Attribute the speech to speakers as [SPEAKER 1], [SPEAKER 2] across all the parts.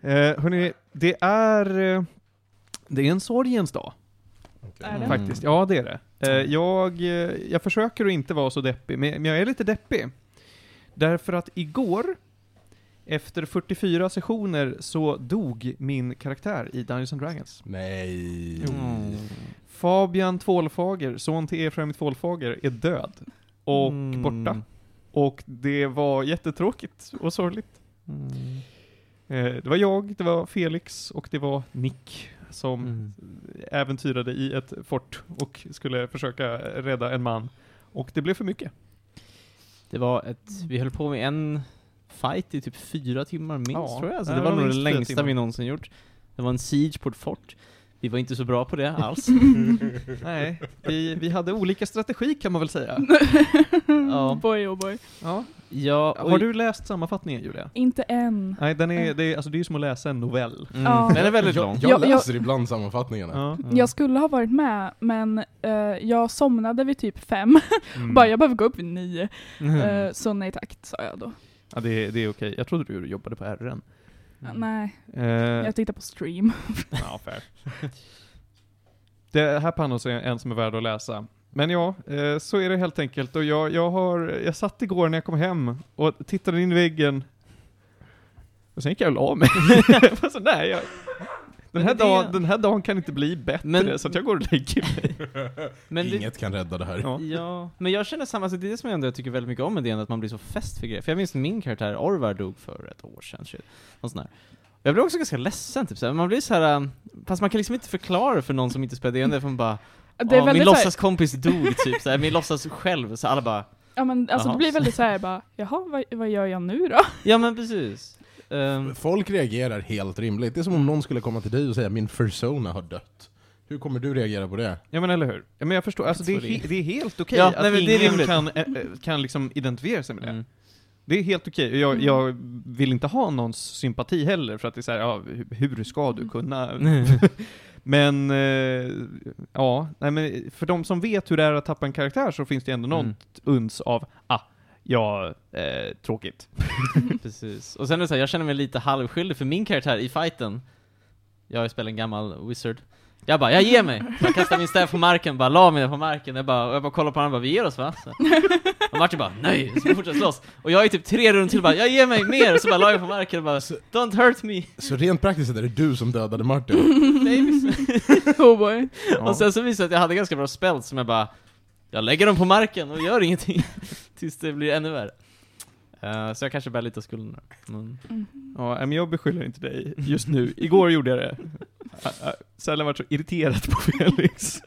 [SPEAKER 1] Eh, hörni, det är, eh, det är en sorgens dag.
[SPEAKER 2] Är det?
[SPEAKER 3] Mm.
[SPEAKER 1] Faktiskt, ja det är det. Eh, jag, eh, jag försöker att inte vara så deppig, men men jag är lite deppig. Därför att igår, efter 44 sessioner, så dog min karaktär i Dungeons and Dragons.
[SPEAKER 3] Nej.
[SPEAKER 1] Mm. Fabian Tvålfager, son till Efraim Tvålfager, är död. Och
[SPEAKER 3] Mm.
[SPEAKER 1] borta. Och det var jättetråkigt och sorgligt.
[SPEAKER 3] Mm.
[SPEAKER 1] Eh, det var jag, det var Felix och det var Nick som
[SPEAKER 3] Mm.
[SPEAKER 1] äventyrade i ett fort och skulle försöka rädda en man. Och det blev för mycket.
[SPEAKER 3] Det var ett, vi höll på med en fight i typ fyra timmar minst
[SPEAKER 1] Ja,
[SPEAKER 3] tror jag. Alltså,
[SPEAKER 1] det
[SPEAKER 3] det var
[SPEAKER 1] var
[SPEAKER 3] nog det
[SPEAKER 1] minst fyra
[SPEAKER 3] längsta
[SPEAKER 1] timmar.
[SPEAKER 3] vi någonsin gjort. Det var en siege på ett fort. Vi var inte så bra på det alls.
[SPEAKER 1] Nej, vi, vi hade olika strategi kan man väl säga.
[SPEAKER 3] Ja.
[SPEAKER 2] Boy oh boy.
[SPEAKER 1] Ja.
[SPEAKER 3] ja, och-
[SPEAKER 1] Har du läst sammanfattningen Julia?
[SPEAKER 2] Inte än.
[SPEAKER 1] Nej, den är, det, är, alltså, det är ju som att läsa en novell.
[SPEAKER 3] Mm.
[SPEAKER 2] Ja.
[SPEAKER 3] Den är väldigt lång.
[SPEAKER 4] Jag
[SPEAKER 2] Ja, jag-
[SPEAKER 4] läser ibland sammanfattningarna.
[SPEAKER 1] Ja.
[SPEAKER 3] Mm.
[SPEAKER 2] Jag skulle ha varit med, men eh, jag somnade vid typ fem.
[SPEAKER 1] Mm.
[SPEAKER 2] Bara, jag behöver gå upp vid nio. Eh, så nej tack, sa jag då.
[SPEAKER 1] Ja, det, det är okej. Jag trodde du jobbade på RN.
[SPEAKER 2] Nej,
[SPEAKER 1] Eh,
[SPEAKER 2] jag tittar på stream.
[SPEAKER 1] Ja, fair. Det här Panos är en som är värd att läsa. Men ja, eh, så är det helt enkelt. Och jag, jag, har, jag satt igår när jag kom hem och tittade in i väggen. Och sen gick jag väl av mig. Jag var så, nej, jag, den, här
[SPEAKER 3] Men det-
[SPEAKER 1] dagen, den här dagen kan inte bli bättre,
[SPEAKER 3] Men-
[SPEAKER 1] så att jag går och lägger mig.
[SPEAKER 3] Men det,
[SPEAKER 4] Inget kan rädda det här.
[SPEAKER 1] Ja.
[SPEAKER 3] Ja, men jag känner samma, alltså det är det som jag ändå tycker väldigt mycket om med det, ändå att man blir så fäst vid grejer. För jag minns min karaktär Orvar dog för ett år sedan, shit. Någon sån här. Jag blev också ganska ledsen, typ såhär. man blir så här. ähm, fast man kan liksom inte förklara det för någon som inte spelar D&D för man bara
[SPEAKER 2] Det är
[SPEAKER 3] "Åh, min
[SPEAKER 2] väldigt såhär,
[SPEAKER 3] låtsaskompis dog, typ såhär, min låtsas själv, så alla bara
[SPEAKER 2] ja, men, alltså,
[SPEAKER 3] Jaha.
[SPEAKER 2] det blir väldigt såhär bara, jaha vad, vad gör jag nu då?
[SPEAKER 3] Ja men precis. Ehm,
[SPEAKER 4] Folk reagerar helt rimligt. Det är som om någon skulle komma till dig och säga min persona har dött. Hur kommer du reagera på det?
[SPEAKER 1] Ja men eller hur? Ja, men jag förstår, alltså, det, är
[SPEAKER 3] Jag tror
[SPEAKER 1] he-
[SPEAKER 3] det.
[SPEAKER 1] det är helt okej
[SPEAKER 3] Ja,
[SPEAKER 1] att
[SPEAKER 3] nej, men det är
[SPEAKER 1] ingen
[SPEAKER 3] rimligt.
[SPEAKER 1] kan, eh, eh, kan liksom identifiera sig med det.
[SPEAKER 3] mm.
[SPEAKER 1] Det är helt okej, och jag, jag vill inte ha någons sympati heller, för att det är såhär, ja, hu- hur ska
[SPEAKER 3] Mm.
[SPEAKER 1] du kunna Men, eh, ja, nej, men för de som vet hur det är att tappa en karaktär så finns det ändå något
[SPEAKER 3] Mm.
[SPEAKER 1] uns av, ah, ja, eh, tråkigt.
[SPEAKER 2] Mm.
[SPEAKER 3] Precis. Och sen är det så här, jag känner mig lite halvskyldig för min karaktär i fighten, jag spelar en gammal wizard, jag bara 'Jag ger mig!' Så jag kastar min stav på marken, bara la mig ner på marken, jag bara, och jag bara kollar på honom och bara 'Vi ger oss va?' Så. Och Martin bara 'Nej!' Så vi fortsätter slåss. Och jag är typ tre runt till bara 'Jag ger mig mer!' Så bara la jag på marken och bara 'Don't hurt me!'
[SPEAKER 4] Så rent praktiskt är det du som dödade Martin.
[SPEAKER 3] Nej, visst.
[SPEAKER 2] Oh boy.
[SPEAKER 1] Ja.
[SPEAKER 3] Och sen så visade det sig att jag hade ganska bra spel som jag bara Jag lägger dem på marken och gör ingenting Tills det blir ännu värre Eh, Så jag kanske bär lite av skulden där. Men,
[SPEAKER 2] Mm.
[SPEAKER 1] ja, nej, men jag beskyller inte dig just nu. Igår gjorde jag det. Ah, ah, Sällan varit så irriterad på Felix.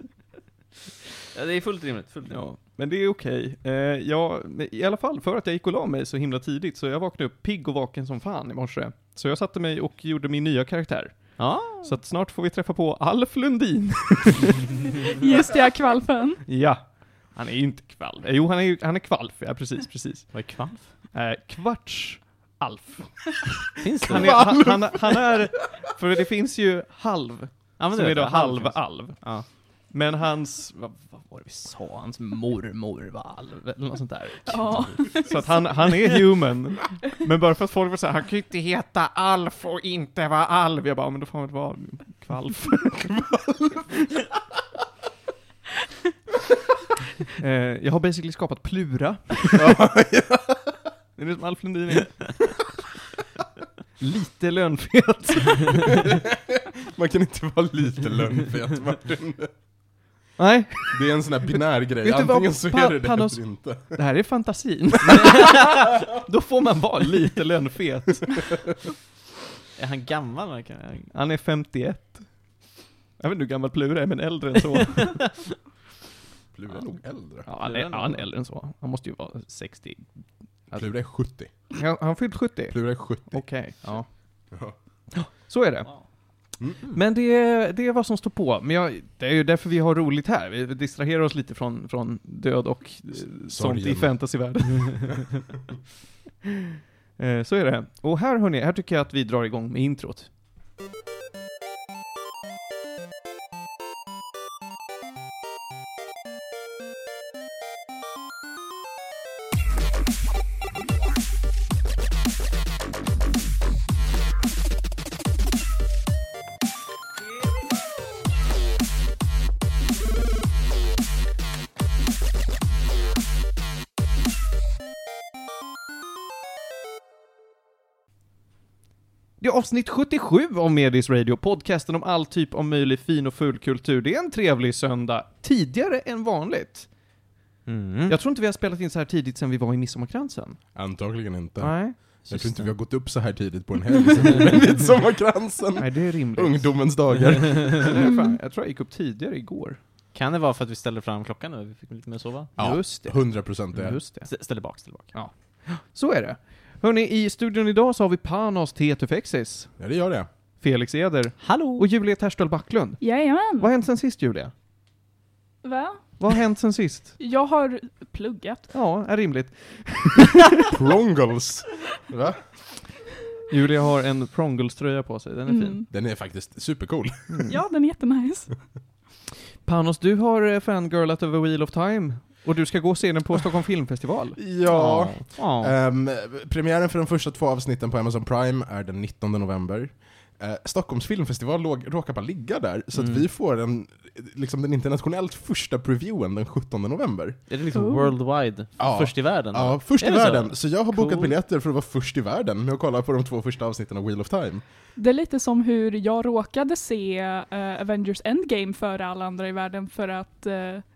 [SPEAKER 3] ja, Det är fullt rimligt, fullt rimligt.
[SPEAKER 1] Ja, men det är okej. Eh, jag, I alla fall, för att jag gick och la mig så himla tidigt, så jag vaknade upp pigg och vaken som fan i morse. Så jag satte mig och gjorde min nya karaktär.
[SPEAKER 3] Ja,
[SPEAKER 1] Så att snart får vi träffa på Alf Lundin.
[SPEAKER 2] Just det, jag kvalfen.
[SPEAKER 1] Ja. Han är ju inte kvalf. Jo, han är, ju- han är kvalf. Ja, precis, precis.
[SPEAKER 3] vad är kvalf?
[SPEAKER 1] Eh, kvarts Alf.
[SPEAKER 3] Finns det?
[SPEAKER 1] Han är, han, han, han är, för det finns ju halv,
[SPEAKER 3] ja, men
[SPEAKER 1] som
[SPEAKER 3] du
[SPEAKER 1] är
[SPEAKER 3] vet,
[SPEAKER 1] då halv
[SPEAKER 3] finns.
[SPEAKER 1] alv.
[SPEAKER 3] Ja.
[SPEAKER 1] Men hans, vad, vad var det vi sa?
[SPEAKER 3] Så hans mormor var alv, eller något sånt där.
[SPEAKER 2] Ja.
[SPEAKER 1] Så att han, han är human. Men bara för att folk var såhär, han kan ju inte heta Alf och inte vara alv. Jag bara, "Ja, men då får han väl vara kvalf. eh, jag har basically skapat Plura. det är det som Alf Lundin är. Lite lönfet.
[SPEAKER 4] Man kan inte vara lite lönnfet Martin.
[SPEAKER 1] Nej,
[SPEAKER 4] Det är en sån här binär grej.
[SPEAKER 1] Vet du vad,
[SPEAKER 4] Antingen så
[SPEAKER 1] Pa-
[SPEAKER 4] är det det
[SPEAKER 1] Panos-
[SPEAKER 4] eller inte.
[SPEAKER 1] det här är fantasin. då får man vara lite lönfet.
[SPEAKER 3] Är han gammal? eller kan jag-
[SPEAKER 1] Han är 51. Jag vet inte hur gammal Plura är, men äldre än så.
[SPEAKER 4] Plura är nog äldre.
[SPEAKER 1] Ja, han är, ja, han är äldre än så. Han måste ju vara 60. alltså-
[SPEAKER 4] Plura är 70.
[SPEAKER 1] Ja, han fyllt 70?
[SPEAKER 4] Plura är 70.
[SPEAKER 1] Okej. Ja.
[SPEAKER 4] Ja.
[SPEAKER 1] Så är det.
[SPEAKER 4] Mm.
[SPEAKER 1] Men det, det är vad som står på. Men jag, det är ju därför vi har roligt här. Vi distraherar oss lite från, från död och eh, sånt i
[SPEAKER 4] sorgen.
[SPEAKER 1] fantasyvärlden. Eh, Så är det. Och här hörni, här tycker jag att vi drar igång med introt. Det är avsnitt 77 av Medis Radio, podcasten om all typ av möjlig fin och ful kultur. Det är en trevlig söndag, tidigare än vanligt.
[SPEAKER 3] Mm.
[SPEAKER 1] Jag tror inte vi har spelat in så här tidigt sen vi var i Midsommarkransen.
[SPEAKER 4] Antagligen inte.
[SPEAKER 1] Nej.
[SPEAKER 4] jag tror inte vi har gått upp så här tidigt på en helg sen vi var i Midsommarkransen.
[SPEAKER 1] Nej, det är rimligt.
[SPEAKER 4] Ungdomens dagar.
[SPEAKER 1] Nej, fan, jag tror jag gick upp tidigare igår.
[SPEAKER 3] Kan det vara för att vi ställde fram klockan nu? Vi fick lite mer sova?
[SPEAKER 4] Ja,
[SPEAKER 1] Just det.
[SPEAKER 4] 100% det.
[SPEAKER 1] Just det.
[SPEAKER 3] S- Ställ bak, ställ bak.
[SPEAKER 1] Så är det. Hörni, i studion idag så har vi Panos Tetufexis,
[SPEAKER 4] Ja, det gör det.
[SPEAKER 1] Felix Eder
[SPEAKER 3] Hallå!
[SPEAKER 1] och Julia Terstol Backlund. Vad
[SPEAKER 2] Jajamän!
[SPEAKER 1] har hänt sen sist Julia?
[SPEAKER 2] Va?
[SPEAKER 1] Vad har hänt sen sist?
[SPEAKER 2] Jag har pluggat.
[SPEAKER 1] Ja, är rimligt.
[SPEAKER 4] Prongles. Va?
[SPEAKER 1] Julia har en Prongles-tröja på sig, den är fin.
[SPEAKER 2] Mm.
[SPEAKER 4] Den är faktiskt supercool.
[SPEAKER 2] Ja, den är jättenice.
[SPEAKER 1] Panos, du har eh, fangirlat över Wheel of Time och du ska gå och se den på Stockholm Filmfestival.
[SPEAKER 4] Ja.
[SPEAKER 1] Ja.
[SPEAKER 4] Ehm, premiären för de första två avsnitten på Amazon Prime är den 19 november. Eh, Stockholms filmfestival låg, råkar bara ligga där, så att
[SPEAKER 3] Mm.
[SPEAKER 4] vi får den, liksom den internationellt första previewen den 17 november.
[SPEAKER 3] Är det liksom
[SPEAKER 2] Oh.
[SPEAKER 3] worldwide?
[SPEAKER 4] Ja.
[SPEAKER 3] Först i världen?
[SPEAKER 4] Ja, först i
[SPEAKER 3] Är det så?
[SPEAKER 4] världen. Så? jag har bokat
[SPEAKER 3] Cool.
[SPEAKER 4] biljetter för att vara först i världen med att kolla på de två första avsnitten av Wheel of Time.
[SPEAKER 2] Det är lite som hur jag råkade se eh, Avengers Endgame före alla andra i världen för att eh,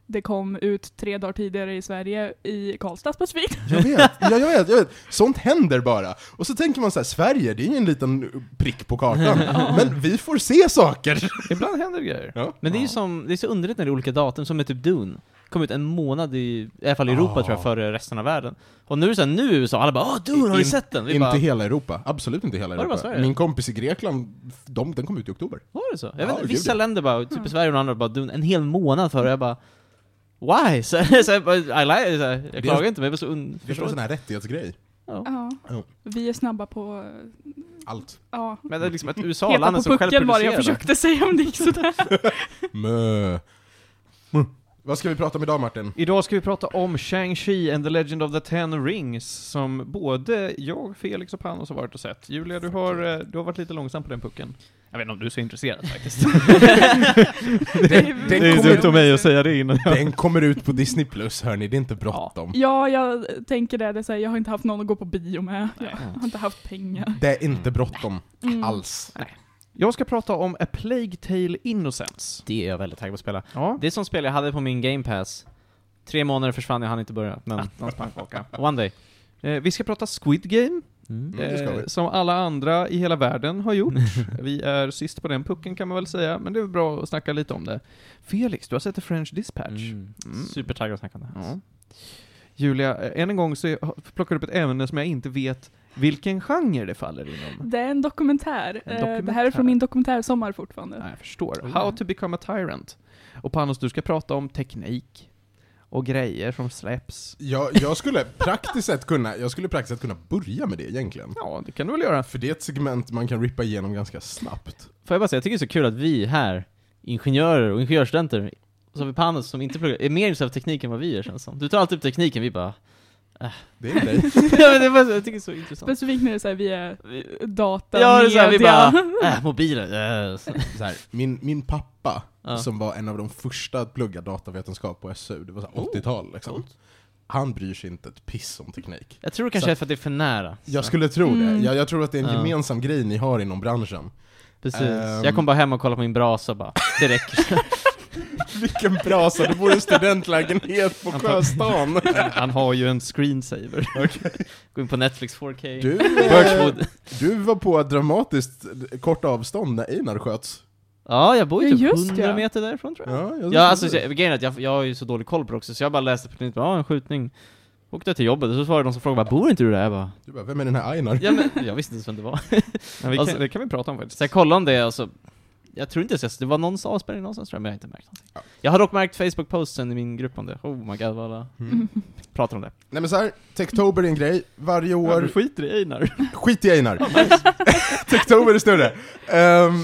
[SPEAKER 2] det kom ut tre dagar tidigare i Sverige, i Karlstad specifikt.
[SPEAKER 4] Jag vet, ja, jag vet, jag vet. Sånt händer bara. Och så tänker man så här, Sverige, det är ju en liten prick på kartan. Men vi får se saker!
[SPEAKER 1] Ibland händer det grejer.
[SPEAKER 4] Ja.
[SPEAKER 3] Men det är ju som, det är så underligt när det är olika datum, som är typ Dune. Kom ut en månad i, i alla fall i Europa
[SPEAKER 4] Ah.
[SPEAKER 3] tror jag, före resten av världen. Och nu är det såhär, nu i USA, alla bara Åh, Dune, har du
[SPEAKER 4] In-
[SPEAKER 3] sett den? Vi
[SPEAKER 4] Inte
[SPEAKER 3] bara,
[SPEAKER 4] hela Europa, absolut inte hela
[SPEAKER 3] Var det bara
[SPEAKER 4] Europa.
[SPEAKER 3] Sverige?
[SPEAKER 4] Min kompis i Grekland, de, den kom ut i oktober.
[SPEAKER 3] var det så? Jag
[SPEAKER 4] Ja,
[SPEAKER 3] vet inte,
[SPEAKER 4] gud,
[SPEAKER 3] vissa
[SPEAKER 4] ja. Mm.
[SPEAKER 3] länder bara, typ i Sverige och andra bara Dune, en hel månad före, jag bara Why? Så, så, jag bara, I like, så, här, jag klagar inte, men jag var så un,
[SPEAKER 4] Det är en
[SPEAKER 3] förstår
[SPEAKER 4] sån
[SPEAKER 3] inte.
[SPEAKER 4] här rättighetsgrej.
[SPEAKER 3] Ja.
[SPEAKER 2] Ja.
[SPEAKER 4] Ja.
[SPEAKER 2] Vi är snabba på, eh,
[SPEAKER 4] Allt.
[SPEAKER 2] ja.
[SPEAKER 3] Men det är liksom att USA,
[SPEAKER 2] Heta
[SPEAKER 3] landet
[SPEAKER 2] på
[SPEAKER 3] som själv
[SPEAKER 2] pucken var det jag
[SPEAKER 3] producerar.
[SPEAKER 2] försökte säga om det gick sådär.
[SPEAKER 4] Mö.
[SPEAKER 3] Mm.
[SPEAKER 4] Vad ska vi prata om idag Martin?
[SPEAKER 1] Idag ska vi prata om Shang-Chi and the Legend of the Ten Rings, som både jag, Felix och Panos har varit och sett. Julia, du har, eh, du har varit lite långsam på den pucken. Jag vet inte om du är så intresserad faktiskt.
[SPEAKER 2] Det-
[SPEAKER 1] det
[SPEAKER 4] den
[SPEAKER 1] är
[SPEAKER 4] kommer-
[SPEAKER 1] dumt av mig att säga det innan jag...
[SPEAKER 4] Den kommer ut på Disney Plus hörni, det är inte bråttom.
[SPEAKER 2] Ja, jag tänker det. det är så här, jag har inte haft någon att gå på bio med. Jag har inte haft pengar.
[SPEAKER 4] Det är inte bråttom
[SPEAKER 2] Mm.
[SPEAKER 4] alls.
[SPEAKER 1] Jag ska prata om A Plague Tale Innocence.
[SPEAKER 3] Det är jag väldigt taggad på att spela.
[SPEAKER 1] Ja.
[SPEAKER 3] Det är som spel jag hade på min game pass. Tre månader försvann, jag hann inte börja, men
[SPEAKER 1] Attans pannkaka.
[SPEAKER 3] one day.
[SPEAKER 1] Eh, vi ska prata Squid Game,
[SPEAKER 3] Mm.
[SPEAKER 4] Mm, det ska
[SPEAKER 1] eh,
[SPEAKER 4] vi.
[SPEAKER 1] som alla andra i hela världen har gjort. vi är sist på den pucken kan man väl säga, men det är väl bra att snacka lite om det. Felix, du har sett The French Dispatch.
[SPEAKER 3] Mm.
[SPEAKER 1] Mm.
[SPEAKER 3] Supertaggad att snacka om det här.
[SPEAKER 1] Ja. Julia, eh, än en gång så jag- plockar du upp ett ämne som jag inte vet vilken genre det faller inom.
[SPEAKER 2] Det är en dokumentär.
[SPEAKER 1] En
[SPEAKER 2] Eh, Det här
[SPEAKER 1] dokumentär.
[SPEAKER 2] är från min dokumentärsommar fortfarande.
[SPEAKER 1] Nej, jag förstår.
[SPEAKER 3] Oh.
[SPEAKER 1] How to become a tyrant. Och Panos, du ska prata om teknik och grejer som släpps.
[SPEAKER 4] Jag, jag skulle praktiskt sett kunna, jag skulle praktiskt sett kunna börja med det egentligen.
[SPEAKER 1] Ja, det kan du väl göra.
[SPEAKER 4] För det är ett segment man kan rippa igenom ganska snabbt.
[SPEAKER 3] Får jag bara säga, jag tycker det är så kul att vi här, ingenjörer och ingenjörsstudenter, så har vi Panos som inte pluggar, är mer intresserad av teknik än vad vi är känns som. Du tar alltid upp tekniken, vi bara...
[SPEAKER 4] Det är dig.
[SPEAKER 3] ja, men det är bara, så- jag tycker det är så intressant.
[SPEAKER 2] Specifikt när det är så här, vi är eh, data,
[SPEAKER 3] Ja, det är så här, vi
[SPEAKER 2] media.
[SPEAKER 3] bara, äh, mobiler, äh. så-
[SPEAKER 4] Så här, min, min pappa,
[SPEAKER 3] Ja.
[SPEAKER 4] som var en av de första att plugga datavetenskap på SU, det var så här
[SPEAKER 3] Oh,
[SPEAKER 4] 80-tal liksom.
[SPEAKER 3] coolt.
[SPEAKER 4] Han bryr sig inte ett piss om teknik.
[SPEAKER 3] Jag tror
[SPEAKER 4] Så-
[SPEAKER 3] kanske det är för att det är för nära. Så.
[SPEAKER 4] Jag skulle tro det.
[SPEAKER 2] Mm.
[SPEAKER 4] Jag, jag tror att det är en
[SPEAKER 3] Ja.
[SPEAKER 4] gemensam grej ni har inom branschen.
[SPEAKER 3] Precis.
[SPEAKER 4] Ehm.
[SPEAKER 3] Jag kom bara hem och kollade på min brasa och bara, det räcker.
[SPEAKER 4] Vilken brasa, du bor i en studentlägenhet på Sjöstan.
[SPEAKER 1] Han har ju en screensaver.
[SPEAKER 3] Gå in på Netflix 4K.
[SPEAKER 4] Du, eh,
[SPEAKER 3] Birchwood.
[SPEAKER 4] du var på ett dramatiskt kort avstånd när Einar sköts.
[SPEAKER 3] Ja, jag bor ju
[SPEAKER 2] Ja,
[SPEAKER 3] typ
[SPEAKER 2] just
[SPEAKER 3] 100
[SPEAKER 2] ja.
[SPEAKER 3] meter därifrån tror jag.
[SPEAKER 4] Ja, jag
[SPEAKER 3] Ja, alltså, så- grejen är att jag, jag har ju så dålig koll på det också, så jag bara läste på nytt, ja en skjutning. Åkte jag till jobbet och så svarade de som frågade bara, bor inte du där? Jag bara,
[SPEAKER 4] Du bara, vem är den här Einar?
[SPEAKER 3] ja, men, jag visste inte ens vem det var.
[SPEAKER 1] Men vi
[SPEAKER 3] Alltså-
[SPEAKER 1] kan, det kan vi prata om faktiskt.
[SPEAKER 3] Så jag kollade om det och så Jag tror inte jag ses, det var någons avspelning någonstans tror jag, men jag har inte märkt någonting
[SPEAKER 4] Ja.
[SPEAKER 3] Jag har dock märkt Facebook-posten i min grupp om det, oh my god vad alla
[SPEAKER 4] Mm.
[SPEAKER 3] pratar om det
[SPEAKER 4] Nej men såhär, Techtober är en grej, varje
[SPEAKER 1] Ja, du
[SPEAKER 4] år...
[SPEAKER 1] skiter i Einar.
[SPEAKER 4] Skit i Einar! Techtober är större. Ehm,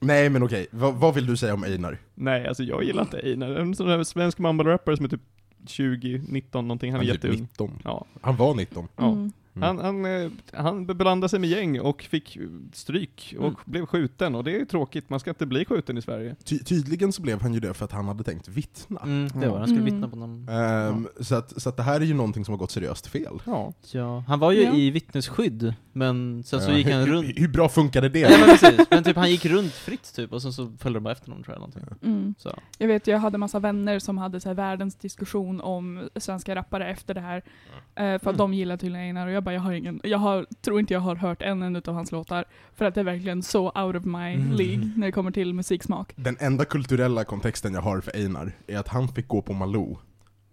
[SPEAKER 4] nej men okej, vad- vad vill du säga om Einar?
[SPEAKER 1] Nej, alltså jag gillar inte Einar. En sån där svensk mumble-rappare som är typ 20, 19 någonting, han är
[SPEAKER 4] typ
[SPEAKER 1] jätteung.
[SPEAKER 4] 19.
[SPEAKER 1] Ja.
[SPEAKER 4] Han var 19.
[SPEAKER 1] Ja.
[SPEAKER 2] Mm.
[SPEAKER 1] Han, han, eh, han blandade sig med gäng och fick eh, stryk och
[SPEAKER 3] Mm.
[SPEAKER 1] blev skjuten och det är tråkigt, man ska inte bli skjuten i Sverige.
[SPEAKER 4] Ty tydligen så blev han ju det för att han hade tänkt vittna.
[SPEAKER 3] Mm, det var han skulle vittna på någon.
[SPEAKER 1] Mm.
[SPEAKER 4] Ehm, så, att, så att det här är ju någonting som har gått seriöst fel.
[SPEAKER 1] Ja.
[SPEAKER 3] Ja. Han var ju
[SPEAKER 2] Ja.
[SPEAKER 3] i vittnesskydd, men sen så
[SPEAKER 4] Eh,
[SPEAKER 3] gick han
[SPEAKER 4] hur-
[SPEAKER 3] runt.
[SPEAKER 4] Hur, hur bra funkade det?
[SPEAKER 3] Ja men precis, men typ han gick runt fritt typ och sen så följde de bara efter honom tror jag någonting.
[SPEAKER 2] Mm.
[SPEAKER 3] Så.
[SPEAKER 2] Jag vet, jag hade massa vänner som hade så här världens diskussion om svenska rappare efter det här. Eh, för att
[SPEAKER 3] Mm.
[SPEAKER 2] de gillar tydligen Einar och jag bara, jag har ingen, jag har, tror inte jag har hört en enda av hans låtar. För att det är verkligen så out of my
[SPEAKER 3] Mm.
[SPEAKER 2] league när det kommer till musiksmak.
[SPEAKER 4] Den enda kulturella kontexten jag har för Einar är att han fick gå på Malou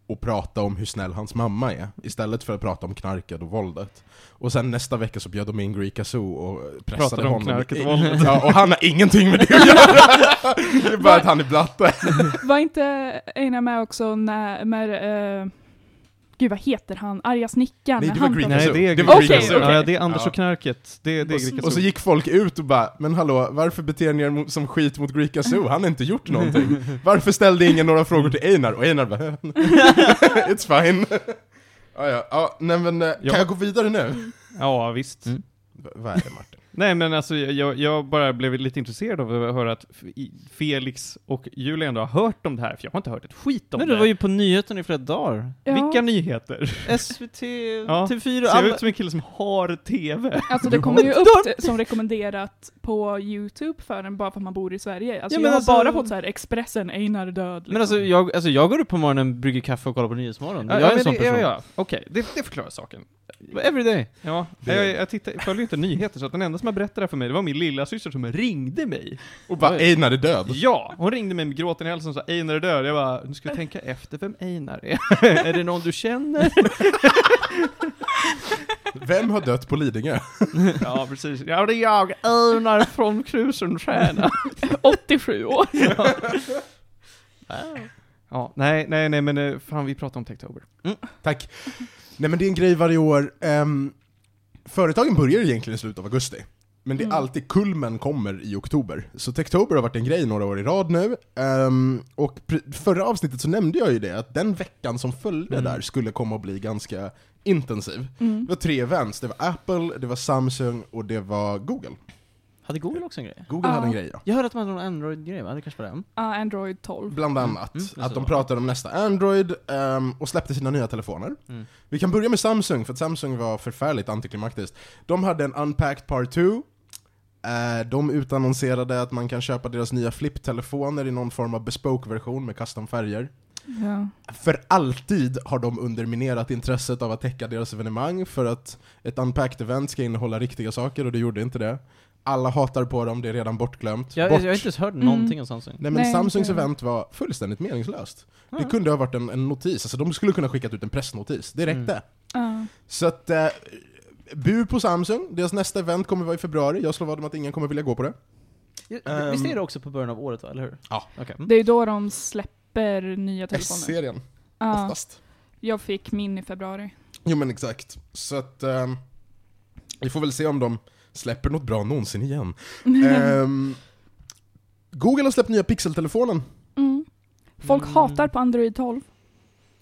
[SPEAKER 4] och prata om hur snäll hans mamma är, istället för att prata om knarket och våldet. Och sen nästa vecka så bjöd de in Greek Zoo och pressade
[SPEAKER 1] Pratade om
[SPEAKER 4] honom.
[SPEAKER 1] knarket och våldet.
[SPEAKER 4] Ja, och han har ingenting med det att göra! Det är bara att han är blatte.
[SPEAKER 2] Var inte Einar med också när, när eh, gud vad heter han, Arga snickaren?
[SPEAKER 4] Nej,
[SPEAKER 2] när
[SPEAKER 4] det var
[SPEAKER 2] han
[SPEAKER 4] Green
[SPEAKER 2] pratar-
[SPEAKER 1] Nej,
[SPEAKER 4] Zoo.
[SPEAKER 1] det är
[SPEAKER 4] Det var
[SPEAKER 2] Green Zoo.
[SPEAKER 1] Ja, det är Anders
[SPEAKER 4] Ja.
[SPEAKER 1] och knarket. Det, det är Grika
[SPEAKER 4] Och så gick folk ut och bara, men hallå, varför beter ni er mo- som skit mot Greek Zoo? Han har inte gjort någonting. Varför ställde ingen några frågor till Einar? Och Einar bara, it's fine. Ja, ja, ja, nej men, eh, kan
[SPEAKER 1] Ja.
[SPEAKER 4] jag gå vidare nu?
[SPEAKER 1] Ja, visst.
[SPEAKER 3] Mm.
[SPEAKER 4] V- Vad är det Martin?
[SPEAKER 1] Nej men alltså jag- jag, jag bara blev lite intresserad av att höra att F- i- Felix och Julia ändå har hört om det här, för jag har inte hört ett skit om
[SPEAKER 3] Men
[SPEAKER 1] det.
[SPEAKER 3] du var ju på nyheten i flera dagar.
[SPEAKER 2] Ja,
[SPEAKER 1] Vilka nyheter!
[SPEAKER 3] SVT,
[SPEAKER 1] Ja.
[SPEAKER 3] TV4,
[SPEAKER 1] Ser jag
[SPEAKER 3] alla...
[SPEAKER 1] ut som en kille som har TV?
[SPEAKER 2] Alltså
[SPEAKER 4] Du
[SPEAKER 2] det kommer
[SPEAKER 4] har-
[SPEAKER 2] ju upp t- som rekommenderat på youtube för en bara för att man bor i Sverige. Alltså
[SPEAKER 3] Ja, men
[SPEAKER 2] jag har
[SPEAKER 3] alltså-
[SPEAKER 2] bara fått så här Expressen, Einar död.
[SPEAKER 3] Men alltså jag, alltså jag går upp på morgonen, brygger kaffe och kollar på Nyhetsmorgon. jag är en
[SPEAKER 1] men
[SPEAKER 3] sån
[SPEAKER 1] det,
[SPEAKER 3] person.
[SPEAKER 1] Ja, ja. Okej, det, det förklarar saken.
[SPEAKER 3] Every day.
[SPEAKER 1] Ja,
[SPEAKER 4] Det-
[SPEAKER 1] jag, jag tittar, jag följer ju inte nyheter, så att den enda som har berättat det här för mig, det var min lilla syster som ringde mig.
[SPEAKER 4] Och bara,
[SPEAKER 3] Oj.
[SPEAKER 4] Einar är död.
[SPEAKER 1] Ja, hon ringde mig med gråten i halsen och sa Einar är död. Jag bara, nu ska jag tänka efter vem Einar är. är det någon du känner?
[SPEAKER 4] Vem har dött på Lidingö?
[SPEAKER 1] ja, precis. Ja, det är jag, Einar från Krusenträna.
[SPEAKER 2] 87 år.
[SPEAKER 1] Ja, nej, nej, nej, men eh, fan vi pratar om Techtober.
[SPEAKER 4] Tack. Nej men det är en grej varje år. Ehm, företagen börjar egentligen i slutet av augusti. Men det är
[SPEAKER 2] Mm.
[SPEAKER 4] alltid kulmen kommer i oktober. Så Techtober har varit en grej några år i rad nu. Ehm, och pr- förra avsnittet så nämnde jag ju det, att den veckan som följde
[SPEAKER 3] Mm.
[SPEAKER 4] där skulle komma att bli ganska intensiv.
[SPEAKER 2] Mm.
[SPEAKER 4] Det var tre events, det var Apple, det var Samsung och det var Google.
[SPEAKER 3] Hade Google också en grej?
[SPEAKER 4] Google
[SPEAKER 2] Ja.
[SPEAKER 4] hade en grej ja.
[SPEAKER 3] Jag hörde att man hade någon Android-grej va? Det kanske var den?
[SPEAKER 2] Ja, Android 12.
[SPEAKER 4] Bland
[SPEAKER 3] Mm,
[SPEAKER 4] annat.
[SPEAKER 3] mm, det
[SPEAKER 4] att de
[SPEAKER 3] ser man.
[SPEAKER 4] pratade om nästa Android ehm, och släppte sina nya telefoner.
[SPEAKER 3] Mm.
[SPEAKER 4] Vi kan börja med Samsung, för att Samsung var förfärligt antiklimaktiskt. De hade en Unpacked Part 2. Eh, de utannonserade att man kan köpa deras nya flipptelefoner i någon form av bespoke-version med custom-färger.
[SPEAKER 2] Ja.
[SPEAKER 4] För alltid har de underminerat intresset av att täcka deras evenemang för att ett Unpacked-event ska innehålla riktiga saker och det gjorde inte det. Alla hatar på dem, det är redan bortglömt.
[SPEAKER 3] Jag,
[SPEAKER 4] Bort-
[SPEAKER 3] jag har inte ens hört
[SPEAKER 2] Mm.
[SPEAKER 3] någonting om Samsung.
[SPEAKER 4] Nej men
[SPEAKER 2] Nej,
[SPEAKER 4] Samsungs
[SPEAKER 2] inte jag.
[SPEAKER 4] event var fullständigt meningslöst. Det
[SPEAKER 3] Mm.
[SPEAKER 4] kunde ha varit en, en notis, alltså de skulle kunna skickat ut en pressnotis, det räckte.
[SPEAKER 3] Mm.
[SPEAKER 2] Ja.
[SPEAKER 4] Så att, eh, bu på Samsung, deras nästa event kommer vara i februari, jag slår vad om att ingen kommer vilja gå på det.
[SPEAKER 3] Ja, Visst
[SPEAKER 4] Ehm.
[SPEAKER 3] är det också på början av året va, eller hur?
[SPEAKER 4] Ja.
[SPEAKER 3] Okej.
[SPEAKER 2] Det är ju då de släpper nya telefoner.
[SPEAKER 4] S-serien,
[SPEAKER 2] Ja,
[SPEAKER 4] oftast.
[SPEAKER 2] jag fick min i februari.
[SPEAKER 4] Jo men exakt. Så att, ehm, vi får väl se om de släpper något bra någonsin igen.
[SPEAKER 2] Mm.
[SPEAKER 4] Ehm, Google har släppt nya Pixel-telefonen.
[SPEAKER 2] Mm. Folk
[SPEAKER 3] Mm.
[SPEAKER 2] hatar på Android 12.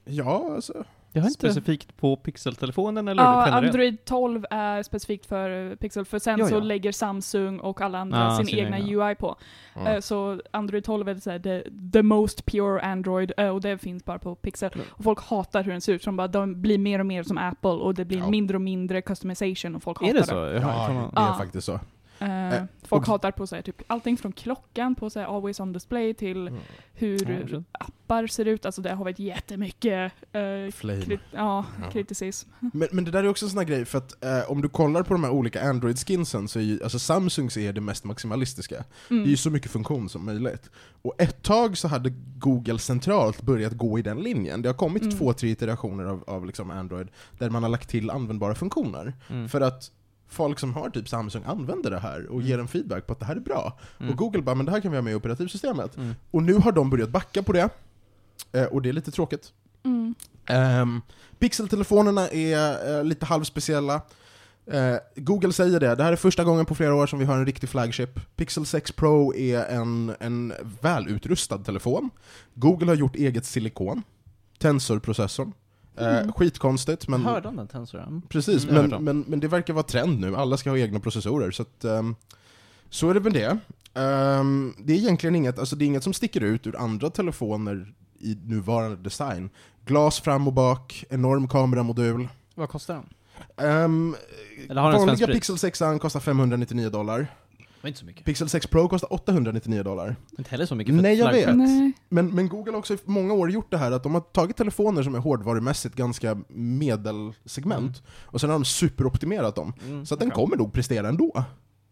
[SPEAKER 4] Ja, alltså.
[SPEAKER 3] Jag har inte...
[SPEAKER 1] Specifikt på pixeltelefonen eller
[SPEAKER 2] Ja,
[SPEAKER 1] generellt?
[SPEAKER 2] Android 12 är specifikt för eh, Pixel, för sen
[SPEAKER 1] Ja, ja.
[SPEAKER 2] så lägger Samsung och alla andra
[SPEAKER 3] Ah,
[SPEAKER 2] sin,
[SPEAKER 3] sin
[SPEAKER 2] egna
[SPEAKER 3] egna.
[SPEAKER 2] UI på.
[SPEAKER 4] Ja.
[SPEAKER 2] Eh, Så Android 12 är så här, the, the most pure Android, eh, och det finns bara på Pixel.
[SPEAKER 3] Mm.
[SPEAKER 2] Och folk hatar hur den ser ut, så de, bara, de blir mer och mer som Apple, och det blir
[SPEAKER 4] Ja.
[SPEAKER 2] mindre och mindre customization, och folk
[SPEAKER 3] Är
[SPEAKER 2] hatar
[SPEAKER 3] det så? Jag har- kan man-
[SPEAKER 4] det är
[SPEAKER 2] Ja.
[SPEAKER 4] faktiskt så.
[SPEAKER 2] Eh,
[SPEAKER 4] Eh,
[SPEAKER 2] folk
[SPEAKER 4] och-
[SPEAKER 2] hatar på så här, typ, allting från klockan på så här, Always on display till
[SPEAKER 4] Mm.
[SPEAKER 2] hur
[SPEAKER 3] Ja, kanske.
[SPEAKER 2] appar ser ut. Alltså det har varit jättemycket eh,
[SPEAKER 4] Flame.
[SPEAKER 2] krit- ja,
[SPEAKER 4] Ja.
[SPEAKER 2] kriticism.
[SPEAKER 4] Men, men det där är också en sån här grej, för att eh, om du kollar på de här olika Android-skinsen så är ju, alltså Samsungs är det mest maximalistiska. Det är ju
[SPEAKER 2] Mm.
[SPEAKER 4] så mycket funktion som möjligt. Och ett tag så hade Google centralt börjat gå i den linjen. Det har kommit
[SPEAKER 2] Mm.
[SPEAKER 4] två, tre iterationer av, av liksom Android där man har lagt till användbara funktioner.
[SPEAKER 3] Mm.
[SPEAKER 4] För att folk som har typ Samsung använder det här och
[SPEAKER 3] Mm.
[SPEAKER 4] ger en feedback på att det här är bra.
[SPEAKER 3] Mm.
[SPEAKER 4] Och Google bara, men det här kan vi ha med i operativsystemet.
[SPEAKER 3] Mm.
[SPEAKER 4] Och nu har de börjat backa på det. Eh, och det är lite tråkigt.
[SPEAKER 2] Mm.
[SPEAKER 4] Ehm, pixeltelefonerna är eh, lite halvspeciella. Eh, Google säger det, det här är första gången på flera år som vi har en riktig flagship. Pixel 6 Pro är en, en välutrustad telefon. Google har gjort eget silikon, Tensor-processorn, Eh, skitkonstigt, men...
[SPEAKER 3] Hörde om den tensoren?
[SPEAKER 4] Precis,
[SPEAKER 3] Mm, jag
[SPEAKER 4] men,
[SPEAKER 3] hörde om.
[SPEAKER 4] men, men det verkar vara trend nu. Alla ska ha egna processorer. Så, att, ehm, så är det väl det. Ehm, det är egentligen inget, alltså det är inget som sticker ut ur andra telefoner i nuvarande design. Glas fram och bak, enorm kameramodul.
[SPEAKER 3] Vad kostar den?
[SPEAKER 4] Um,
[SPEAKER 3] Eller har den svenskt
[SPEAKER 4] Eh, vanliga
[SPEAKER 3] pris?
[SPEAKER 4] Pixel 6 kostar 599 dollar.
[SPEAKER 3] Det var inte så mycket.
[SPEAKER 4] Pixel 6 Pro kostar 899 dollar.
[SPEAKER 3] Inte heller så mycket för
[SPEAKER 4] Nej,
[SPEAKER 3] ett
[SPEAKER 4] jag vet.
[SPEAKER 3] flaggskepp.
[SPEAKER 2] Nej.
[SPEAKER 4] Men, men Google har också i många år gjort det här att de har tagit telefoner som är hårdvarumässigt ganska medelsegment, och sen har de superoptimerat dem.
[SPEAKER 3] Mm,
[SPEAKER 4] Så att den
[SPEAKER 3] okej.
[SPEAKER 4] kommer nog prestera ändå.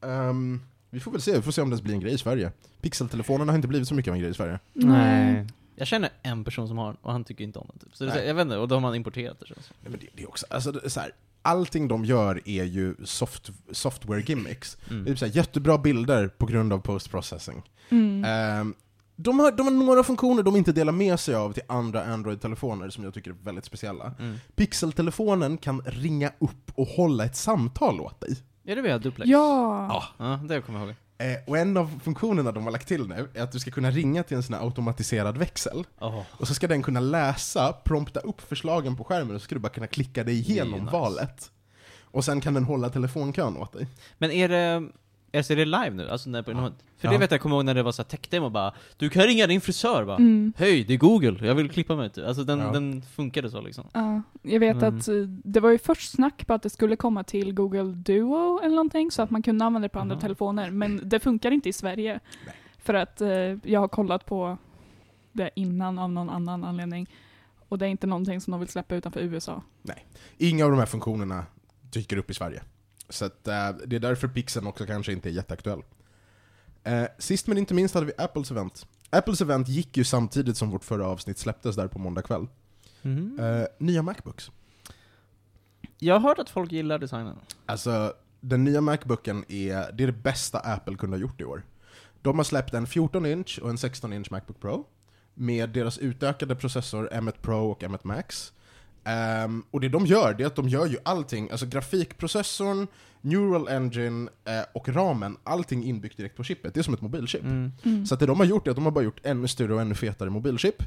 [SPEAKER 4] Ehm, vi får väl se, vi får se om det ens blir en grej i Sverige. Pixeltelefonerna har inte blivit så mycket av en grej i Sverige.
[SPEAKER 2] Nej.
[SPEAKER 3] Jag känner en person som har den, och han tycker inte om den typ. Så det, är så-
[SPEAKER 4] Nej.
[SPEAKER 3] jag vet inte, och då har man importerat det känns det
[SPEAKER 4] Nej, men det, det är också, alltså, det är så här, allting de gör är ju soft, software gimmicks.
[SPEAKER 3] som. mm.
[SPEAKER 4] Det är så här, jättebra bilder på grund av post-processing.
[SPEAKER 2] Mm.
[SPEAKER 4] Ehm, de, har, de har några funktioner de inte delar med sig av till andra Android-telefoner som jag tycker är väldigt speciella.
[SPEAKER 3] Mm.
[SPEAKER 4] Pixeltelefonen kan ringa upp och hålla ett samtal åt dig.
[SPEAKER 3] Är det via duplex?
[SPEAKER 2] Ja.
[SPEAKER 3] Ja, det kommer jag ihåg.
[SPEAKER 4] Eh, och en av funktionerna de har lagt till nu är att du ska kunna ringa till en sån här automatiserad växel.
[SPEAKER 3] Åh.
[SPEAKER 4] Och så ska den kunna läsa, prompta upp förslagen på skärmen och så ska du bara kunna klicka dig
[SPEAKER 3] Det är
[SPEAKER 4] igenom
[SPEAKER 3] nice.
[SPEAKER 4] valet. Och sen kan den hålla telefonkön åt dig.
[SPEAKER 3] Men är det, alltså är det live nu? Alltså när, ja. För det
[SPEAKER 4] Ja.
[SPEAKER 3] vet jag, jag kommer ihåg när det var så här tech-demo bara Du kan ringa din frisör bara
[SPEAKER 2] Mm.
[SPEAKER 3] Hej, det är Google, jag vill klippa mig typ. Alltså den,
[SPEAKER 4] Ja.
[SPEAKER 3] den funkade så liksom
[SPEAKER 2] Ja, jag vet
[SPEAKER 3] Mm.
[SPEAKER 2] att eh, det var ju först snack på att det skulle komma till Google Duo eller någonting så att man kunde använda det på andra
[SPEAKER 3] Aha.
[SPEAKER 2] telefoner men det funkar inte i Sverige.
[SPEAKER 4] Nej.
[SPEAKER 2] För att eh, jag har kollat på det innan av någon annan anledning och det är inte någonting som de vill släppa utanför USA.
[SPEAKER 4] Inga av de här funktionerna dyker upp i Sverige. Så att, eh, det är därför pixeln också kanske inte är jätteaktuell. Eh, sist men inte minst hade vi Apples event. Apples event gick ju samtidigt som vårt förra avsnitt släpptes där på måndag kväll. Eh, nya Macbooks.
[SPEAKER 3] Jag har hört att folk gillar designen
[SPEAKER 4] Alltså, den nya Macbooken är det, är det bästa Apple kunde ha gjort i år. De har släppt en 14-inch och en 16-inch Macbook Pro med deras utökade processor M1 Pro och M1 Max. Ehm, och det de gör, det är att de gör ju allting, alltså grafikprocessorn, neural engine eh, och ramen, allting inbyggt direkt på chippet. Det är som ett mobilchip.
[SPEAKER 2] Mm.
[SPEAKER 4] Så att det de har gjort är att de har bara gjort ännu större och ännu fetare mobilchip.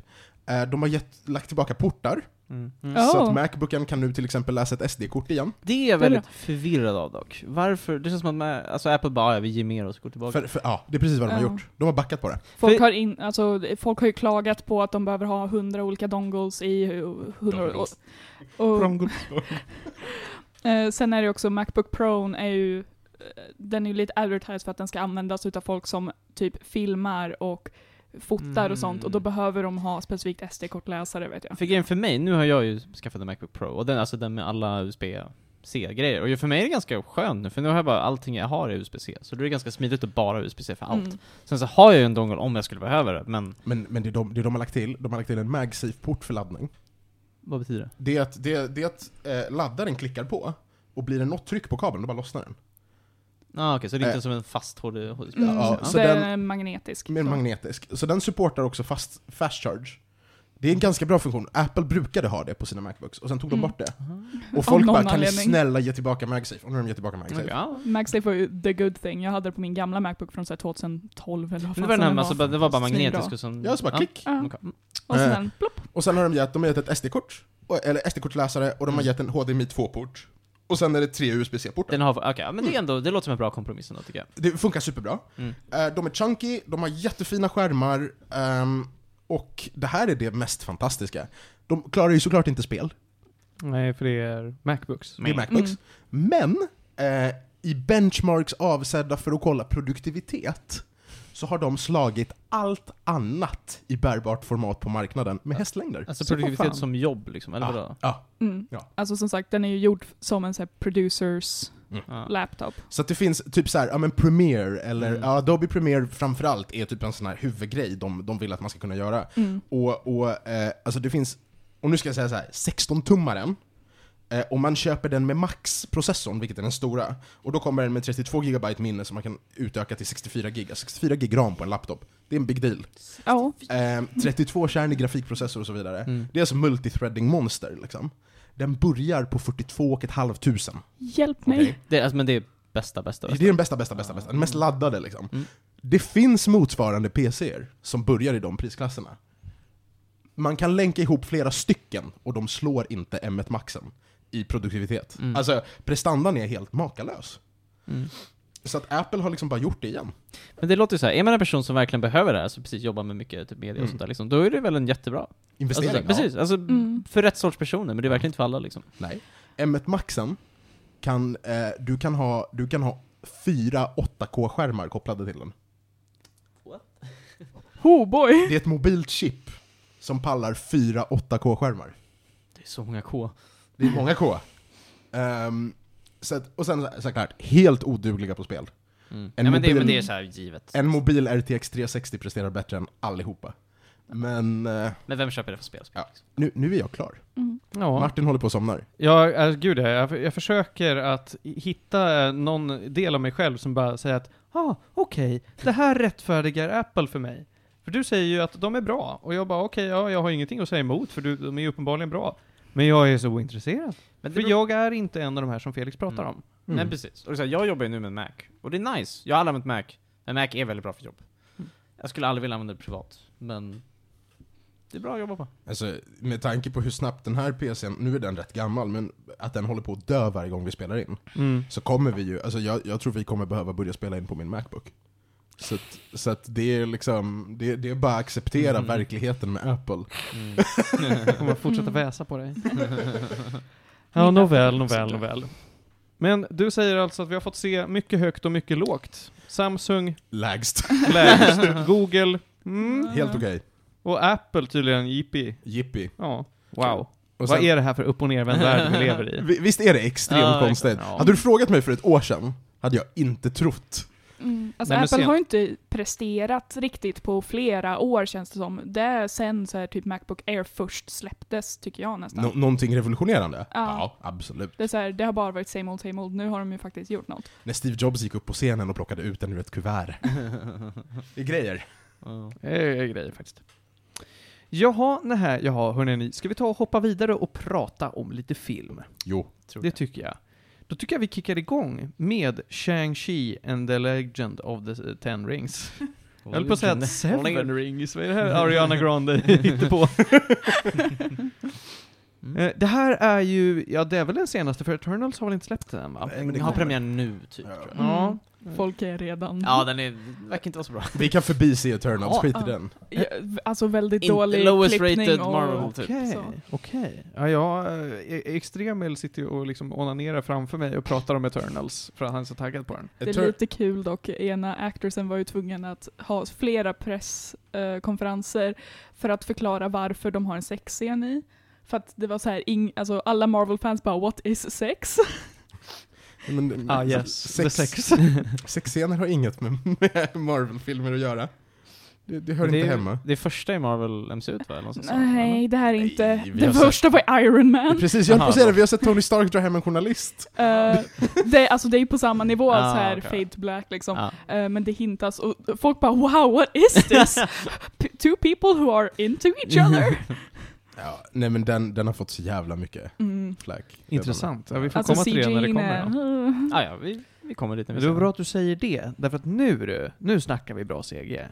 [SPEAKER 4] Eh, de har gett, lagt tillbaka portar,
[SPEAKER 3] Mm.
[SPEAKER 4] så
[SPEAKER 2] Oh.
[SPEAKER 4] att Macbooken kan nu till exempel läsa ett SD-kort igen.
[SPEAKER 3] Det är jag väldigt förvirrad av dock Varför? Det känns som att man, alltså Apple bara ja, vi ger mer och så går tillbaka
[SPEAKER 4] För, för, ja, det är precis vad de har
[SPEAKER 2] Ja.
[SPEAKER 4] gjort. De har backat på det.
[SPEAKER 2] Folk,
[SPEAKER 3] För-
[SPEAKER 2] har in, alltså, folk har ju klagat på att de behöver ha hundra olika dongles i hu- hundra... Och,
[SPEAKER 4] Dongles.
[SPEAKER 2] och,
[SPEAKER 3] Mm.
[SPEAKER 2] Eh, sen är det också Macbook Pro är ju, eh, den är ju lite advertised för att den ska användas utav folk som typ filmar och fotar
[SPEAKER 3] Mm.
[SPEAKER 2] och sånt och då behöver de ha specifikt SD-kortläsare vet jag.
[SPEAKER 3] För grejen för mig, nu har jag ju skaffat en Macbook Pro, och den, alltså den med alla USB-C-grejer. Och ju för mig är det ganska skönt nu, för nu har jag bara allting jag har är USB-C. Så då är det ganska smidigt att bara ha USB-C för allt.
[SPEAKER 2] Mm.
[SPEAKER 3] Sen så har jag ju en dongle om jag skulle behöva det, men
[SPEAKER 4] Men, men det, de, det de har lagt till, de har lagt till en MagSafe-port för laddning.
[SPEAKER 3] vad betyder det?
[SPEAKER 4] Det är att, det, det är att eh, laddaren klickar på, och blir det något tryck på kabeln, då bara lossnar den.
[SPEAKER 3] Ah, okej, så det är inte
[SPEAKER 4] Eh.
[SPEAKER 3] som en fast HD USB?
[SPEAKER 2] Mm.
[SPEAKER 4] Ja,
[SPEAKER 2] så
[SPEAKER 4] så
[SPEAKER 2] det är
[SPEAKER 4] den-
[SPEAKER 2] magnetisk.
[SPEAKER 4] Mer
[SPEAKER 2] så.
[SPEAKER 4] magnetisk. Så den supportar också fast, fast charge. Det är en ganska bra funktion. Apple brukade ha det på sina Macbooks, och sen tog de
[SPEAKER 2] Mm.
[SPEAKER 4] bort det.
[SPEAKER 3] Aha.
[SPEAKER 4] Och folk
[SPEAKER 2] någon
[SPEAKER 4] bara 'Kan ni
[SPEAKER 2] anledning."
[SPEAKER 4] snälla ge tillbaka MagSafe?' Och nu har de gett tillbaka MagSafe.
[SPEAKER 3] Okej, ja.
[SPEAKER 2] MagSafe var ju the good thing. Jag hade det på min gamla Macbook från så här 2012 eller vad
[SPEAKER 3] Men det
[SPEAKER 2] fan
[SPEAKER 3] var den
[SPEAKER 2] som
[SPEAKER 3] här, alltså, bara- det var bara
[SPEAKER 2] Svinbra.
[SPEAKER 3] magnetisk och sen...
[SPEAKER 4] Ja, så bara klick.
[SPEAKER 2] Ja.
[SPEAKER 3] okej. Mm.
[SPEAKER 2] Och sen
[SPEAKER 4] Eh.
[SPEAKER 2] den, plopp.
[SPEAKER 4] Och sen har de gett, de har gett ett SD-kort, och- eller SD-kortläsare, och de har
[SPEAKER 3] Mm.
[SPEAKER 4] gett en HDMI 2-port. Och sen är det tre USB-C-portar.
[SPEAKER 3] Den har, okej, ja, men det
[SPEAKER 2] Mm.
[SPEAKER 3] är ändå, det låter som en bra kompromiss ändå tycker jag.
[SPEAKER 4] Det funkar superbra.
[SPEAKER 3] Mm.
[SPEAKER 4] Eh, De är chunky, de har jättefina skärmar, ehm, och det här är det mest fantastiska. De klarar ju såklart inte spel,
[SPEAKER 1] Nej, för det är Macbooks.
[SPEAKER 4] det är Macbooks. Men eh, i benchmarks avsedda för att kolla produktivitet så har de slagit allt annat i bärbart format på marknaden med hästlängder.
[SPEAKER 3] Alltså
[SPEAKER 2] Så vad
[SPEAKER 3] produktivitet
[SPEAKER 2] fan.
[SPEAKER 3] som jobb liksom, eller
[SPEAKER 4] Ja.
[SPEAKER 3] vadå?
[SPEAKER 4] Ja.
[SPEAKER 2] Mm.
[SPEAKER 4] Ja.
[SPEAKER 2] Alltså som sagt, den är ju gjord som en så här producers
[SPEAKER 3] Ja.
[SPEAKER 2] laptop.
[SPEAKER 4] Så att det finns typ så här, ja men Premiere, eller
[SPEAKER 3] Mm.
[SPEAKER 4] ja, Adobe Premiere framförallt är typ en sån här huvudgrej de, de vill att man ska kunna göra.
[SPEAKER 2] Mm.
[SPEAKER 4] Och, och eh, alltså det finns, och nu ska jag säga så här, 16-tummaren, eh, om man köper den med max-processorn, vilket är den stora, och då kommer den med 32 GB minne som man kan utöka till 64 GB. 64 GB ram på en laptop, det är en big deal.
[SPEAKER 2] Ja.
[SPEAKER 4] Eh, 32 kärn i grafikprocessor och så vidare.
[SPEAKER 3] Mm.
[SPEAKER 4] Det är som multithreading monster liksom. Den börjar på 42 500.
[SPEAKER 2] Hjälp mig.
[SPEAKER 4] okej?
[SPEAKER 3] Det, alltså, men det är bästa, bästa, bästa.
[SPEAKER 4] Det är den bästa, bästa, bästa, bästa. Den mest laddade liksom.
[SPEAKER 3] Mm.
[SPEAKER 4] Det finns motsvarande PCer som börjar i de prisklasserna. man kan länka ihop flera stycken och de slår inte M1 Maxen i produktivitet.
[SPEAKER 3] Mm.
[SPEAKER 4] Alltså prestandan är helt makalös.
[SPEAKER 3] Mm.
[SPEAKER 4] Så att Apple har liksom bara gjort det igen.
[SPEAKER 3] Men det låter ju så här. är man en person som verkligen behöver det här, så precis jobbar med mycket typ media och
[SPEAKER 4] Mm.
[SPEAKER 3] sånt där liksom, då är det väl en jättebra
[SPEAKER 4] Investering.
[SPEAKER 3] alltså, så här, Precis, alltså
[SPEAKER 2] Mm.
[SPEAKER 3] för rätt sorts personer, men det är verkligen inte för alla liksom.
[SPEAKER 4] Nej. M1 Maxen, kan, eh, du, kan ha, du kan ha fyra 8K-skärmar kopplade till den.
[SPEAKER 2] Oh boy!
[SPEAKER 4] Det är ett mobilt chip som pallar fyra 8K-skärmar.
[SPEAKER 3] Det är så många K.
[SPEAKER 4] Det är många K. Ehm, så att, och sen så- såklart, helt odugliga på spel.
[SPEAKER 3] Mm.
[SPEAKER 4] En
[SPEAKER 3] Ja, men, det,
[SPEAKER 4] mobil-
[SPEAKER 3] men det är så här givet.
[SPEAKER 4] En mobil RTX 360 presterar bättre än allihopa. Men eh,
[SPEAKER 3] Men vem köper det för spel?
[SPEAKER 4] Ja. nu, nu är jag klar.
[SPEAKER 2] Mm.
[SPEAKER 1] Ja,
[SPEAKER 4] Martin håller på att somna.
[SPEAKER 1] ja äh, gud ja, jag, jag försöker att hitta eh, någon del av mig själv som bara säger att ja, ah, okej, det här rättfärdigar Apple för mig. För du säger ju att de är bra, och jag bara okej, ja, jag har ingenting att säga emot, för du, de är ju uppenbarligen bra. Men jag är så ointresserad.
[SPEAKER 3] Men det
[SPEAKER 1] För jag
[SPEAKER 3] beror-
[SPEAKER 1] är inte en av de här som Felix pratar
[SPEAKER 3] Mm.
[SPEAKER 1] om.
[SPEAKER 3] Nej precis. Och det är så här, jag jobbar ju nu med en Mac. Och det är nice. Jag har aldrig använt Mac. Men Mac är väldigt bra för jobb.
[SPEAKER 1] Mm.
[SPEAKER 3] Jag skulle aldrig vilja använda det privat. Men det är bra att jobba på.
[SPEAKER 4] Alltså, med tanke på hur snabbt den här PCn, nu är den rätt gammal, men att den håller på att dö varje gång vi spelar in.
[SPEAKER 3] Mm.
[SPEAKER 4] Så kommer vi ju, alltså jag, jag tror vi kommer behöva börja spela in på min Macbook. Så att, så att det är liksom, det, det är bara att acceptera
[SPEAKER 3] Mm.
[SPEAKER 4] verkligheten med Apple.
[SPEAKER 1] Mm. Jag kommer att fortsätta väsa på dig. Ja,
[SPEAKER 2] Mina
[SPEAKER 1] nåväl,
[SPEAKER 2] föräldrar
[SPEAKER 1] nåväl,
[SPEAKER 2] sitter.
[SPEAKER 1] nåväl. Men du säger alltså att vi har fått se mycket högt och mycket lågt. Samsung,
[SPEAKER 4] Lägst.
[SPEAKER 1] lägst. Google, mm.
[SPEAKER 4] Helt okej.
[SPEAKER 1] Och Apple tydligen, jippi.
[SPEAKER 4] Jippi.
[SPEAKER 1] Ja, wow.
[SPEAKER 4] Och
[SPEAKER 1] Vad
[SPEAKER 4] sen-
[SPEAKER 1] är det här för upp och nervänd värld vi lever i?
[SPEAKER 4] Vi- Visst är det extremt
[SPEAKER 3] Ja,
[SPEAKER 4] konstigt?
[SPEAKER 1] exakt. Ja.
[SPEAKER 4] Hade du frågat mig för ett år sedan, hade jag inte trott.
[SPEAKER 2] Mm. Alltså
[SPEAKER 1] Nej, men
[SPEAKER 2] Apple
[SPEAKER 1] sen-
[SPEAKER 2] har ju inte presterat riktigt på flera år känns det som. Det är sen så här, typ Macbook Air först släpptes, tycker jag nästan.
[SPEAKER 4] Nå- någonting revolutionerande?
[SPEAKER 2] Ja.
[SPEAKER 4] absolut.
[SPEAKER 2] Det, är så här, det har bara varit same old, same old. Nu har de ju faktiskt gjort något.
[SPEAKER 4] När Steve Jobs gick upp på scenen och plockade ut den ur ett kuvert. Det är grejer.
[SPEAKER 3] Ja.
[SPEAKER 1] Det är grejer faktiskt. Jaha, nähä, jaha, hörni, ska vi ta och hoppa vidare och prata om lite film?
[SPEAKER 4] Jo.
[SPEAKER 3] Tror
[SPEAKER 1] Det
[SPEAKER 3] jag.
[SPEAKER 1] tycker jag. Då tycker jag vi kickar igång med Shang-Chi and the Legend of the eh, Ten Rings. Jag höll på att säga att Seven Rings, vad är det här Ariana Grande hittar på?
[SPEAKER 3] Mm.
[SPEAKER 1] Eh, Det här är ju, ja det är väl den senaste, för Eternals har väl inte släppt den än va?
[SPEAKER 4] Nej, men det
[SPEAKER 3] Den har
[SPEAKER 4] kommer.
[SPEAKER 3] premiär nu, typ.
[SPEAKER 4] Ja.
[SPEAKER 3] Tror jag.
[SPEAKER 1] Ja.
[SPEAKER 2] Mm. Folk är redan...
[SPEAKER 3] Ja, den är, verkar inte vara så bra.
[SPEAKER 4] Vi kan förbi se Eternals,
[SPEAKER 3] Ja,
[SPEAKER 4] skit i
[SPEAKER 2] ja.
[SPEAKER 4] den.
[SPEAKER 2] Ja, Alltså väldigt
[SPEAKER 3] Inte
[SPEAKER 2] dålig
[SPEAKER 3] lowest
[SPEAKER 2] klippning
[SPEAKER 3] rated
[SPEAKER 2] och...
[SPEAKER 3] Marvel, typ.
[SPEAKER 1] Okej,
[SPEAKER 2] Så.
[SPEAKER 1] okej. Ja, jag, eh, Extremel sitter ju och liksom onanerar framför mig och pratar om Eternals, för att han är så taggad på den.
[SPEAKER 2] Det är lite kul dock, ena actorsen var ju tvungen att ha flera presskonferenser för att förklara varför de har en sexscen i. För att det var så här, ing, alltså alla Marvel-fans bara “What is sex?”
[SPEAKER 4] Men,
[SPEAKER 1] Ah yes, the
[SPEAKER 4] sex,
[SPEAKER 1] sex.
[SPEAKER 4] Sexscener har inget med, med Marvel-filmer att göra. Det, det hör
[SPEAKER 3] det,
[SPEAKER 4] inte
[SPEAKER 3] är-
[SPEAKER 4] hemma.
[SPEAKER 3] det är första i Marvel MCU va? typ, Eller något sånt, eller?
[SPEAKER 2] Nej, det här är
[SPEAKER 4] Nej,
[SPEAKER 2] inte...
[SPEAKER 4] vi har
[SPEAKER 2] det
[SPEAKER 4] sett-
[SPEAKER 2] första var Iron Man.
[SPEAKER 4] Precis, jag höll på att
[SPEAKER 3] Aha.
[SPEAKER 4] säga det, vi har sett Tony Stark dra hem en journalist.
[SPEAKER 2] Eh, det, alltså det är ju på samma nivå,
[SPEAKER 3] Ah,
[SPEAKER 2] så här
[SPEAKER 3] okej. Ah.
[SPEAKER 2] fade to black liksom.
[SPEAKER 3] Ja.
[SPEAKER 2] Eh, men det hintas och folk bara “Wow, what is this?” P- Two people who are into each other.
[SPEAKER 4] Ja, nej men den, den har fått så jävla mycket
[SPEAKER 2] Mm.
[SPEAKER 4] flack.
[SPEAKER 1] Intressant. Ja, vi får
[SPEAKER 2] Alltså
[SPEAKER 1] komma till det när det
[SPEAKER 2] CGI
[SPEAKER 1] kommer.
[SPEAKER 2] -n,
[SPEAKER 1] Då.
[SPEAKER 2] eh,
[SPEAKER 3] Ah, ja, vi, vi kommer dit när
[SPEAKER 1] Men
[SPEAKER 3] vi
[SPEAKER 1] det var
[SPEAKER 3] ser
[SPEAKER 1] bra
[SPEAKER 3] den.
[SPEAKER 1] att du säger det, därför att nu du, nu snackar vi bra CG.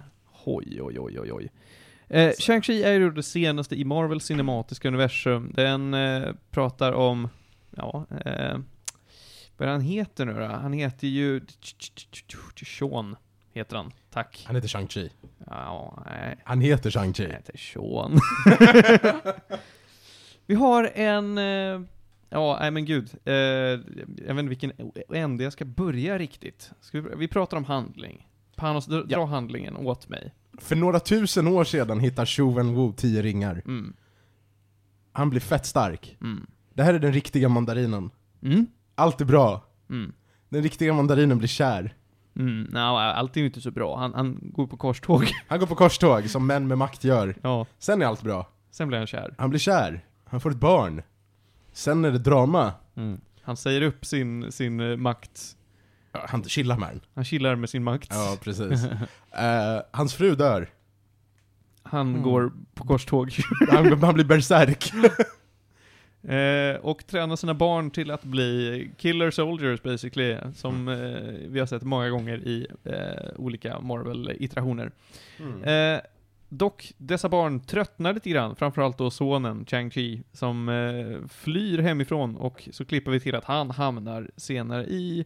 [SPEAKER 1] Oj, oj, oj, oj, oj. Eh, Shang-Chi är ju det senaste i Marvels cinematiska universum. Den eh, pratar om, ja, eh, vad är han heter nu då? Han heter ju... Sean heter han. Tack.
[SPEAKER 4] Han heter Shang-Chi.
[SPEAKER 1] Ja, nej.
[SPEAKER 4] Han heter Shang-Chi.
[SPEAKER 1] Han heter Sean. Vi har en... eh, Ja, nej men gud. Eh, Jag vet inte vilken ände jag ska börja riktigt. Ska vi, vi pratar om handling. Panos, dra, dra handlingen åt mig.
[SPEAKER 4] För några tusen år sedan hittar Shu Wen-Wu tio ringar.
[SPEAKER 1] Mm.
[SPEAKER 4] Han blir fett stark.
[SPEAKER 1] Mm.
[SPEAKER 4] Det här är den riktiga mandarinen.
[SPEAKER 1] Mm.
[SPEAKER 4] Allt är bra.
[SPEAKER 1] Mm.
[SPEAKER 4] Den riktiga mandarinen blir kär.
[SPEAKER 1] Mm. No, allt är ju inte så bra. Han, han går på korståg.
[SPEAKER 4] Han går på korståg, som män med makt gör.
[SPEAKER 1] ja,
[SPEAKER 4] Sen är allt bra.
[SPEAKER 1] sen blir han kär.
[SPEAKER 4] Han blir kär. Han får ett barn. Sen är det drama.
[SPEAKER 3] Mm.
[SPEAKER 1] Han säger upp sin, sin eh, makt.
[SPEAKER 4] Ja, Han chillar med den.
[SPEAKER 1] Han chillar med sin makt.
[SPEAKER 4] Ja, precis. Eh, hans fru dör.
[SPEAKER 1] Han
[SPEAKER 3] Mm.
[SPEAKER 1] går på korståg.
[SPEAKER 4] Han, han blir berserk.
[SPEAKER 1] Eh, och tränar sina barn till att bli killer soldiers basically, som eh, vi har sett många gånger i eh, olika Marvel-iterationer. Eh, Dock, dessa barn tröttnar lite grann, framförallt då sonen Chang-Chi, som eh, flyr hemifrån och så klipper vi till att han hamnar senare i...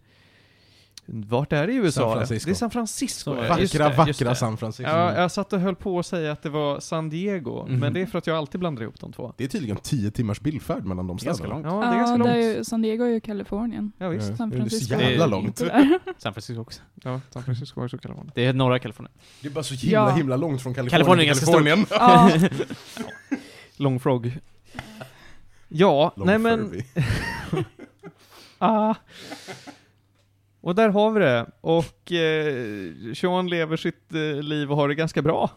[SPEAKER 1] Vart är det i USA?
[SPEAKER 4] Francisco.
[SPEAKER 1] Det är San Francisco.
[SPEAKER 3] Så är det.
[SPEAKER 1] ja.
[SPEAKER 3] Just
[SPEAKER 4] Vackra,
[SPEAKER 3] just
[SPEAKER 4] vackra
[SPEAKER 3] det.
[SPEAKER 4] San Francisco.
[SPEAKER 1] Ja, jag satt och höll på att säga att det var San Diego,
[SPEAKER 3] Mhm.
[SPEAKER 1] men det är för att jag alltid blandar ihop de två.
[SPEAKER 4] Det är tydligen 10 timmars bilfärd mellan de
[SPEAKER 1] Ganska
[SPEAKER 4] städerna.
[SPEAKER 1] långt. Ja, det är ganska
[SPEAKER 2] det
[SPEAKER 1] långt.
[SPEAKER 2] är ju, San Diego är ju Kalifornien.
[SPEAKER 1] Ja, visst.
[SPEAKER 2] San
[SPEAKER 4] det är så
[SPEAKER 2] Francisco.
[SPEAKER 4] jävla
[SPEAKER 3] Det-
[SPEAKER 4] långt.
[SPEAKER 2] Sådär.
[SPEAKER 3] San Francisco också.
[SPEAKER 1] Ja, San Francisco är så kallar man det.
[SPEAKER 3] Det är norra Kalifornien.
[SPEAKER 4] Det är bara så himla,
[SPEAKER 2] Ja.
[SPEAKER 4] himla långt från
[SPEAKER 3] Kalifornien är
[SPEAKER 4] Kalifornien
[SPEAKER 3] ganska
[SPEAKER 4] till Kalifornien.
[SPEAKER 2] ja,
[SPEAKER 1] Long Frog. Ja,
[SPEAKER 4] Långt
[SPEAKER 1] nej men...
[SPEAKER 4] förbi.
[SPEAKER 1] Ah. Och där har vi det. Och eh, Sean lever sitt eh, liv och har det ganska bra.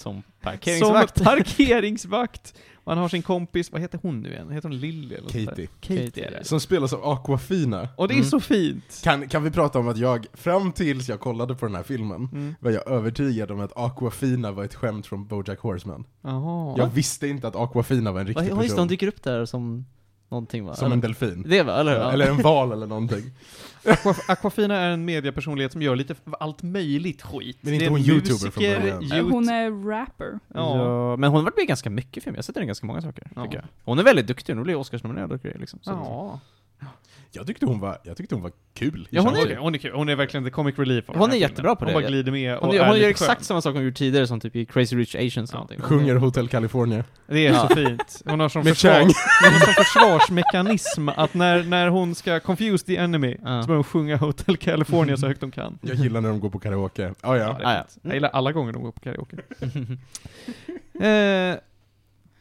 [SPEAKER 3] Som parkeringsvakt.
[SPEAKER 1] Som parkeringsvakt. Och han har sin kompis, vad heter hon nu igen? Heter hon Lilly eller något sånt där?
[SPEAKER 4] Katie.
[SPEAKER 1] Katie är det.
[SPEAKER 4] Som spelas av Aquafina.
[SPEAKER 1] Och det är
[SPEAKER 3] Mm.
[SPEAKER 1] så fint.
[SPEAKER 4] Kan, kan vi prata om att jag, fram tills jag kollade på den här filmen,
[SPEAKER 1] Mm.
[SPEAKER 4] var jag övertygad om att Aquafina var ett skämt från Bojack Horseman.
[SPEAKER 1] Jaha.
[SPEAKER 4] Jag visste inte att Aquafina var en
[SPEAKER 3] Vad-
[SPEAKER 4] riktig
[SPEAKER 3] Ja, just det,
[SPEAKER 4] person.
[SPEAKER 3] hon dyker upp där som någonting va?
[SPEAKER 4] Som en delfin.
[SPEAKER 3] Det va, eller hur?
[SPEAKER 4] Ja, Eller en val eller någonting.
[SPEAKER 1] Aquaf- Aquafina är en mediapersonlighet som gör lite f- allt möjligt skit.
[SPEAKER 4] Men inte
[SPEAKER 1] Det är
[SPEAKER 4] hon youtuber från
[SPEAKER 1] musiker,
[SPEAKER 4] början.
[SPEAKER 1] yout-
[SPEAKER 2] hon är rapper.
[SPEAKER 1] Ja.
[SPEAKER 3] Ja, men hon har varit med i ganska mycket i film, jag har sett henne i ganska många saker,
[SPEAKER 1] Ja.
[SPEAKER 3] tycker jag. Hon är väldigt duktig, hon blev Oscarsnominerad och grejer liksom. Så
[SPEAKER 1] Ja.
[SPEAKER 4] Jag tyckte hon var, jag tyckte hon var kul. i
[SPEAKER 3] Ja, hon
[SPEAKER 1] Hon
[SPEAKER 4] Shang-Chi.
[SPEAKER 1] är, hon är kul. Hon är verkligen the comic relief av
[SPEAKER 3] Hon
[SPEAKER 1] den här
[SPEAKER 3] är jättebra
[SPEAKER 1] filmen.
[SPEAKER 3] på
[SPEAKER 1] Hon
[SPEAKER 3] det.
[SPEAKER 1] bara glider med och
[SPEAKER 3] Hon,
[SPEAKER 1] är
[SPEAKER 3] gör- hon
[SPEAKER 1] lite
[SPEAKER 3] gör
[SPEAKER 1] skön.
[SPEAKER 3] exakt samma sak hon gjort tidigare som typ i Crazy Rich Asians eller någonting.
[SPEAKER 4] Sjunger Hotel California.
[SPEAKER 1] Det är så fint. Hon har som,
[SPEAKER 4] Med
[SPEAKER 1] försvar,
[SPEAKER 4] Chang.
[SPEAKER 1] hon har som försvarsmekanism att när, när hon ska confuse the enemy
[SPEAKER 3] Ja.
[SPEAKER 1] så börjar hon sjunga Hotel California så högt de kan.
[SPEAKER 4] Jag gillar när de går på karaoke. Ah,
[SPEAKER 1] Mm. Ja,
[SPEAKER 4] ja.
[SPEAKER 1] det
[SPEAKER 3] Ah,
[SPEAKER 1] är
[SPEAKER 3] ja.
[SPEAKER 1] fint. Jag gillar alla gånger de går på karaoke. Eh,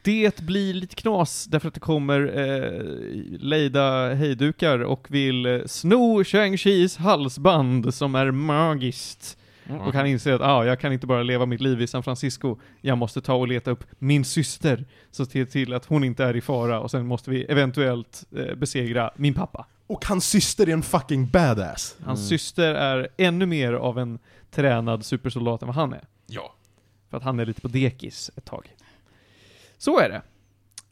[SPEAKER 1] det blir lite knas därför att det kommer eh, lejda hejdukar och vill eh, sno Shang-Chis halsband som är magiskt.
[SPEAKER 3] Mm.
[SPEAKER 1] Och han inser att ah, jag kan inte bara leva mitt liv i San Francisco, jag måste ta och leta upp min syster, så se till att hon inte är i fara och sen måste vi eventuellt eh, besegra min pappa.
[SPEAKER 4] Och hans syster är en fucking badass.
[SPEAKER 1] Hans
[SPEAKER 3] Mm.
[SPEAKER 1] syster är ännu mer av en tränad supersoldat än vad han är.
[SPEAKER 4] Ja.
[SPEAKER 1] För att han är lite på dekis ett tag. Så är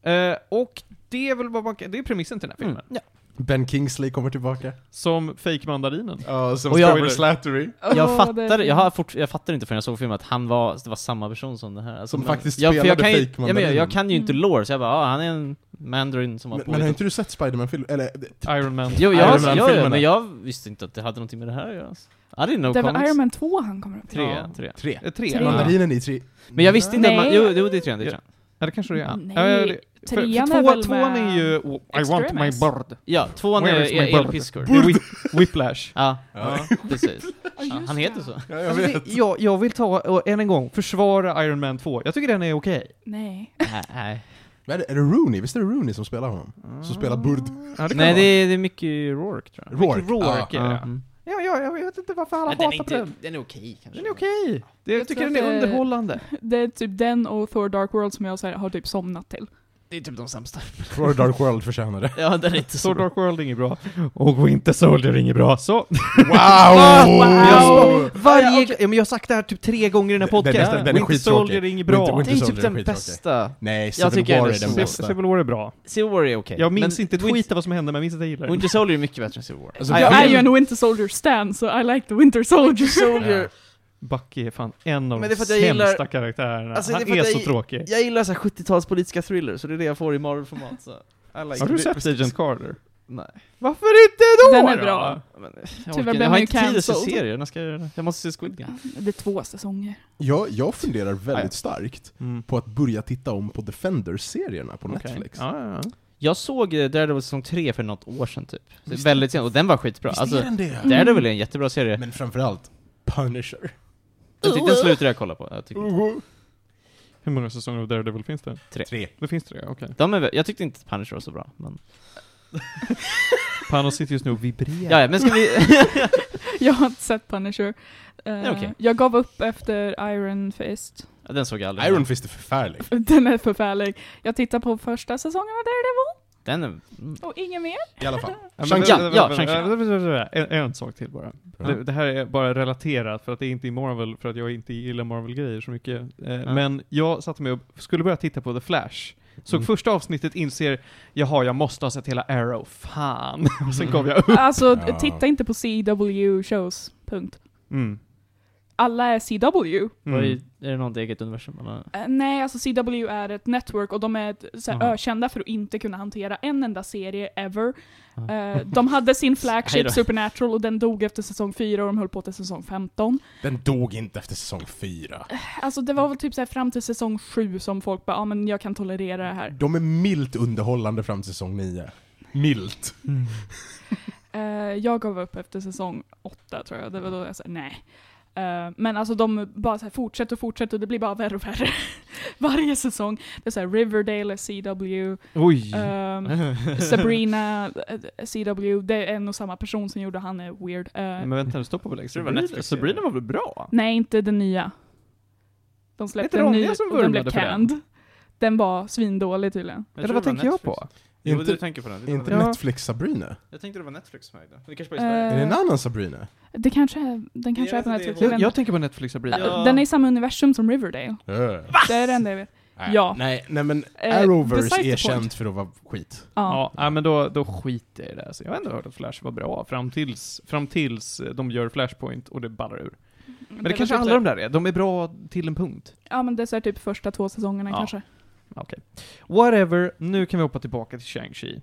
[SPEAKER 1] det. Eh, och det är väl vad man kan, det är premissen till den här filmen.
[SPEAKER 3] Mm. Ja.
[SPEAKER 4] Ben Kingsley kommer tillbaka.
[SPEAKER 1] Som fake mandarinen.
[SPEAKER 4] Ja, som
[SPEAKER 3] Och jag-
[SPEAKER 4] Spoiler Slattery.
[SPEAKER 2] Åh,
[SPEAKER 3] Jag
[SPEAKER 2] det är
[SPEAKER 3] fattar,
[SPEAKER 2] fint.
[SPEAKER 3] jag, har fort, jag fattar inte förrän jag såg filmen att han var, det var samma person som det här. Alltså,
[SPEAKER 4] Som faktiskt
[SPEAKER 3] jag, för jag
[SPEAKER 4] spelade
[SPEAKER 3] kan ju,
[SPEAKER 4] fake
[SPEAKER 3] ja, men jag, jag kan ju inte
[SPEAKER 2] Mm.
[SPEAKER 3] lore, så jag bara ah, han är en mandarin som var
[SPEAKER 4] Men,
[SPEAKER 3] på
[SPEAKER 4] men har inte du sett Spiderman-film? Eller, eh,
[SPEAKER 1] Iron Man.
[SPEAKER 3] Jo,
[SPEAKER 4] Iron
[SPEAKER 3] jag, jag,
[SPEAKER 4] Man-filmerna?
[SPEAKER 3] jag, men jag visste inte att det hade någonting med det här att göra. alltså. I didn't know
[SPEAKER 2] Det var
[SPEAKER 3] comics.
[SPEAKER 2] Iron Man 2 han kommer upp i.
[SPEAKER 3] Tre,
[SPEAKER 1] Ja.
[SPEAKER 3] tre.
[SPEAKER 4] tre.
[SPEAKER 1] Eh, tre.
[SPEAKER 2] Tre.
[SPEAKER 1] Ja.
[SPEAKER 4] Mandarinen i tre.
[SPEAKER 3] Men jag visste inte att man,
[SPEAKER 2] Nej.
[SPEAKER 3] jo, jo det är trean, det är
[SPEAKER 1] Ja.
[SPEAKER 3] trean.
[SPEAKER 1] ja, det kanske det är.
[SPEAKER 2] Nej,
[SPEAKER 1] Ja, ja, det- för- för
[SPEAKER 2] trean är
[SPEAKER 1] två-
[SPEAKER 2] väl
[SPEAKER 1] Tvåan
[SPEAKER 2] med
[SPEAKER 1] är ju oh, I want my
[SPEAKER 2] Extremis.
[SPEAKER 1] bird.
[SPEAKER 3] Ja, tvåan är
[SPEAKER 1] Where is my
[SPEAKER 3] är
[SPEAKER 1] bird?
[SPEAKER 3] elpiskor.
[SPEAKER 1] Det är Whip- Whiplash.
[SPEAKER 3] Ja,
[SPEAKER 4] Ja.
[SPEAKER 3] precis.
[SPEAKER 2] Ja,
[SPEAKER 3] Ja,
[SPEAKER 2] just
[SPEAKER 3] han
[SPEAKER 2] det.
[SPEAKER 3] heter så.
[SPEAKER 4] Ja, jag vet.
[SPEAKER 1] Alltså, jag, jag vill ta, och än en gång, försvara Iron Man 2. Jag tycker den är okej.
[SPEAKER 2] Nej.
[SPEAKER 3] Nej,
[SPEAKER 4] Men Är det, är det Rooney? Visst är det Rooney som spelar honom? Som spelar Burd?
[SPEAKER 1] Ja, det kan
[SPEAKER 3] Nej
[SPEAKER 1] vara.
[SPEAKER 3] det, är, det är mycket Rourke tror jag.
[SPEAKER 1] Rourke.
[SPEAKER 4] Rourke.
[SPEAKER 1] Rourke
[SPEAKER 4] Ja.
[SPEAKER 1] är
[SPEAKER 3] Ja.
[SPEAKER 1] det.
[SPEAKER 3] Mm.
[SPEAKER 1] Ja, ja, jag vet inte varför alla
[SPEAKER 3] Men Den
[SPEAKER 1] hatar
[SPEAKER 3] är,
[SPEAKER 1] på
[SPEAKER 3] inte,
[SPEAKER 1] den.
[SPEAKER 3] den är okej kanske.
[SPEAKER 1] Den är okej. Det- Jag
[SPEAKER 2] Jag
[SPEAKER 1] tycker
[SPEAKER 2] tror
[SPEAKER 1] den är
[SPEAKER 2] att det-
[SPEAKER 1] underhållande.
[SPEAKER 2] Det är typ den och Thor Dark World som jag så här, har typ somnat till.
[SPEAKER 3] Det är typ de sämsta.
[SPEAKER 4] Thor Dark World förtjänar det.
[SPEAKER 3] Ja, den är inte så
[SPEAKER 1] Sword
[SPEAKER 3] bra.
[SPEAKER 1] Dark World är inget bra. Och Winter Soldier är inget bra. Så. Ah,
[SPEAKER 4] Wow!
[SPEAKER 1] Varje... Ja, men jag har sagt det här typ tre gånger i den här
[SPEAKER 4] Den- den är-
[SPEAKER 1] podcasten.
[SPEAKER 4] den är
[SPEAKER 1] Winter
[SPEAKER 4] skittråkig.
[SPEAKER 1] Soldier är inget bra.
[SPEAKER 4] Winter- Winter-
[SPEAKER 3] Det är typ
[SPEAKER 4] Soldier
[SPEAKER 3] den
[SPEAKER 4] är skittråkig.
[SPEAKER 3] bästa.
[SPEAKER 4] Nej, Civil
[SPEAKER 3] tycker
[SPEAKER 4] War
[SPEAKER 3] ändå
[SPEAKER 4] är den
[SPEAKER 3] Civil-
[SPEAKER 4] bästa.
[SPEAKER 1] Civil War är bra.
[SPEAKER 3] Civil War är okej.
[SPEAKER 1] Jag minns
[SPEAKER 3] Men
[SPEAKER 1] inte ett
[SPEAKER 3] Win-
[SPEAKER 1] skit av vad som hände, men jag minns att jag gillar den.
[SPEAKER 3] Winter Soldier är mycket bättre än Civil War.
[SPEAKER 4] Alltså,
[SPEAKER 3] Ah,
[SPEAKER 2] I
[SPEAKER 4] jag-
[SPEAKER 3] ja,
[SPEAKER 2] är ju en Winter Soldier stan, så I like the Winter Soldier.
[SPEAKER 3] Soldier.
[SPEAKER 1] Bucky är fan en av
[SPEAKER 3] Men
[SPEAKER 1] de
[SPEAKER 3] det är för att jag
[SPEAKER 1] sämsta
[SPEAKER 3] gillar-
[SPEAKER 1] karaktärerna.
[SPEAKER 3] Alltså,
[SPEAKER 1] Han
[SPEAKER 3] det är för
[SPEAKER 1] är,
[SPEAKER 3] att
[SPEAKER 1] så
[SPEAKER 3] jag-
[SPEAKER 1] tråkig.
[SPEAKER 3] Jag gillar så här 70-tals politiska thrillers, så det är det jag får i Marvel-format. så I like
[SPEAKER 1] Har du
[SPEAKER 3] it.
[SPEAKER 1] sett Agent Carter?
[SPEAKER 3] Nej.
[SPEAKER 1] Varför inte då?
[SPEAKER 2] Den är
[SPEAKER 1] då?
[SPEAKER 2] bra.
[SPEAKER 3] Men, eh, jag,
[SPEAKER 2] Tyvärr
[SPEAKER 3] orkar,
[SPEAKER 2] blev
[SPEAKER 3] jag har
[SPEAKER 2] man ju
[SPEAKER 3] inte tid att se
[SPEAKER 2] cancelled.
[SPEAKER 3] serier, jag, ska, jag göra det. jag måste se Squid Game.
[SPEAKER 2] Det är två säsonger.
[SPEAKER 4] Jag, jag funderar
[SPEAKER 3] Ah, ja.
[SPEAKER 4] väldigt starkt
[SPEAKER 1] Mm.
[SPEAKER 4] på att börja titta om på Defenders-serierna på
[SPEAKER 1] Okej.
[SPEAKER 4] Netflix.
[SPEAKER 1] Ja, ja, ja.
[SPEAKER 3] Jag såg eh, Daredevil säsong 3 för något år sedan typ. Så
[SPEAKER 4] Visst.
[SPEAKER 3] Väldigt sent, och den var skitbra.
[SPEAKER 4] Visst
[SPEAKER 3] Alltså,
[SPEAKER 4] är den det?
[SPEAKER 3] Daredevil är en jättebra serie.
[SPEAKER 4] Men framförallt, Punisher.
[SPEAKER 3] Jag tyckte den slutade jag kolla på. Jag tyckte,
[SPEAKER 1] Hur många säsonger av Daredevil finns det?
[SPEAKER 4] Tre.
[SPEAKER 1] Det finns tre, okej.
[SPEAKER 3] de är, väl- jag tyckte inte Punisher var så bra, men...
[SPEAKER 1] Panos sitter just nu och vibrerar.
[SPEAKER 3] Ja, ja men ska vi...
[SPEAKER 2] Jag har inte sett Punisher. Eh,
[SPEAKER 3] okej.
[SPEAKER 2] Jag gav upp efter Iron Fist.
[SPEAKER 3] Ja, den såg jag aldrig.
[SPEAKER 4] Iron Fist är förfärlig.
[SPEAKER 2] Den är förfärlig. Jag tittar på första säsongen av Daredevil
[SPEAKER 3] Den är... Mm.
[SPEAKER 2] och ingen mer.
[SPEAKER 4] I alla fall.
[SPEAKER 1] Ja, men-
[SPEAKER 3] Shang-Chi.
[SPEAKER 1] vänta,
[SPEAKER 3] Ja,
[SPEAKER 1] vänta,
[SPEAKER 3] Shang-Chi.
[SPEAKER 1] vänta, vänta, vänta, vänta. En, en sak till bara.
[SPEAKER 4] Ja.
[SPEAKER 1] Det, det här är bara relaterat, för att det är inte i Marvel, för att jag inte gillar Marvel-grejer så mycket. Eh, Men jag satte mig och skulle börja titta på The Flash. Såg
[SPEAKER 4] Mm.
[SPEAKER 1] första avsnittet, inser jaha, jag måste ha sett hela Arrow, fan.
[SPEAKER 3] Mm.
[SPEAKER 1] Och sen gav jag upp.
[SPEAKER 2] Alltså,
[SPEAKER 4] Ja.
[SPEAKER 2] titta inte på CW shows. Punkt.
[SPEAKER 1] Mm.
[SPEAKER 2] alla är CW.
[SPEAKER 3] Vad Är är det något eget universum? Eller?
[SPEAKER 2] Eh, nej, alltså CW är ett network och de är ett, så här,
[SPEAKER 3] Aha.
[SPEAKER 2] ökända för att inte kunna hantera en enda serie ever.
[SPEAKER 3] Ja.
[SPEAKER 2] Eh, de hade sin
[SPEAKER 3] Hej
[SPEAKER 2] flagship
[SPEAKER 3] då.
[SPEAKER 2] Supernatural och den dog efter säsong 4 och de höll på till säsong 15.
[SPEAKER 4] Den dog inte efter säsong fyra.
[SPEAKER 2] Alltså det var väl typ så här fram till säsong 7 som folk bara ja ah, men jag kan tolerera det här.
[SPEAKER 4] De är milt underhållande fram till säsong nio. Milt.
[SPEAKER 2] Eh, jag gav upp efter säsong 8 tror jag, det var då jag sa nej. Eh, men alltså de bara så här fortsätter och fortsätter och det blir bara värre och värre. Varje säsong. Det är såhär Riverdale är CW,
[SPEAKER 1] Oj!
[SPEAKER 3] Mm.
[SPEAKER 2] ehm, Sabrina, eh, CW, det är en och samma person som gjorde han är weird. Eh,
[SPEAKER 1] Men vänta nu, stoppa på
[SPEAKER 3] Jag
[SPEAKER 1] Lex.
[SPEAKER 3] tror det var Netflix.
[SPEAKER 1] Sabrina var väl bra?
[SPEAKER 2] Nej, inte den nya. De
[SPEAKER 1] Heter
[SPEAKER 2] släppte
[SPEAKER 1] det
[SPEAKER 2] en
[SPEAKER 1] Ronja
[SPEAKER 2] ny
[SPEAKER 1] som
[SPEAKER 2] och den blev
[SPEAKER 1] vurmade för den?
[SPEAKER 2] canned. Den var svindålig tydligen.
[SPEAKER 3] Jag
[SPEAKER 1] Eller
[SPEAKER 3] tror
[SPEAKER 1] vad
[SPEAKER 3] det var
[SPEAKER 1] tänker jag
[SPEAKER 3] Netflix.
[SPEAKER 1] på?
[SPEAKER 3] Jo,
[SPEAKER 4] Inte-
[SPEAKER 3] du tänker på den. Det
[SPEAKER 4] Inte
[SPEAKER 3] var-
[SPEAKER 1] Ja.
[SPEAKER 4] Netflix Sabrina?
[SPEAKER 3] Jag tänkte det var Netflix som ägde den. Det kanske bara är Sverige.
[SPEAKER 2] Eh,
[SPEAKER 4] Är det en annan Sabrina?
[SPEAKER 2] det kanske är, den kanske
[SPEAKER 3] Jag
[SPEAKER 2] är på
[SPEAKER 3] vet inte,
[SPEAKER 2] Netflix.
[SPEAKER 3] det är-
[SPEAKER 2] Jag,
[SPEAKER 1] Jag,
[SPEAKER 2] vet
[SPEAKER 1] jag
[SPEAKER 2] inte.
[SPEAKER 1] tänker på Netflix Sabrina.
[SPEAKER 3] Ja.
[SPEAKER 2] Eh, Den är i samma universum som Riverdale.
[SPEAKER 4] Va?
[SPEAKER 2] Det är det enda jag vet. Ja.
[SPEAKER 4] Eh. Nej, nej men
[SPEAKER 2] Eh,
[SPEAKER 4] Arrowverse
[SPEAKER 2] besides the
[SPEAKER 4] är
[SPEAKER 2] point.
[SPEAKER 4] känt för att vara skit.
[SPEAKER 2] Ja.
[SPEAKER 1] Ja, ja men då, då skiter jag i det. här. Så jag har ändå hört att Flash var bra, fram tills, fram tills de gör Flashpoint och det ballar ur. Men det, kanske alla de där är, de är bra till en punkt.
[SPEAKER 2] typ Ja men det är så här typ första två säsongerna
[SPEAKER 1] Ja.
[SPEAKER 2] kanske.
[SPEAKER 1] Okej. Whatever, nu kan vi hoppa tillbaka till Shang-Chi.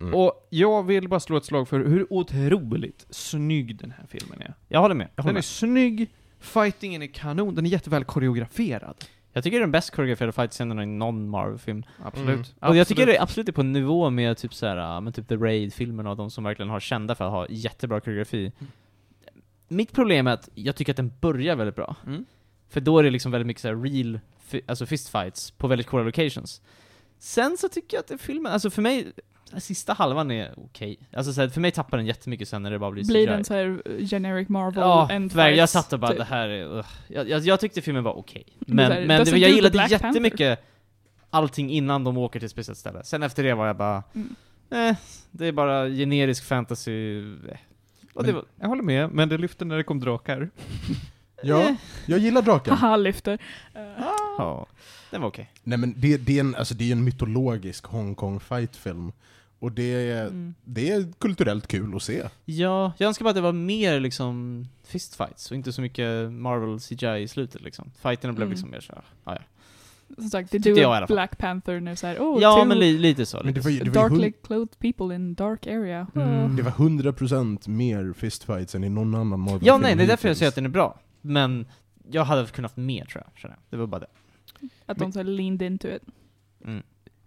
[SPEAKER 4] Mm.
[SPEAKER 1] Och jag vill bara slå ett slag för hur otroligt snygg den här filmen är.
[SPEAKER 3] Jag håller med. Jag, håller
[SPEAKER 1] Den är
[SPEAKER 3] med.
[SPEAKER 1] snygg, fightingen är kanon, den är jättväl koreograferad.
[SPEAKER 3] jag tycker det är den bäst koreograferade fight-scenen i någon Marvel-film.
[SPEAKER 1] Absolut.
[SPEAKER 4] Mm.
[SPEAKER 3] Och jag tycker
[SPEAKER 1] Absolut.
[SPEAKER 3] det är absolut är på nivå med typ så här, äh, men typ The Raid-filmerna och de som verkligen har kända för att ha jättebra koreografi. Mm. Mitt problem är att jag tycker att den börjar väldigt bra.
[SPEAKER 1] Mm.
[SPEAKER 3] För då är det liksom väldigt mycket så här real, fi- alltså fistfights på väldigt coola locations. Sen så tycker jag att det- filmen, alltså för mig, sista halvan är okej. Alltså så här, för mig tappar den jättemycket sen när det bara blir
[SPEAKER 2] Blir
[SPEAKER 3] CGI.
[SPEAKER 2] den så här eh, generic Marvel
[SPEAKER 3] Ja,
[SPEAKER 2] end
[SPEAKER 3] tyvärr, jag
[SPEAKER 2] fights,
[SPEAKER 3] satt och bara
[SPEAKER 2] typ.
[SPEAKER 3] det här är, ugh. jag, jag, jag tyckte filmen var okej.
[SPEAKER 2] Men
[SPEAKER 3] Men,
[SPEAKER 2] så här,
[SPEAKER 3] men
[SPEAKER 2] doesn't
[SPEAKER 3] det, jag
[SPEAKER 2] do the
[SPEAKER 3] gillade
[SPEAKER 2] Black
[SPEAKER 3] jättemycket allting innan de åker till ett speciellt ställe. Sen efter det var jag bara,
[SPEAKER 2] Mm.
[SPEAKER 3] eh, det är bara generisk fantasy. eh. Och det
[SPEAKER 1] Men-
[SPEAKER 3] var,
[SPEAKER 1] Jag håller med, men det lyfter när det kom drakar.
[SPEAKER 4] Ja, jag gillar draken.
[SPEAKER 2] Haha, lyfter. Eh,
[SPEAKER 3] eh, ja, den var okej.
[SPEAKER 4] Nej men det, det, är en, alltså, det är en mytologisk Hongkong fightfilm. Och det är,
[SPEAKER 2] Mm.
[SPEAKER 4] det är kulturellt kul att se.
[SPEAKER 3] Ja, jag önskar bara att det var mer liksom fistfights och inte så mycket Marvel CGI i slutet liksom. Fighterna blev
[SPEAKER 2] Mm.
[SPEAKER 3] liksom mer såhär, ja, ja.
[SPEAKER 2] Som sagt, they do
[SPEAKER 3] Tyckte jag i alla
[SPEAKER 2] a
[SPEAKER 3] fall.
[SPEAKER 2] Black Panther nu såhär, oh,
[SPEAKER 3] ja
[SPEAKER 2] two
[SPEAKER 3] men li, lite så.
[SPEAKER 4] Men det
[SPEAKER 3] Lite.
[SPEAKER 4] var ju, det var ju
[SPEAKER 2] darkly
[SPEAKER 4] hun-
[SPEAKER 2] clothed people in dark area.
[SPEAKER 1] Mm.
[SPEAKER 4] det var 100% mer fistfights än i någon annan Marvel-film.
[SPEAKER 3] Ja, nej, det är därför jag
[SPEAKER 4] hittills.
[SPEAKER 3] säger att den är bra. Men jag hade kunnat mer tror jag, känner jag. Det var bara det.
[SPEAKER 2] Att de så här leaned into it.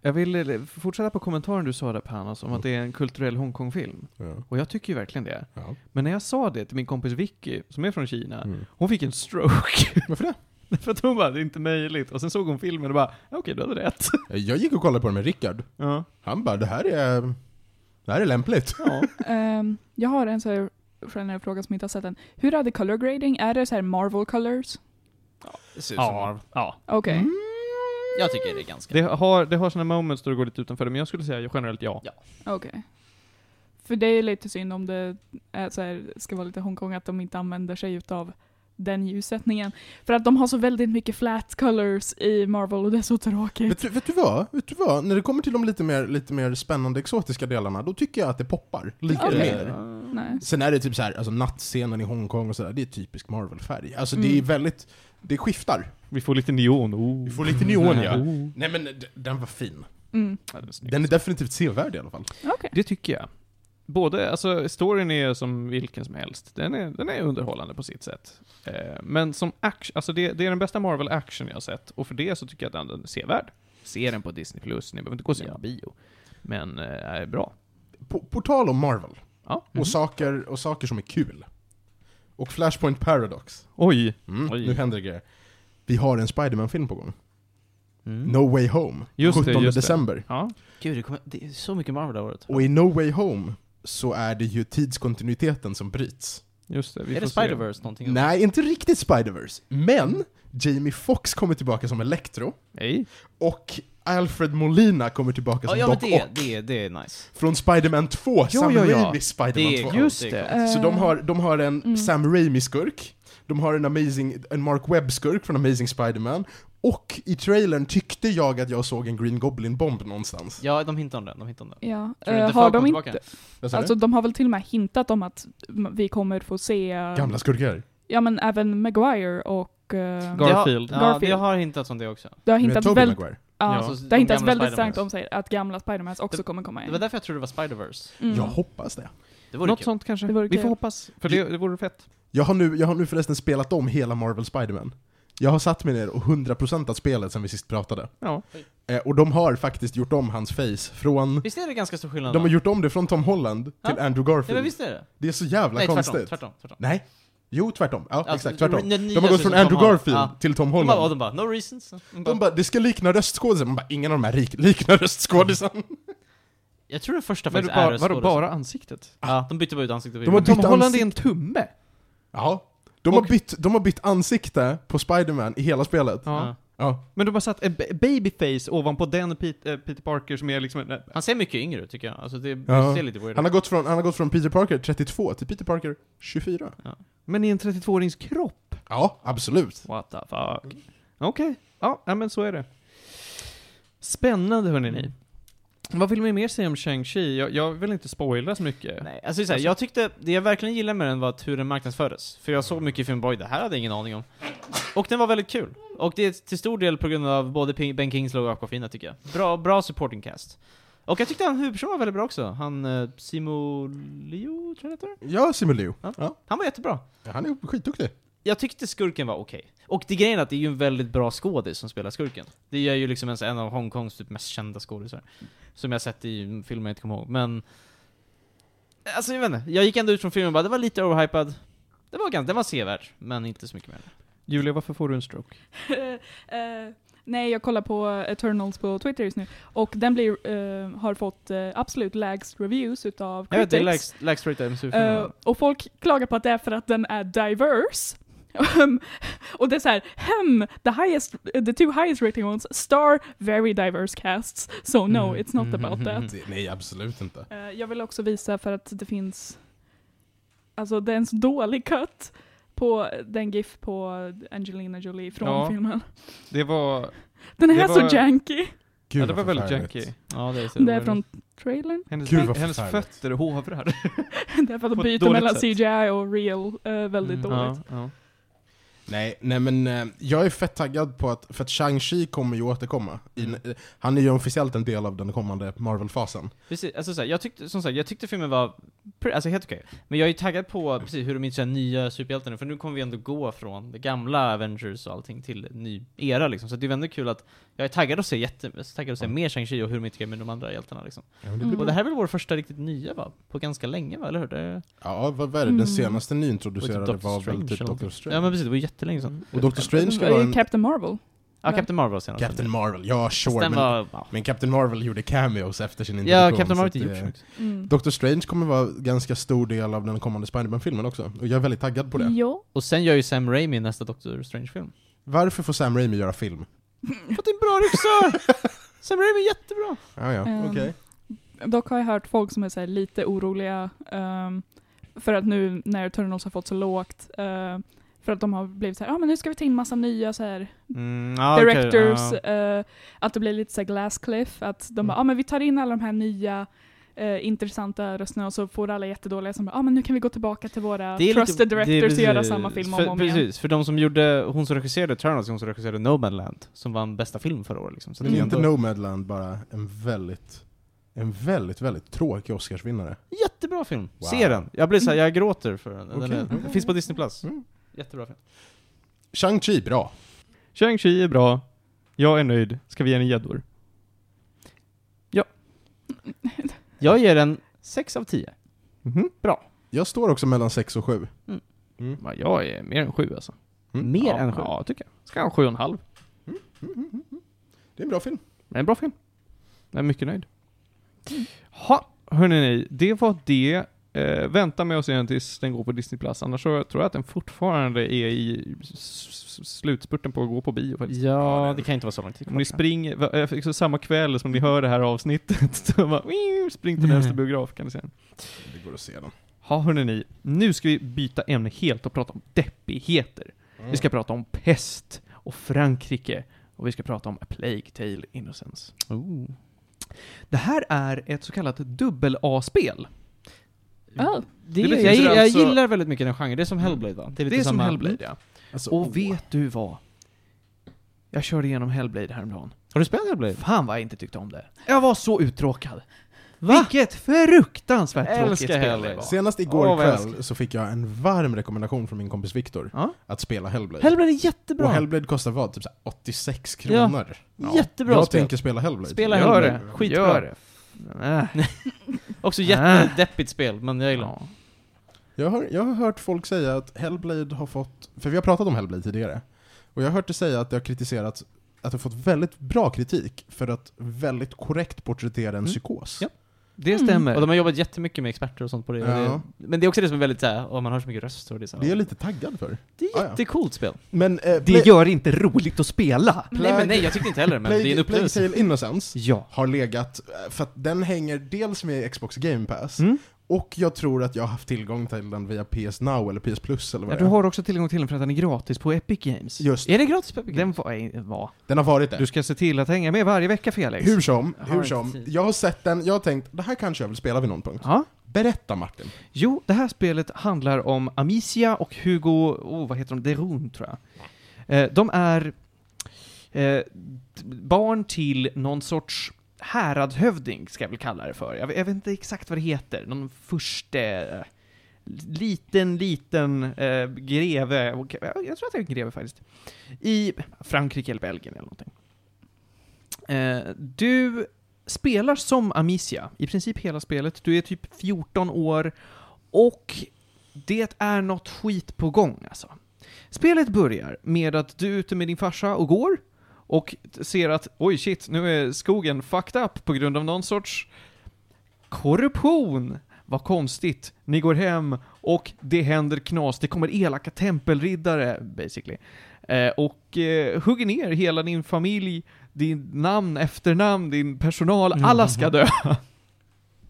[SPEAKER 1] Jag vill eh, fortsätta på kommentaren du sa där Panos, om att det är en kulturell Hongkong-film.
[SPEAKER 4] Ja.
[SPEAKER 1] Och jag tycker ju verkligen det.
[SPEAKER 4] Ja.
[SPEAKER 1] Men när jag sa det till min kompis Vicky, som är från Kina,
[SPEAKER 4] Mm.
[SPEAKER 1] hon fick en stroke.
[SPEAKER 4] Varför det?
[SPEAKER 1] För att hon bara, det är inte möjligt. Och sen såg hon filmen och bara, "Ah, okej du hade rätt.
[SPEAKER 4] Jag gick och kollade på den med Rickard.
[SPEAKER 1] Ja.
[SPEAKER 4] Han bara, det här är, det här är lämpligt.
[SPEAKER 1] ja.
[SPEAKER 2] Ehm, jag har en så här generell fråga som inte har sett den. Hur är det color grading? Är det så här Marvel colors?
[SPEAKER 3] Det
[SPEAKER 4] Typ
[SPEAKER 3] ser ut som
[SPEAKER 1] ja. ja.
[SPEAKER 2] Okej.
[SPEAKER 1] Mm.
[SPEAKER 4] Mm.
[SPEAKER 3] Jag tycker det är ganska...
[SPEAKER 1] Det, har, det har sina moments då det går lite utanför det, men jag skulle säga generellt ja.
[SPEAKER 3] Ja.
[SPEAKER 2] Okej. För det är lite synd om det är så här, ska vara lite Hongkong att de inte använder sig utav den ljussättningen. För att de har så väldigt mycket flat colors i Marvel och det är så tråkigt.
[SPEAKER 4] Vet du, vet, du vad? vet du vad? När det kommer till de lite mer, lite mer spännande exotiska delarna, då tycker jag att det poppar lite
[SPEAKER 2] Okej.
[SPEAKER 4] mer.
[SPEAKER 2] Nej.
[SPEAKER 4] Sen är det typ så här, alltså nattscenen i Hongkong och sådär, det är typisk Marvel-färg. Alltså det är
[SPEAKER 2] Mm.
[SPEAKER 4] väldigt, det skiftar.
[SPEAKER 1] Vi får lite neon. Oh.
[SPEAKER 4] Vi får lite neon ja.
[SPEAKER 1] Oh.
[SPEAKER 4] Nej men d- den var fin.
[SPEAKER 2] Mm.
[SPEAKER 1] Ja, den är snygg.
[SPEAKER 4] Den är definitivt sevärd i alla fall.
[SPEAKER 2] Okej.
[SPEAKER 1] Det tycker jag. Både, alltså storyn är som vilken som helst. Den är, den är underhållande på sitt sätt. Eh, men som action, alltså det, det är den bästa Marvel action jag har sett. Och för det så tycker jag att den, den är sevärd. Se den på Disney+, Plus. ni behöver inte gå och se den på bio. Men, eh, är bra.
[SPEAKER 4] På, på tal om Marvel,
[SPEAKER 1] Ja.
[SPEAKER 4] och, saker, och saker som är kul. Och Flashpoint Paradox.
[SPEAKER 1] Oj!
[SPEAKER 4] Mm,
[SPEAKER 3] Oj.
[SPEAKER 4] nu händer det grejer. Vi har en Spiderman-film på gång.
[SPEAKER 3] Mm.
[SPEAKER 4] No Way Home.
[SPEAKER 1] Just det,
[SPEAKER 4] 17
[SPEAKER 1] just det.
[SPEAKER 4] december.
[SPEAKER 1] Ja.
[SPEAKER 3] Gud, det, kommer, det är så mycket Marvel det här året.
[SPEAKER 4] Och i No Way Home så är det ju tidskontinuiteten som bryts.
[SPEAKER 1] Just det, vi
[SPEAKER 3] är
[SPEAKER 1] får
[SPEAKER 3] det
[SPEAKER 1] se.
[SPEAKER 3] Spider-Verse någonting?
[SPEAKER 4] Nej, inte riktigt Spider-Verse. Men Jamie Foxx kommer tillbaka som Electro
[SPEAKER 1] Nej.
[SPEAKER 4] och Alfred Molina kommer tillbaka
[SPEAKER 3] Ja,
[SPEAKER 4] som
[SPEAKER 3] ja men
[SPEAKER 4] Doc
[SPEAKER 3] det,
[SPEAKER 4] Ock
[SPEAKER 3] det, det är nice.
[SPEAKER 4] från Spider-Man 2,
[SPEAKER 1] Ja,
[SPEAKER 4] Sam
[SPEAKER 1] ja, ja.
[SPEAKER 4] Raimis Spider-Man
[SPEAKER 3] Det är
[SPEAKER 4] 2.
[SPEAKER 3] kul.
[SPEAKER 1] Just
[SPEAKER 3] det är
[SPEAKER 1] det.
[SPEAKER 3] klart.
[SPEAKER 2] Eh,
[SPEAKER 4] Så de har, de har en
[SPEAKER 2] Mm.
[SPEAKER 4] Sam Raimi-skurk, de har en, amazing, en Mark Webb-skurk från Amazing Spider-Man, och i trailern tyckte jag att jag såg en Green Goblin-bomb någonstans.
[SPEAKER 3] Ja, de hintar om den, de hintar om den.
[SPEAKER 2] Ja.
[SPEAKER 3] Tror du
[SPEAKER 2] Eh,
[SPEAKER 3] inte
[SPEAKER 2] har
[SPEAKER 3] folk
[SPEAKER 2] de
[SPEAKER 3] kommer
[SPEAKER 2] inte...
[SPEAKER 3] tillbaka?
[SPEAKER 4] Vad sa du?
[SPEAKER 2] Alltså de har väl till och med hintat om att m- vi kommer få se... eh,
[SPEAKER 4] Gamla skurkar.
[SPEAKER 2] ja men även Maguire och... eh,
[SPEAKER 1] Gar- Garfield.
[SPEAKER 3] Det har, ja,
[SPEAKER 2] Garfield.
[SPEAKER 3] det har hintats om det också.
[SPEAKER 2] det har
[SPEAKER 4] Mm. Med
[SPEAKER 2] hintat
[SPEAKER 4] Tobey
[SPEAKER 2] väldigt,
[SPEAKER 4] Maguire.
[SPEAKER 2] ja,
[SPEAKER 3] Ja.
[SPEAKER 2] det har
[SPEAKER 3] De
[SPEAKER 2] hintats
[SPEAKER 3] gamla
[SPEAKER 2] väldigt starkt
[SPEAKER 3] Spider-Mans.
[SPEAKER 2] om sig att gamla Spidermans också kommer komma
[SPEAKER 3] Det
[SPEAKER 2] in.
[SPEAKER 3] var därför jag trodde det var Spider-Verse.
[SPEAKER 2] Mm.
[SPEAKER 4] Jag hoppas det.
[SPEAKER 3] Det vore
[SPEAKER 1] Något
[SPEAKER 3] kul.
[SPEAKER 1] sånt kanske?
[SPEAKER 2] Det vore
[SPEAKER 1] Vi får
[SPEAKER 2] kul.
[SPEAKER 1] hoppas, för det, det vore fett.
[SPEAKER 4] Jag har, nu, jag har nu förresten spelat om hela Marvel Spider-Man. Jag har satt mig ner och 100%at spelet sen vi sist pratade.
[SPEAKER 1] Ja.
[SPEAKER 4] Eh, och de har faktiskt gjort om hans face från...
[SPEAKER 3] Visst är det ganska stor skillnad?
[SPEAKER 4] De har
[SPEAKER 3] då?
[SPEAKER 4] gjort om det från Tom Holland till
[SPEAKER 3] Ja.
[SPEAKER 4] Andrew
[SPEAKER 3] ja,
[SPEAKER 4] Garfield.
[SPEAKER 3] men visst är det?
[SPEAKER 4] Det är så jävla
[SPEAKER 3] Nej,
[SPEAKER 4] konstigt.
[SPEAKER 3] tvärtom, tvärtom, tvärtom.
[SPEAKER 4] Nej. Jo, tvärtom. Ja,
[SPEAKER 3] Alltså,
[SPEAKER 4] exakt. Tvärtom.
[SPEAKER 3] den
[SPEAKER 4] De
[SPEAKER 3] nya
[SPEAKER 4] har gått
[SPEAKER 3] syster
[SPEAKER 4] från
[SPEAKER 3] som
[SPEAKER 4] Andrew
[SPEAKER 3] har-
[SPEAKER 4] Garfield
[SPEAKER 3] Ja.
[SPEAKER 4] till Tom
[SPEAKER 3] De bara, och
[SPEAKER 4] Holland.
[SPEAKER 3] de bara, no reasons. De bara,
[SPEAKER 4] De bara, det ska likna röstskådisar. Man bara, ingen av de här rik, liknar röstskådisar.
[SPEAKER 3] jag tror den första
[SPEAKER 1] Men
[SPEAKER 3] faktiskt är
[SPEAKER 1] bara, vadå,
[SPEAKER 3] röstskådis.
[SPEAKER 1] bara ansiktet?
[SPEAKER 3] Ja, de bytte bara ut ansiktet.
[SPEAKER 4] De har
[SPEAKER 1] Tom
[SPEAKER 4] bytt
[SPEAKER 1] Holland
[SPEAKER 4] ansikte.
[SPEAKER 1] är en tumme?
[SPEAKER 4] Ja. De,
[SPEAKER 1] Och-
[SPEAKER 4] har bytt, de har bytt ansikte på Spider-Man i hela spelet.
[SPEAKER 1] Ja.
[SPEAKER 3] Ja.
[SPEAKER 4] Ja.
[SPEAKER 1] Men de har satt en ba- babyface ovanpå den Pete, eh, Peter Parker som är liksom en,
[SPEAKER 3] Han ser mycket yngre ut tycker jag. Alltså det,
[SPEAKER 4] Ja.
[SPEAKER 3] det ser lite weird
[SPEAKER 4] Han,
[SPEAKER 3] ut.
[SPEAKER 4] har gått från, han har gått från Peter Parker 32 till Peter Parker 24.
[SPEAKER 1] Men i en 32-årings kropp?
[SPEAKER 4] Ja, absolut.
[SPEAKER 1] What the fuck? Okej. Ja, ja, men så är det. Spännande hörni ni. Vad vill man mer säga om Shang-Chi? Jag, jag vill inte spoila så mycket.
[SPEAKER 3] Nej, alltså, det är så här, jag tyckte, det jag verkligen gillade med den var att hur den marknadsfördes. För jag såg mycket i Filmboy, det här hade jag ingen aning om. Och den var väldigt kul. Och det är till stor del på grund av både Ping- Ben Kingsley och Aquafina tycker jag. Bra, bra supporting cast. Och jag tyckte han huvudpersonen var väldigt bra också. Han, eh, Simo Leo, tror jag han heter.
[SPEAKER 4] Ja, Simu Liu.
[SPEAKER 3] Ja.
[SPEAKER 4] Ja.
[SPEAKER 3] Han var jättebra.
[SPEAKER 4] Han är skitduktig.
[SPEAKER 3] jag tyckte skurken var okej. Och det grejen är att det är ju en väldigt bra skådis som spelar skurken. Det är ju liksom en, en av Hongkongs typ mest kända skådisar. Som jag sett i filmer jag inte kommer ihåg, men... Alltså jag vet inte, jag gick ändå ut från filmen och bara, det var lite overhypad. Det var ganska, den var sevärd, men inte så mycket mer.
[SPEAKER 1] Julia, varför får du en stroke?
[SPEAKER 2] Eh, nej, jag kollar på Eternals på Twitter just nu. Och den blir, eh, har fått eh, absolut lägst reviews utav
[SPEAKER 3] Jag vet, det är
[SPEAKER 2] critics.
[SPEAKER 3] Lax- Lax Straight Adams
[SPEAKER 2] Eh, och folk klagar på att det är för att den är diverse. och det är så här, hem, the, highest, the two highest rating ones star very diverse casts. So no,
[SPEAKER 3] Mm.
[SPEAKER 2] it's not about that.
[SPEAKER 4] Det- Nej, absolut inte.
[SPEAKER 2] Eh, jag vill också visa för att det finns, alltså det är en så dålig cut på den GIF på Angelina Jolie från
[SPEAKER 1] Ja.
[SPEAKER 2] filmen.
[SPEAKER 1] Det var...
[SPEAKER 2] Den
[SPEAKER 1] Det
[SPEAKER 2] är
[SPEAKER 1] var-
[SPEAKER 2] så janky.
[SPEAKER 4] Gud,
[SPEAKER 1] ja, det var
[SPEAKER 4] vad
[SPEAKER 1] väldigt
[SPEAKER 4] förfärligt.
[SPEAKER 1] janky.
[SPEAKER 3] Ja, det är så.
[SPEAKER 2] Det är från trailern.
[SPEAKER 1] Hennes,
[SPEAKER 4] Gud, vad
[SPEAKER 1] hennes
[SPEAKER 4] förfärligt.
[SPEAKER 1] fötter hovrar.
[SPEAKER 2] Det är för att
[SPEAKER 1] På
[SPEAKER 2] de
[SPEAKER 1] ett
[SPEAKER 2] byter
[SPEAKER 1] dåligt
[SPEAKER 2] mellan
[SPEAKER 1] sätt.
[SPEAKER 2] CGI och real eh, väldigt
[SPEAKER 3] Mm,
[SPEAKER 2] dåligt.
[SPEAKER 1] ja, ja.
[SPEAKER 4] Nej, nej men eh, jag är fett taggad på att, för att Shang-Chi kommer ju återkomma. I, eh, han är ju officiellt en del av den kommande Marvel-fasen.
[SPEAKER 3] Precis, alltså såhär, jag tyckte, som sagt, jag tyckte filmen var, pre- alltså helt okej. Men jag är ju taggad på precis hur de inte nya superhjältar nu, för nu kommer vi ändå gå från det gamla Avengers och allting till en ny era liksom. Så det är väl ändå kul att, jag är taggad att se jätte, alltså taggad att se mer Shang-Chi och hur de integrerar med de andra hjältarna liksom.
[SPEAKER 4] Mm.
[SPEAKER 2] blir
[SPEAKER 3] Och det här är väl vår första riktigt nya va? På ganska länge va, eller hur? Det,
[SPEAKER 4] Ja, vad vad är det?
[SPEAKER 2] Mm.
[SPEAKER 4] Den senaste nyintroducerade
[SPEAKER 3] Och typ Doctor
[SPEAKER 4] var väl
[SPEAKER 3] Strange
[SPEAKER 4] typ
[SPEAKER 3] eller
[SPEAKER 4] Doctor
[SPEAKER 3] någonting.
[SPEAKER 4] Strange.
[SPEAKER 3] ja men precis, det var jättelänge sedan.
[SPEAKER 1] Mm.
[SPEAKER 4] Och Doctor Strange
[SPEAKER 2] Alltså,
[SPEAKER 4] ska
[SPEAKER 2] Det var
[SPEAKER 4] vara
[SPEAKER 2] ju
[SPEAKER 4] en...
[SPEAKER 2] Captain Marvel.
[SPEAKER 3] Ja, Captain Marvel var senast.
[SPEAKER 4] Captain Marvel, ja
[SPEAKER 3] Fast
[SPEAKER 4] sure.
[SPEAKER 3] Den
[SPEAKER 4] Men,
[SPEAKER 3] var, ja.
[SPEAKER 4] men Captain Marvel gjorde cameos efter sin introduktion.
[SPEAKER 3] ja, Captain Marvel
[SPEAKER 4] så
[SPEAKER 3] har inte
[SPEAKER 4] att
[SPEAKER 3] gjort
[SPEAKER 4] det-
[SPEAKER 3] så mycket.
[SPEAKER 2] Mm.
[SPEAKER 4] Doctor Strange kommer vara ganska stor del av den kommande Spider-Man-filmen också. Och jag är väldigt taggad på det.
[SPEAKER 2] Ja.
[SPEAKER 3] Och sen gör ju Sam Raimi nästa Doctor Strange-film.
[SPEAKER 4] Varför får Sam Raimi göra film?
[SPEAKER 3] Fått en bra regissör! Sam Raimi är jättebra!
[SPEAKER 4] Ja, ja.
[SPEAKER 3] Mm.
[SPEAKER 2] Ehm, Dock har jag hört folk som är så här lite oroliga ehm, för att nu när Eternals har fått så lågt eh, för att de har blivit så här, ja ah, men nu ska vi ta in massa nya så här
[SPEAKER 3] Mm, ja, okej,
[SPEAKER 2] directors,
[SPEAKER 3] ja. Mm.
[SPEAKER 2] eh, att det blir lite så här glass cliff, att de bara, ja ah, men vi tar in alla de här nya eh, intressanta rösterna och så får alla jättedåliga som bara, ah, men nu kan vi gå tillbaka till våra
[SPEAKER 3] Det är
[SPEAKER 2] trusted
[SPEAKER 3] lite- det är
[SPEAKER 2] directors och göra
[SPEAKER 3] precis.
[SPEAKER 2] samma film om
[SPEAKER 3] för,
[SPEAKER 2] och om
[SPEAKER 3] Precis,
[SPEAKER 2] igen.
[SPEAKER 3] för de som gjorde, hon som regisserade Eternals, hon som regisserade No Man Land, som vann bästa film förra året liksom. Så
[SPEAKER 4] Men
[SPEAKER 3] det
[SPEAKER 4] är
[SPEAKER 3] är
[SPEAKER 2] Mm.
[SPEAKER 4] inte
[SPEAKER 3] ändå
[SPEAKER 4] Nomadland bara en väldigt, en väldigt, väldigt tråkig Oscarsvinnare?
[SPEAKER 3] jättebra film.
[SPEAKER 4] Wow.
[SPEAKER 3] Se den! Jag blir såhär, jag gråter för den. den
[SPEAKER 4] Okej.
[SPEAKER 3] är, den finns på Disney+. Plus.
[SPEAKER 4] Mm.
[SPEAKER 3] Jättebra film.
[SPEAKER 4] Shang-Chi, bra.
[SPEAKER 1] Shang-Chi är bra. Jag är nöjd. Ska vi ge den gäddor?
[SPEAKER 3] Jag ger den 6 av 10.
[SPEAKER 1] Mhm.
[SPEAKER 3] Bra.
[SPEAKER 4] Jag står också mellan 6 och 7.
[SPEAKER 1] Ja, Jag är mer än sju alltså.
[SPEAKER 4] Mm.
[SPEAKER 3] Mer
[SPEAKER 1] ja,
[SPEAKER 3] än 7.
[SPEAKER 1] Ja, tycker jag. Ska ha en sju och en halv.
[SPEAKER 4] Det är en bra film.
[SPEAKER 1] Men en bra film. Jag är mycket nöjd.
[SPEAKER 3] Mm.
[SPEAKER 1] Ha, hörni ni, det var det. Eh, vänta med att se den tills den går på Disney Plus, annars så tror jag att den fortfarande är i s- s- slutspurten på att gå på bio faktiskt.
[SPEAKER 3] Ja, det kan inte vara så lång tid
[SPEAKER 1] Om ni
[SPEAKER 3] kvar.
[SPEAKER 1] springer, va- eh, så samma kväll som ni hör det här avsnittet, så bara, "Wii", spring till nästa biograf kan ni se den.
[SPEAKER 4] Det går att se den.
[SPEAKER 1] Ja hörni ni, nu ska vi byta ämne helt och prata om deppigheter. Vi
[SPEAKER 3] Mm.
[SPEAKER 1] ska prata om pest och Frankrike och vi ska prata om A Plague Tale Innocence.
[SPEAKER 3] Oh.
[SPEAKER 1] Det här är ett så kallat dubbel-A-spel.
[SPEAKER 2] Oh.
[SPEAKER 3] Det,
[SPEAKER 1] Det betyder
[SPEAKER 3] jag, jag
[SPEAKER 1] alltså-
[SPEAKER 3] gillar väldigt mycket den genren, det är som Hellblade va?
[SPEAKER 1] Det är,
[SPEAKER 3] lite
[SPEAKER 1] som
[SPEAKER 3] samma-
[SPEAKER 1] Hellblade ja.
[SPEAKER 4] Alltså,
[SPEAKER 1] Och vet du vad? Jag körde igenom Hellblade häromdagen.
[SPEAKER 3] Har du spelat Hellblade?
[SPEAKER 1] Fan vad jag inte tyckte om det. Jag var så uttråkad. Vilket fruktansvärt
[SPEAKER 3] Jag
[SPEAKER 1] tråkigt
[SPEAKER 3] älskar
[SPEAKER 1] spel det
[SPEAKER 3] Hellblade.
[SPEAKER 1] var.
[SPEAKER 4] Senast igår
[SPEAKER 3] Åh, vad jag
[SPEAKER 4] kväll så fick jag en varm rekommendation från min kompis Viktor
[SPEAKER 1] Ja.
[SPEAKER 4] att spela Hellblade.
[SPEAKER 3] Hellblade är jättebra!
[SPEAKER 4] Och Hellblade kostar vad? Typ så här 86 kronor.
[SPEAKER 1] Ja.
[SPEAKER 3] Jättebra
[SPEAKER 4] jag
[SPEAKER 3] spel!
[SPEAKER 4] tänker spela Hellblade.
[SPEAKER 3] Spela
[SPEAKER 1] Gör
[SPEAKER 3] Hellblade.
[SPEAKER 1] det.
[SPEAKER 3] Skitbra.
[SPEAKER 1] Gör det. Äh,
[SPEAKER 3] Också jättedeppigt spel, men jag gillar det.
[SPEAKER 1] ja.
[SPEAKER 4] Jag har, jag har hört folk säga att Hellblade har fått, för vi har pratat om Hellblade tidigare, och jag har hört det säga att det har kritiserats, att det har fått väldigt bra kritik för att väldigt korrekt porträttera en
[SPEAKER 3] Mm.
[SPEAKER 4] psykos.
[SPEAKER 3] Ja.
[SPEAKER 1] Det
[SPEAKER 2] Mm.
[SPEAKER 1] stämmer.
[SPEAKER 3] Och de har jobbat jättemycket med experter och sånt på det. och
[SPEAKER 4] Ja.
[SPEAKER 3] det men det är också det som är väldigt såhär, åh man hör så mycket röster och det är så här,
[SPEAKER 4] Det är jag lite taggad för.
[SPEAKER 3] Det
[SPEAKER 4] Ah,
[SPEAKER 3] är
[SPEAKER 4] ja.
[SPEAKER 3] jättecoolt spel.
[SPEAKER 4] Men, eh,
[SPEAKER 1] Det gör det inte roligt att spela.
[SPEAKER 3] Nej men nej, jag tyckte inte heller men det är en upplevelse.
[SPEAKER 4] Tale Innocence
[SPEAKER 1] Ja.
[SPEAKER 4] har legat, eh, för att den hänger dels med Xbox Game Pass,
[SPEAKER 1] Mm.
[SPEAKER 4] och jag tror att jag har haft tillgång till den via PS Now eller PS Plus eller vad
[SPEAKER 1] Ja,
[SPEAKER 4] det
[SPEAKER 1] du
[SPEAKER 4] är.
[SPEAKER 1] har också tillgång till den för att den är gratis på Epic Games.
[SPEAKER 4] Just,
[SPEAKER 3] Är det gratis på Epic
[SPEAKER 1] Den
[SPEAKER 3] Games?
[SPEAKER 1] var... eh, var.
[SPEAKER 4] den har varit det.
[SPEAKER 1] Du ska se till att hänga med varje vecka Felix.
[SPEAKER 4] Hur som,
[SPEAKER 3] Jag har
[SPEAKER 4] hur
[SPEAKER 3] inte
[SPEAKER 4] som.
[SPEAKER 3] tid.
[SPEAKER 4] Jag har sett den, jag har tänkt, det här kanske jag vill spela vid någon punkt.
[SPEAKER 1] Ja.
[SPEAKER 4] Berätta Martin.
[SPEAKER 1] Jo, det här spelet handlar om Amicia och Hugo, oh, vad heter de, Derun tror jag. Eh, de är eh, t- barn till någon sorts häradhövding, ska jag väl kalla det för. Jag, vet- jag vet inte exakt vad det heter, någon förste liten, liten eh, greve, och- jag tror att det är en greve faktiskt, i Frankrike eller Belgien eller någonting. Eh, du spelar som Amicia, i princip hela spelet. Du är typ 14 år och det är något skit på gång alltså. Spelet börjar med att du är ute med din farsa och går och t- ser att oj shit, nu är skogen fucked up på grund av någon sorts korruption. Vad konstigt. Ni går hem och det händer knas. Det kommer elaka tempelriddare basically. Eh, och eh, hugger ner hela din familj, din namn, efternamn, din personal. Alla ska dö.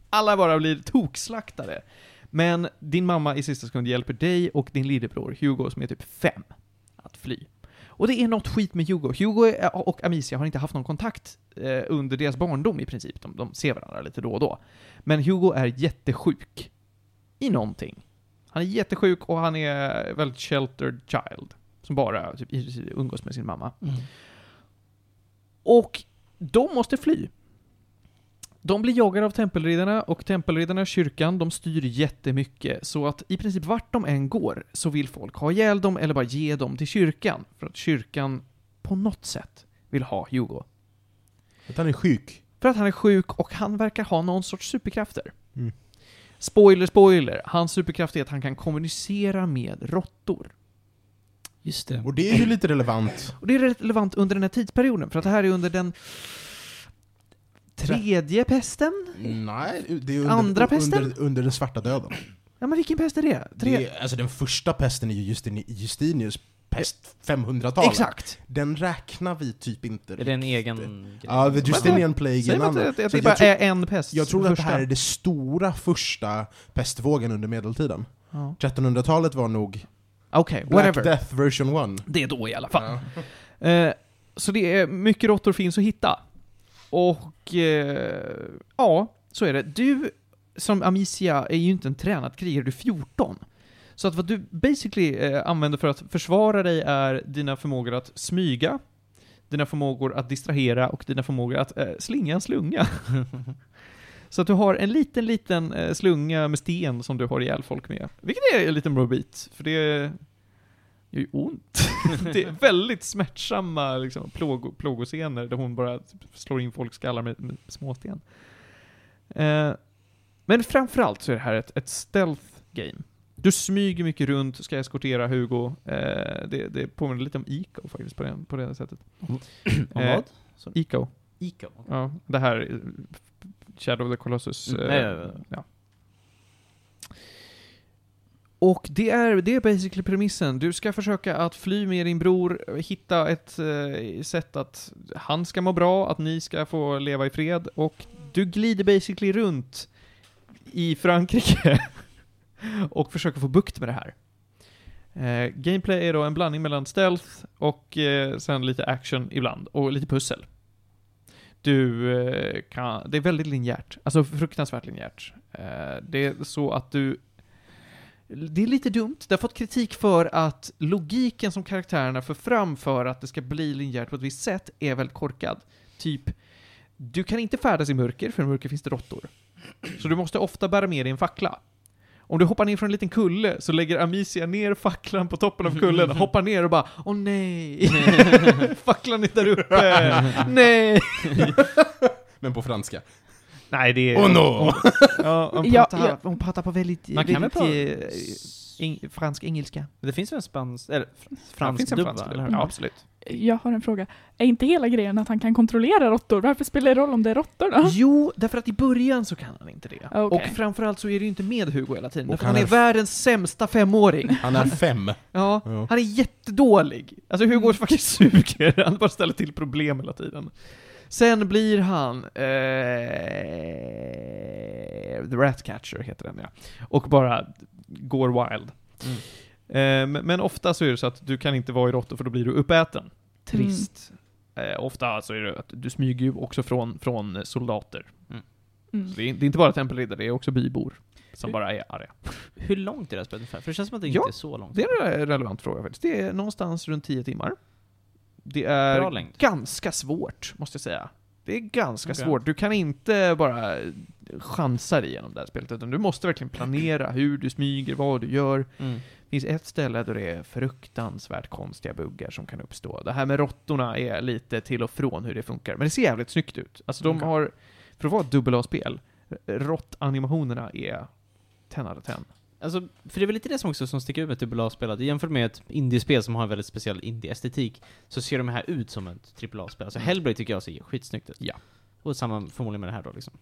[SPEAKER 1] Alla bara blir tokslaktade. Men din mamma i sista sekund hjälper dig och din lillebror Hugo som är typ fem att fly. Och det är något skit med Hugo. Hugo är- och Amicia har inte haft någon kontakt eh, under deras barndom i princip. De, de ser varandra lite då och då. Men Hugo är jättesjuk i någonting. Han är jättesjuk och han är väldigt sheltered child. Som bara typ, i- umgås med sin mamma.
[SPEAKER 3] Mm.
[SPEAKER 1] Och de måste fly. De blir jagade av tempelriddarna och tempelriddarna, kyrkan, de styr jättemycket. Så att i princip vart de än går så vill folk ha ihjäl dem eller bara ge dem till kyrkan. För att kyrkan på något sätt vill ha Hugo.
[SPEAKER 4] Att han är sjuk.
[SPEAKER 1] För att han är sjuk och han verkar ha någon sorts superkrafter.
[SPEAKER 4] Mm.
[SPEAKER 1] Spoiler, spoiler. Hans superkraft är att han kan kommunicera med råttor.
[SPEAKER 3] Just det.
[SPEAKER 4] Och det är ju lite relevant.
[SPEAKER 1] Och det är relevant under den här tidsperioden, för att det här är under den tredje pesten?
[SPEAKER 4] Nej, det är under,
[SPEAKER 1] Andra pesten?
[SPEAKER 4] Under, under den svarta döden.
[SPEAKER 1] Ja, men vilken pest är det? Tre...
[SPEAKER 4] Det är, alltså den första pesten är ju Justin, Justinius pest 500-talet.
[SPEAKER 1] Exakt!
[SPEAKER 4] Den räknar vi typ inte.
[SPEAKER 3] Är det en egen
[SPEAKER 4] Ja, the Justinian Plague är
[SPEAKER 1] Säg
[SPEAKER 4] en
[SPEAKER 1] bara att
[SPEAKER 4] annan.
[SPEAKER 1] det, att
[SPEAKER 4] Så
[SPEAKER 1] det
[SPEAKER 4] jag
[SPEAKER 1] bara
[SPEAKER 4] tror-
[SPEAKER 1] är en pest.
[SPEAKER 4] Jag tror att det
[SPEAKER 1] första.
[SPEAKER 4] här är det stora första pestvågen under medeltiden.
[SPEAKER 1] Ja.
[SPEAKER 4] 1300-talet var nog
[SPEAKER 1] Okej,
[SPEAKER 4] Black
[SPEAKER 1] whatever.
[SPEAKER 4] Death version 1.
[SPEAKER 1] Det är då i alla fall. Eh, så det är mycket råttor finns att hitta. Och eh, ja, så är det. Du som Amicia är ju inte en tränad krigare, du är 14. Så att vad du basically eh, använder för att försvara dig är dina förmågor att smyga, dina förmågor att distrahera och dina förmågor att eh, slinga en slunga. Så att du har en liten, liten eh, slunga med sten som du har ihjäl folk med. Vilket är en liten bra bit, för det gör ju ont. det är väldigt smärtsamma liksom, plågo, plågoscener där hon bara typ slår in folks skallar med, med småsten. Eh, men framförallt så är det här ett, ett stealth game. Du smyger mycket runt, ska eskortera Hugo. Eh, det, det påminner lite om Ico faktiskt på det, på det sättet.
[SPEAKER 3] Om
[SPEAKER 1] Eh,
[SPEAKER 3] vad?
[SPEAKER 1] Ico.
[SPEAKER 3] Ico?
[SPEAKER 1] Ja, det här eh, Shadow of the Colossus.
[SPEAKER 3] Mm,
[SPEAKER 1] eh,
[SPEAKER 3] nej, nej, nej.
[SPEAKER 1] Ja. Och det är, det är basically premissen. Du ska försöka att fly med din bror, hitta ett eh, sätt att han ska må bra, att ni ska få leva i fred och du glider basically runt i Frankrike och försöker få bukt med det här. Eh, gameplay är då en blandning mellan stealth och eh, sen lite action ibland och lite pussel. du eh, kan... Det är väldigt linjärt. Alltså fruktansvärt linjärt. Eh, Det är så att du... Det är lite dumt. Det har fått kritik för att logiken som karaktärerna för fram för att det ska bli linjärt på ett visst sätt är väldigt korkad. Typ, du kan inte färdas i mörker, för i mörker finns det råttor. Så du måste ofta bära med dig en fackla. Om du hoppar ner från en liten kulle så lägger Amicia ner facklan på toppen av kullen, hoppar ner och bara Åh nej! facklan är där uppe! nej!
[SPEAKER 4] Men på franska.
[SPEAKER 1] Nej, det är...
[SPEAKER 4] Oh no!
[SPEAKER 1] Ja, hon,
[SPEAKER 2] Ja,
[SPEAKER 1] pratar,
[SPEAKER 2] ja.
[SPEAKER 1] hon pratar på väldigt...
[SPEAKER 3] Man kan väl
[SPEAKER 1] väldigt,
[SPEAKER 3] prata-
[SPEAKER 1] eh, eng- fransk-engelska.
[SPEAKER 3] Men Det finns väl en spansk, eller fr-
[SPEAKER 1] Ja, finns
[SPEAKER 3] fransk
[SPEAKER 1] en
[SPEAKER 3] dubb
[SPEAKER 1] fransk
[SPEAKER 3] va?
[SPEAKER 1] dubb.
[SPEAKER 3] eller hur?
[SPEAKER 2] Mm.
[SPEAKER 1] Ja, absolut.
[SPEAKER 2] Jag har en fråga. Är inte hela grejen att han kan kontrollera råttor? Varför spelar det roll om det är Mm, råttor då?
[SPEAKER 1] Jo, därför att i början så kan han inte det.
[SPEAKER 2] Okej.
[SPEAKER 1] Och framförallt så är det ju inte med Hugo hela tiden,
[SPEAKER 4] Och
[SPEAKER 1] därför
[SPEAKER 4] han
[SPEAKER 1] han är
[SPEAKER 4] är-
[SPEAKER 1] världens sämsta femåring.
[SPEAKER 4] Han är fem.
[SPEAKER 1] Ja,
[SPEAKER 4] Ja.
[SPEAKER 1] han är jättedålig. Alltså Hugo
[SPEAKER 2] Mm.
[SPEAKER 1] faktiskt suger, han bara ställer till problem hela tiden. Sen blir han... Eh, The Ratcatcher heter den ja. Och bara går wild.
[SPEAKER 3] Mm.
[SPEAKER 1] Eh, men- men ofta så är det så att du kan inte vara i råttor för då blir du uppäten. Trist. Eh, ofta så är det att du smyger ju också från, från soldater.
[SPEAKER 2] Mm.
[SPEAKER 1] Så det, är, det är inte bara tempelriddare, det är också bybor. Som bara är arga.
[SPEAKER 3] Hur långt är det här spelet ungefär? För det känns som att det
[SPEAKER 1] Ja,
[SPEAKER 3] inte är så långt.
[SPEAKER 1] Det är en relevant fråga faktiskt. Det är någonstans runt 10 timmar. Det är
[SPEAKER 3] Bra längd.
[SPEAKER 1] ganska svårt, måste jag säga. Det är ganska
[SPEAKER 3] Okej.
[SPEAKER 1] svårt. Du kan inte bara chansa dig igenom det här spelet, utan du måste verkligen planera hur du smyger, vad du gör.
[SPEAKER 3] Mm.
[SPEAKER 1] Det finns ett ställe där det är fruktansvärt konstiga buggar som kan uppstå. Det här med råttorna är lite till och från hur det funkar, men det ser jävligt snyggt ut. Alltså de
[SPEAKER 3] Okej.
[SPEAKER 1] har, för att vara ett dubbel A-spel, råttanimationerna är 10 out of 10.
[SPEAKER 3] Alltså, för det är väl lite det som också som sticker ut med typ ett AAA-spel, att jämfört med ett indiespel som har en väldigt speciell indie-estetik, så ser de här ut som ett AAA-spel. Alltså Hellblade tycker jag ser skitsnyggt ut.
[SPEAKER 1] Mm. Ja.
[SPEAKER 3] Och samma förmodligen med det här då liksom.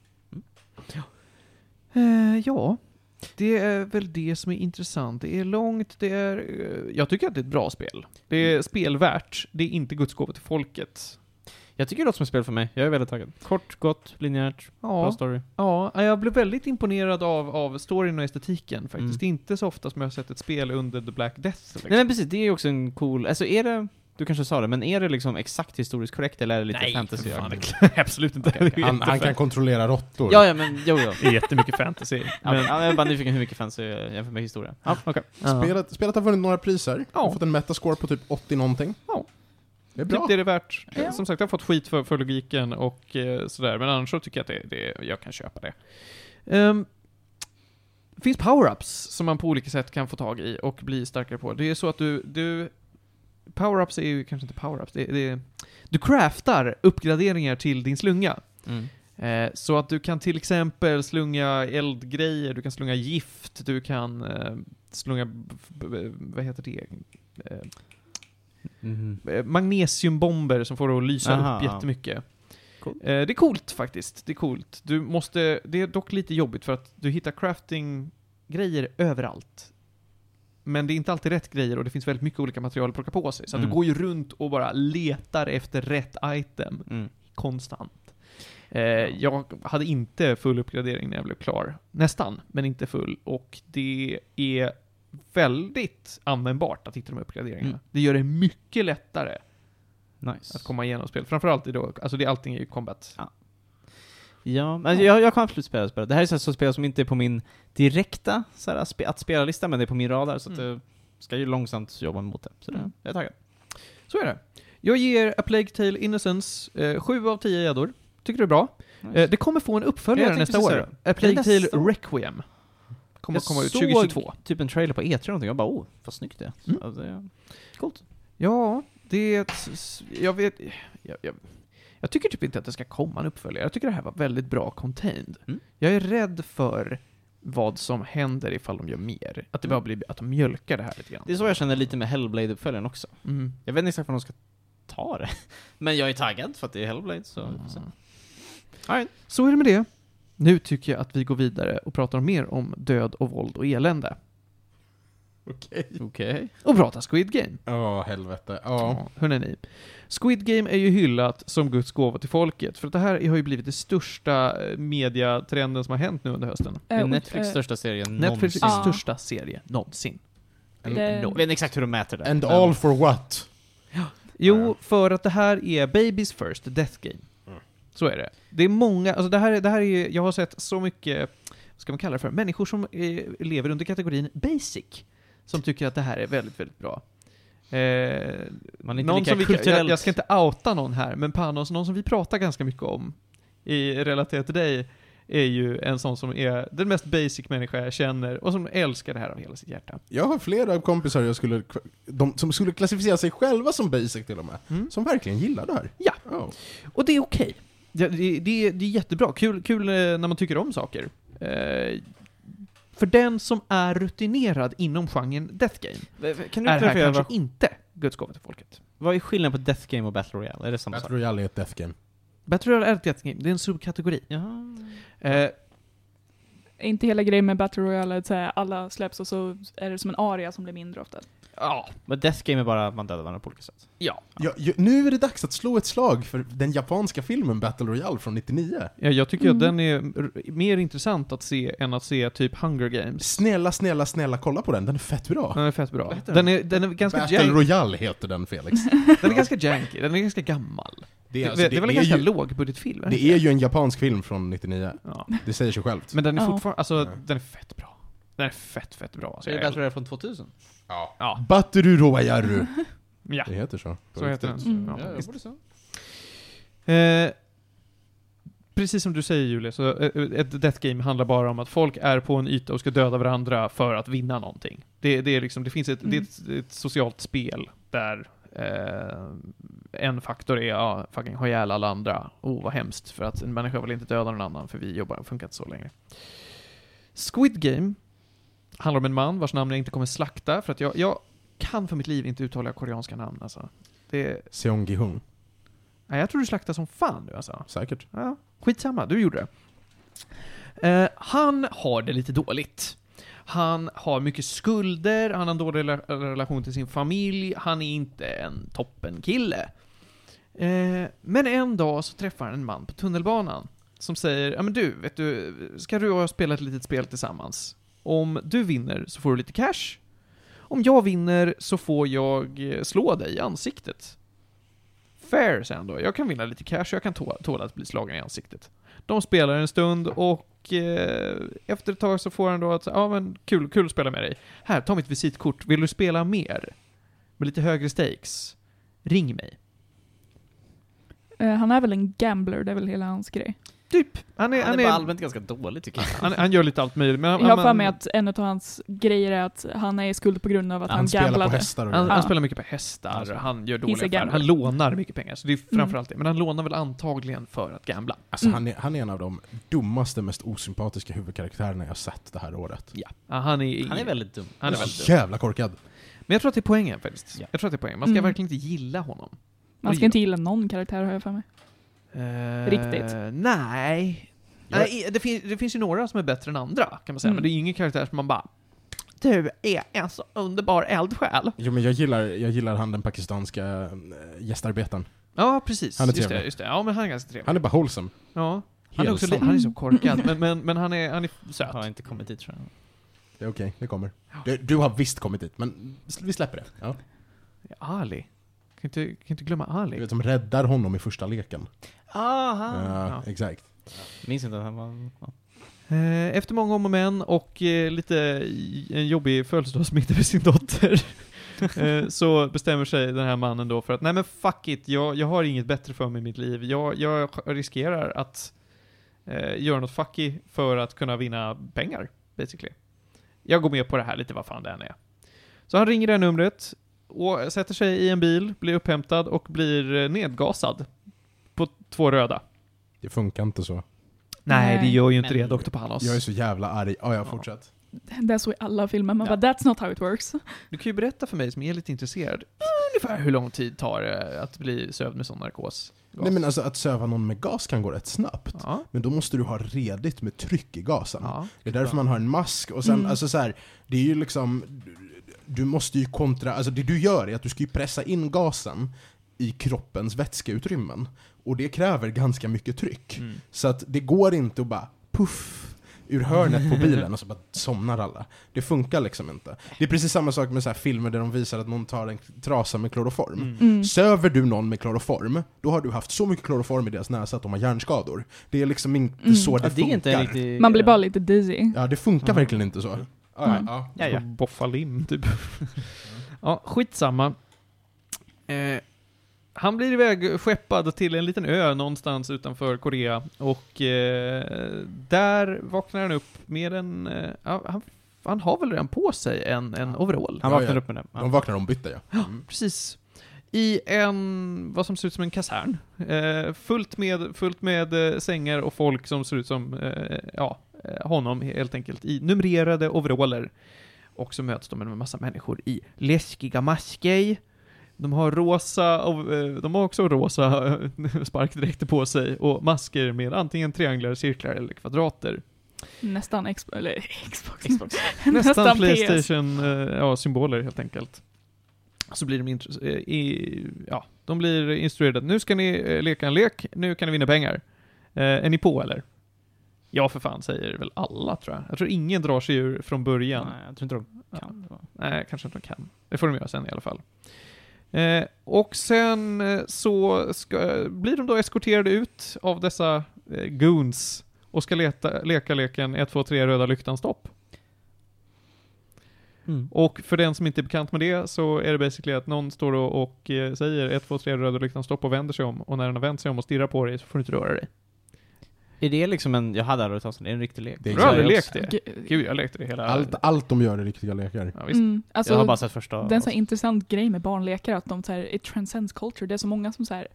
[SPEAKER 1] Eh, ja, det är väl det som är intressant. Det är långt, det är... eh, jag tycker att det är ett bra spel. Det är spelvärt, det är inte Guds gåva till folket.
[SPEAKER 3] Jag tycker det låter som ett spel för mig, jag är väldigt taggad. Kort, gott, linjärt, bra
[SPEAKER 1] Ja,
[SPEAKER 3] story.
[SPEAKER 1] ja, jag blev väldigt imponerad av, av storyn och estetiken faktiskt.
[SPEAKER 3] Mm.
[SPEAKER 1] Det är inte så ofta som jag har sett ett spel under The Black Death. Liksom.
[SPEAKER 3] Nej men precis, det är ju också en cool, alltså är det, du kanske sa det, men är det liksom exakt historiskt korrekt eller är det lite
[SPEAKER 1] Nej,
[SPEAKER 3] fantasy?
[SPEAKER 1] för fan,
[SPEAKER 3] absolut inte.
[SPEAKER 4] Han, han kan kontrollera råttor.
[SPEAKER 3] Ja, ja men jo, jo.
[SPEAKER 1] Det är jättemycket fantasy.
[SPEAKER 3] Ja, men, ja, jag är bara nyfiken hur mycket fantasy jag jämför med historia. Ja,
[SPEAKER 1] okej.
[SPEAKER 4] Spelet, spelet har vunnit några priser.
[SPEAKER 1] Ja.
[SPEAKER 4] Har fått en metascore på typ 80 någonting.
[SPEAKER 1] Ja.
[SPEAKER 4] Det är
[SPEAKER 1] Typ
[SPEAKER 4] bra.
[SPEAKER 1] det är det värt.
[SPEAKER 2] Ja.
[SPEAKER 1] Som sagt, jag har fått skit för, för logiken och eh, sådär, men annars så tycker jag att det, det, jag kan köpa det. Ehm, det finns power-ups som man på olika sätt kan få tag i och bli starkare på. Det är så att du... du power-ups är ju kanske inte power-ups, det, det, du craftar uppgraderingar till din slunga.
[SPEAKER 3] mm.
[SPEAKER 1] Eh, Så att du kan till exempel slunga eldgrejer, du kan slunga gift, du kan eh, slunga, b- b- vad heter det, Eh,
[SPEAKER 3] Mm.
[SPEAKER 1] eh, magnesiumbomber som får det att lysa
[SPEAKER 3] Aha,
[SPEAKER 1] upp
[SPEAKER 3] ja.
[SPEAKER 1] jättemycket.
[SPEAKER 3] Coolt.
[SPEAKER 1] Eh, Det är coolt faktiskt. Det är coolt. Du måste, det är dock lite jobbigt för att du hittar crafting-grejer överallt. Men det är inte alltid rätt grejer och det finns väldigt mycket olika material att plocka på sig. Så att
[SPEAKER 3] Mm.
[SPEAKER 1] du går ju runt och bara letar efter rätt item
[SPEAKER 3] Mm.
[SPEAKER 1] konstant. Eh, jag hade inte full uppgradering när jag blev klar. Nästan, men inte full. Och det är väldigt användbart att hitta de här uppgraderingarna.
[SPEAKER 3] Mm.
[SPEAKER 1] Det gör det mycket lättare
[SPEAKER 3] Nice.
[SPEAKER 1] att komma igenom spel. Framförallt i då, alltså det, allting är ju combat.
[SPEAKER 3] Ja, men Jag, jag kan absolut spela det spelet. Det här är så här så spel som inte är på min direkta så här, spe, att spela-lista, men det är på min radar, så att
[SPEAKER 1] Mm.
[SPEAKER 3] jag ska ju långsamt jobba mot det. Så det,
[SPEAKER 1] Mm.
[SPEAKER 3] jag är taggad.
[SPEAKER 1] Så är det. Jag ger A Plague Tale Innocence eh, 7 av 10 gäddor. Tycker det är bra.
[SPEAKER 3] Nice.
[SPEAKER 1] Eh, det kommer få en
[SPEAKER 3] Ja,
[SPEAKER 1] uppföljare
[SPEAKER 3] jag tänkte
[SPEAKER 1] nästa år.
[SPEAKER 3] precis
[SPEAKER 1] A Plague
[SPEAKER 3] nästa
[SPEAKER 1] Tale
[SPEAKER 3] år.
[SPEAKER 1] Requiem. Kommer
[SPEAKER 3] Jag
[SPEAKER 1] att komma ut
[SPEAKER 3] såg-
[SPEAKER 1] 2022.
[SPEAKER 3] typ en trailer på E3 eller någonting, jag bara oh, vad snyggt det är. Så,
[SPEAKER 1] Mm.
[SPEAKER 3] ja, det. Coolt.
[SPEAKER 1] Ja, det är ett, s- Jag vet... Jag, jag, jag tycker typ inte att det ska komma en uppföljare. Jag tycker det här var väldigt bra contained.
[SPEAKER 3] Mm.
[SPEAKER 1] Jag är rädd för vad som händer ifall de gör mer. Att det bara blir att de mjölkar Mm. det här lite grann.
[SPEAKER 3] Det är så jag känner lite med Hellblade-uppföljaren också.
[SPEAKER 1] Mm.
[SPEAKER 3] Jag vet inte exakt var de ska ta det. men jag är taggad för att det är Hellblade, så... så.
[SPEAKER 1] Mm.
[SPEAKER 3] All right.
[SPEAKER 1] Så är det med det. Nu tycker jag att vi går vidare och pratar mer om död och våld och elände.
[SPEAKER 4] Okej.
[SPEAKER 3] Okej.
[SPEAKER 1] Och pratar Squid Game.
[SPEAKER 4] Ja, helvete. Ja.
[SPEAKER 1] Ja, hörrni ni. Squid Game är ju hyllat som Guds gåva till folket, för att det här har ju blivit den största eh, mediatrenden som har hänt nu under hösten.
[SPEAKER 3] Det
[SPEAKER 2] Eh,
[SPEAKER 3] är
[SPEAKER 2] och-
[SPEAKER 3] Netflix
[SPEAKER 2] eh,
[SPEAKER 3] största serie
[SPEAKER 1] Netflix
[SPEAKER 3] någonsin.
[SPEAKER 1] är
[SPEAKER 2] Ja.
[SPEAKER 1] största serie någonsin.
[SPEAKER 2] det-
[SPEAKER 3] Jag vet inte exakt hur de mäter det.
[SPEAKER 4] And
[SPEAKER 3] men-
[SPEAKER 4] all for what?
[SPEAKER 3] Mm.
[SPEAKER 1] Jo, för att det här är Babies First Death Game. Så är det. Det är många, alltså det här, är- det här är, jag har sett så mycket, vad ska man kalla det för, människor som eh, lever under kategorin basic. Som tycker att det här är väldigt, väldigt bra. Eh,
[SPEAKER 3] Man är inte
[SPEAKER 1] någon
[SPEAKER 3] lika
[SPEAKER 1] som vi,
[SPEAKER 3] kulturellt...
[SPEAKER 1] jag, jag ska inte outa någon här, men Panos, någon som vi pratar ganska mycket om i relaterat till dig, är ju en sån som är den mest basic människa jag känner och som älskar det här av hela sitt hjärta.
[SPEAKER 4] Jag har flera kompisar jag skulle, de, som skulle klassificera sig själva som basic till och med,
[SPEAKER 1] Mm.
[SPEAKER 4] som verkligen gillar det här.
[SPEAKER 1] Ja.
[SPEAKER 4] Oh.
[SPEAKER 1] Och det är okej. Det, det, det, är- det är jättebra. Kul, kul eh, när man tycker om saker. Eh, för den som är rutinerad inom genren Death Game
[SPEAKER 3] Eh, Kan du
[SPEAKER 1] är här
[SPEAKER 3] förklara
[SPEAKER 1] kanske
[SPEAKER 3] vad,
[SPEAKER 1] inte Guds gåva till folket.
[SPEAKER 3] vad är skillnaden på Death Game och Battle Royale? Är det samma
[SPEAKER 4] Battle
[SPEAKER 3] sak?
[SPEAKER 4] Royale är ett death game.
[SPEAKER 1] Battle Royale är ett Death Game, det är en subkategori.
[SPEAKER 3] Jaha.
[SPEAKER 1] Eh,
[SPEAKER 2] Är inte hela grejen med Battle Royale att så här, alla släpps och så är det som en aria som blir mindre ofta?
[SPEAKER 1] ja,
[SPEAKER 3] Men Death Game är bara att man dödar varandra på olika sätt.
[SPEAKER 1] ja.
[SPEAKER 4] Ja, ju- nu är det dags att slå ett slag för den japanska filmen Battle Royale från 99.
[SPEAKER 1] Ja, jag tycker att
[SPEAKER 2] Mm.
[SPEAKER 1] den är r- mer intressant att se än att se typ Hunger Games.
[SPEAKER 4] Snälla, snälla, snälla kolla på den, den är fett bra.
[SPEAKER 1] Den är fett bra.
[SPEAKER 3] Vad heter
[SPEAKER 1] Den är, den är Mm. ganska
[SPEAKER 4] Battle
[SPEAKER 1] jank,
[SPEAKER 4] Royale heter den, Felix.
[SPEAKER 1] den är ganska janky, den är ganska gammal.
[SPEAKER 4] Det
[SPEAKER 1] Det,
[SPEAKER 4] är, alltså, det,
[SPEAKER 1] det är väl en
[SPEAKER 4] är
[SPEAKER 1] ganska
[SPEAKER 4] ju,
[SPEAKER 1] lågbudgetfilm? är det
[SPEAKER 4] det är ju en japansk film från 99.
[SPEAKER 1] Ja.
[SPEAKER 4] Det säger sig självt.
[SPEAKER 1] Men den är
[SPEAKER 2] Ja.
[SPEAKER 1] fortfarande, alltså
[SPEAKER 4] Ja.
[SPEAKER 1] den är fett bra. Den är fett, fett bra.
[SPEAKER 3] Så
[SPEAKER 1] Alltså,
[SPEAKER 3] är det
[SPEAKER 1] jag
[SPEAKER 3] Battle Royale från 2000?
[SPEAKER 4] Ja.
[SPEAKER 1] Ja.
[SPEAKER 4] Batteru Royaru.
[SPEAKER 1] Ja,
[SPEAKER 4] Det heter så.
[SPEAKER 1] så heter den.
[SPEAKER 2] Mm.
[SPEAKER 1] Ja.
[SPEAKER 3] jag borde så.
[SPEAKER 1] Eh, precis som du säger Julia, så eh, ett death game handlar bara om att folk är på en yta och ska döda varandra för att vinna någonting. Det, det, är liksom, det finns ett, det är ett, ett socialt spel där eh, en faktor är ja, fucking ha ihjäl alla andra. Oh, vad hemskt, för att en människa vill inte döda någon annan för vi jobbar, funkar inte så längre. Squid Game handlar om en man vars namn jag inte kommer slakta, för att jag, jag kan för mitt liv inte uttala koreanska namn alltså. Det,
[SPEAKER 4] Seong Gi-Hung.
[SPEAKER 1] nej, jag tror du slaktar som fan nu alltså.
[SPEAKER 4] Säkert.
[SPEAKER 1] Ja, skitsamma, du gjorde det. Eh, han har det lite dåligt. Han har mycket skulder, han har en dålig rela- relation till sin familj, han är inte en toppenkille. Eh, men en dag så träffar han en man på tunnelbanan som säger ja men du, vet du, ska du och jag spela ett litet spel tillsammans? Om du vinner så får du lite cash. Om jag vinner så får jag eh, slå dig i ansiktet. Fair, säger han då. Jag kan vinna lite cash och jag kan tå- tåla att bli slagen i ansiktet. De spelar en stund och eh, efter ett tag så får han då att, ja men kul, kul att spela med dig. Här, ta mitt visitkort. Vill du spela mer? Med lite högre stakes? Ring mig.
[SPEAKER 2] Eh, han är väl en gambler, det är väl hela hans grej.
[SPEAKER 1] Typ. Han, är,
[SPEAKER 3] Han
[SPEAKER 1] han,
[SPEAKER 3] är bara
[SPEAKER 1] är,
[SPEAKER 3] allmänt ganska dålig tycker jag.
[SPEAKER 1] han, han gör lite allt möjligt. Men han,
[SPEAKER 2] Jag har för
[SPEAKER 1] han-
[SPEAKER 2] mig att en av hans grejer är att han är i skuld på grund av att han,
[SPEAKER 4] Han spelar på
[SPEAKER 2] gamblade.
[SPEAKER 4] hästar och
[SPEAKER 1] han,
[SPEAKER 4] grejer.
[SPEAKER 1] han
[SPEAKER 2] Ja.
[SPEAKER 1] spelar mycket på hästar,
[SPEAKER 3] Alltså.
[SPEAKER 1] han gör
[SPEAKER 2] He's a
[SPEAKER 1] dåliga affärer,
[SPEAKER 2] gambler.
[SPEAKER 1] han lånar mycket pengar. Så det är
[SPEAKER 3] Mm.
[SPEAKER 1] framförallt det. Men han lånar väl antagligen för att gambla.
[SPEAKER 4] Alltså,
[SPEAKER 2] Mm.
[SPEAKER 4] han, är, han är en av de dummaste, mest osympatiska huvudkaraktärerna jag sett det här året.
[SPEAKER 1] Ja. Han är,
[SPEAKER 3] Han är väldigt dum.
[SPEAKER 1] han är väldigt dum.
[SPEAKER 4] Jävla korkad.
[SPEAKER 1] Men jag tror att det är poängen faktiskt.
[SPEAKER 3] Ja.
[SPEAKER 1] Jag tror att det är poängen. Man ska
[SPEAKER 2] Mm.
[SPEAKER 1] verkligen inte gilla honom.
[SPEAKER 2] Man ska inte gilla någon karaktär har jag för mig.
[SPEAKER 1] Eh,
[SPEAKER 2] Riktigt.
[SPEAKER 1] Nej.
[SPEAKER 4] Jag-
[SPEAKER 1] nej det, fin- det finns ju några som är bättre än andra, kan man säga.
[SPEAKER 2] Mm.
[SPEAKER 1] Men det är ju ingen karaktär som man bara Du är en så underbar eldsjäl.
[SPEAKER 4] Jo men jag gillar, jag gillar han den pakistanska äh, gästarbetaren.
[SPEAKER 1] Ja, precis.
[SPEAKER 4] Han är
[SPEAKER 1] just det,
[SPEAKER 4] trevlig.
[SPEAKER 1] just det. Ja, men han är ganska trevlig.
[SPEAKER 4] Han är bara wholesome.
[SPEAKER 1] ja. han, är också, li-
[SPEAKER 4] Helsam.
[SPEAKER 1] han är så korkad, men, men, men han är, han är söt.
[SPEAKER 3] Jag har inte kommit dit tror jag.
[SPEAKER 4] Det är okej, det kommer. Du, du har visst kommit dit, men s- vi släpper det. Ja.
[SPEAKER 1] Ali. Kan inte, kan inte glömma
[SPEAKER 4] Du
[SPEAKER 1] Ali. Ah,
[SPEAKER 4] vet, som räddar honom i första leken.
[SPEAKER 3] Aha.
[SPEAKER 4] ja,
[SPEAKER 1] ja.
[SPEAKER 4] exakt.
[SPEAKER 3] Minns inte att han var... Ja.
[SPEAKER 1] Eh, Efter många om och men och eh, lite i- en jobbig födelsedagsmiddag med sin dotter eh, så bestämmer sig den här mannen då för att nej men fuck it, jag, jag har inget bättre för mig i mitt liv. Jag, jag riskerar att eh, göra något fucky för att kunna vinna pengar, basically. Jag går med på det här lite vad fan det än är. Så han ringer det här numret och sätter sig i en bil, blir upphämtad och blir eh, nedgasad på två röda.
[SPEAKER 4] Det funkar inte så.
[SPEAKER 1] Nej, det
[SPEAKER 2] Nej.
[SPEAKER 1] gör ju inte
[SPEAKER 3] Men-
[SPEAKER 1] det, Dr. Panos.
[SPEAKER 4] Jag är så jävla arg. Ja,
[SPEAKER 1] Ja.
[SPEAKER 4] jag fortsätt.
[SPEAKER 2] Det är så i alla filmer, man
[SPEAKER 1] Ja.
[SPEAKER 2] bara that's not how it works.
[SPEAKER 1] Du kan ju berätta för mig som är lite intresserad, ungefär hur lång tid tar det att bli sövd med sån narkos? Gas.
[SPEAKER 4] Nej men alltså att söva någon med gas kan gå rätt snabbt.
[SPEAKER 1] Ja.
[SPEAKER 4] Men då måste du ha redigt med tryck i gasen.
[SPEAKER 1] ja.
[SPEAKER 4] Det är därför man har en mask och sen,
[SPEAKER 2] Mm.
[SPEAKER 4] alltså så här, det är ju liksom, du- du måste ju kontra, alltså det du gör är att du ska ju pressa in gasen i kroppens vätskeutrymmen. Och det kräver ganska mycket tryck.
[SPEAKER 1] Mm.
[SPEAKER 4] Så att det går inte att bara puff, ur hörnet på bilen och så bara somnar alla. Det funkar liksom inte. Det är precis samma sak med så här filmer där de visar att någon tar en trasa med kloroform.
[SPEAKER 2] Mm.
[SPEAKER 4] Söver du någon med kloroform, då har du haft så mycket kloroform i deras näsa att de har hjärnskador. Det är liksom inte
[SPEAKER 2] Mm.
[SPEAKER 4] så det,
[SPEAKER 3] Ja, det är
[SPEAKER 4] funkar.
[SPEAKER 3] inte en riktig...
[SPEAKER 2] Man blir bara lite dizzy.
[SPEAKER 4] Ja, det funkar
[SPEAKER 1] Mm.
[SPEAKER 4] verkligen inte så. Ja, ja,
[SPEAKER 2] Mm.
[SPEAKER 4] ja.
[SPEAKER 1] Ja, ja. Boffa lim, typ. ja, skitsamma. Eh, han blir iväg skeppad till en liten ö någonstans utanför Korea och eh, där vaknar han upp med en... Eh, ja, han, han har väl redan på sig en, en overall? Han
[SPEAKER 4] Ja,
[SPEAKER 1] vaknar
[SPEAKER 4] ja.
[SPEAKER 1] upp med den. Ja.
[SPEAKER 4] De vaknar ombytta ja. Mm.
[SPEAKER 1] Precis. I en, vad som ser ut som en kasern. Eh, fullt med, fullt med eh, sängar och folk som ser ut som, eh, ja, eh, honom helt enkelt. I numrerade overaller. Och så möts de med en massa människor i läskiga masker. De har rosa, och, eh, de har också rosa eh, sparkdräkter på sig och masker med antingen trianglar, cirklar eller kvadrater.
[SPEAKER 2] Nästan Xbox, eller Xbox.
[SPEAKER 3] Xbox.
[SPEAKER 1] Nästan,
[SPEAKER 2] Nästan PS.
[SPEAKER 1] Playstation-symboler helt enkelt. Så blir de, intro- eh, i, ja, de blir instruerade att nu ska ni eh, leka en lek, nu kan ni vinna pengar. Eh, är ni på eller? Ja för fan, säger väl alla tror jag. Jag tror ingen drar sig ur från början.
[SPEAKER 3] Nej, jag tror inte de kan.
[SPEAKER 1] Nej, kanske inte de kan. Det får de göra sen i alla fall. Eh, och sen eh, så ska, blir de då eskorterade ut av dessa eh, goons och ska leta, leka leken 1, 2, 3 röda lyktan stopp. Och för den som inte är bekant med det så är det basically att någon står och, och eh, säger 1, 2, 3 röda lyktan stopp och vänder sig om och när den har vänt sig om och stirrar på dig så får du inte röra dig.
[SPEAKER 3] Är det liksom en, jag hade aldrig hört talas om det, är det en riktig lek?
[SPEAKER 4] Det är
[SPEAKER 3] I
[SPEAKER 1] Har du aldrig
[SPEAKER 3] Sverige
[SPEAKER 1] lekt
[SPEAKER 3] också?
[SPEAKER 1] det?
[SPEAKER 2] G-
[SPEAKER 1] Gud, jag lekte det hela...
[SPEAKER 4] Allt, allt de gör är riktiga lekar.
[SPEAKER 1] Ja, visst.
[SPEAKER 2] Mm, alltså,
[SPEAKER 3] Jag har bara sett första...
[SPEAKER 2] det är en så här intressant grej med barnlekar, att de så här, it transcends culture. Det är så många som så här,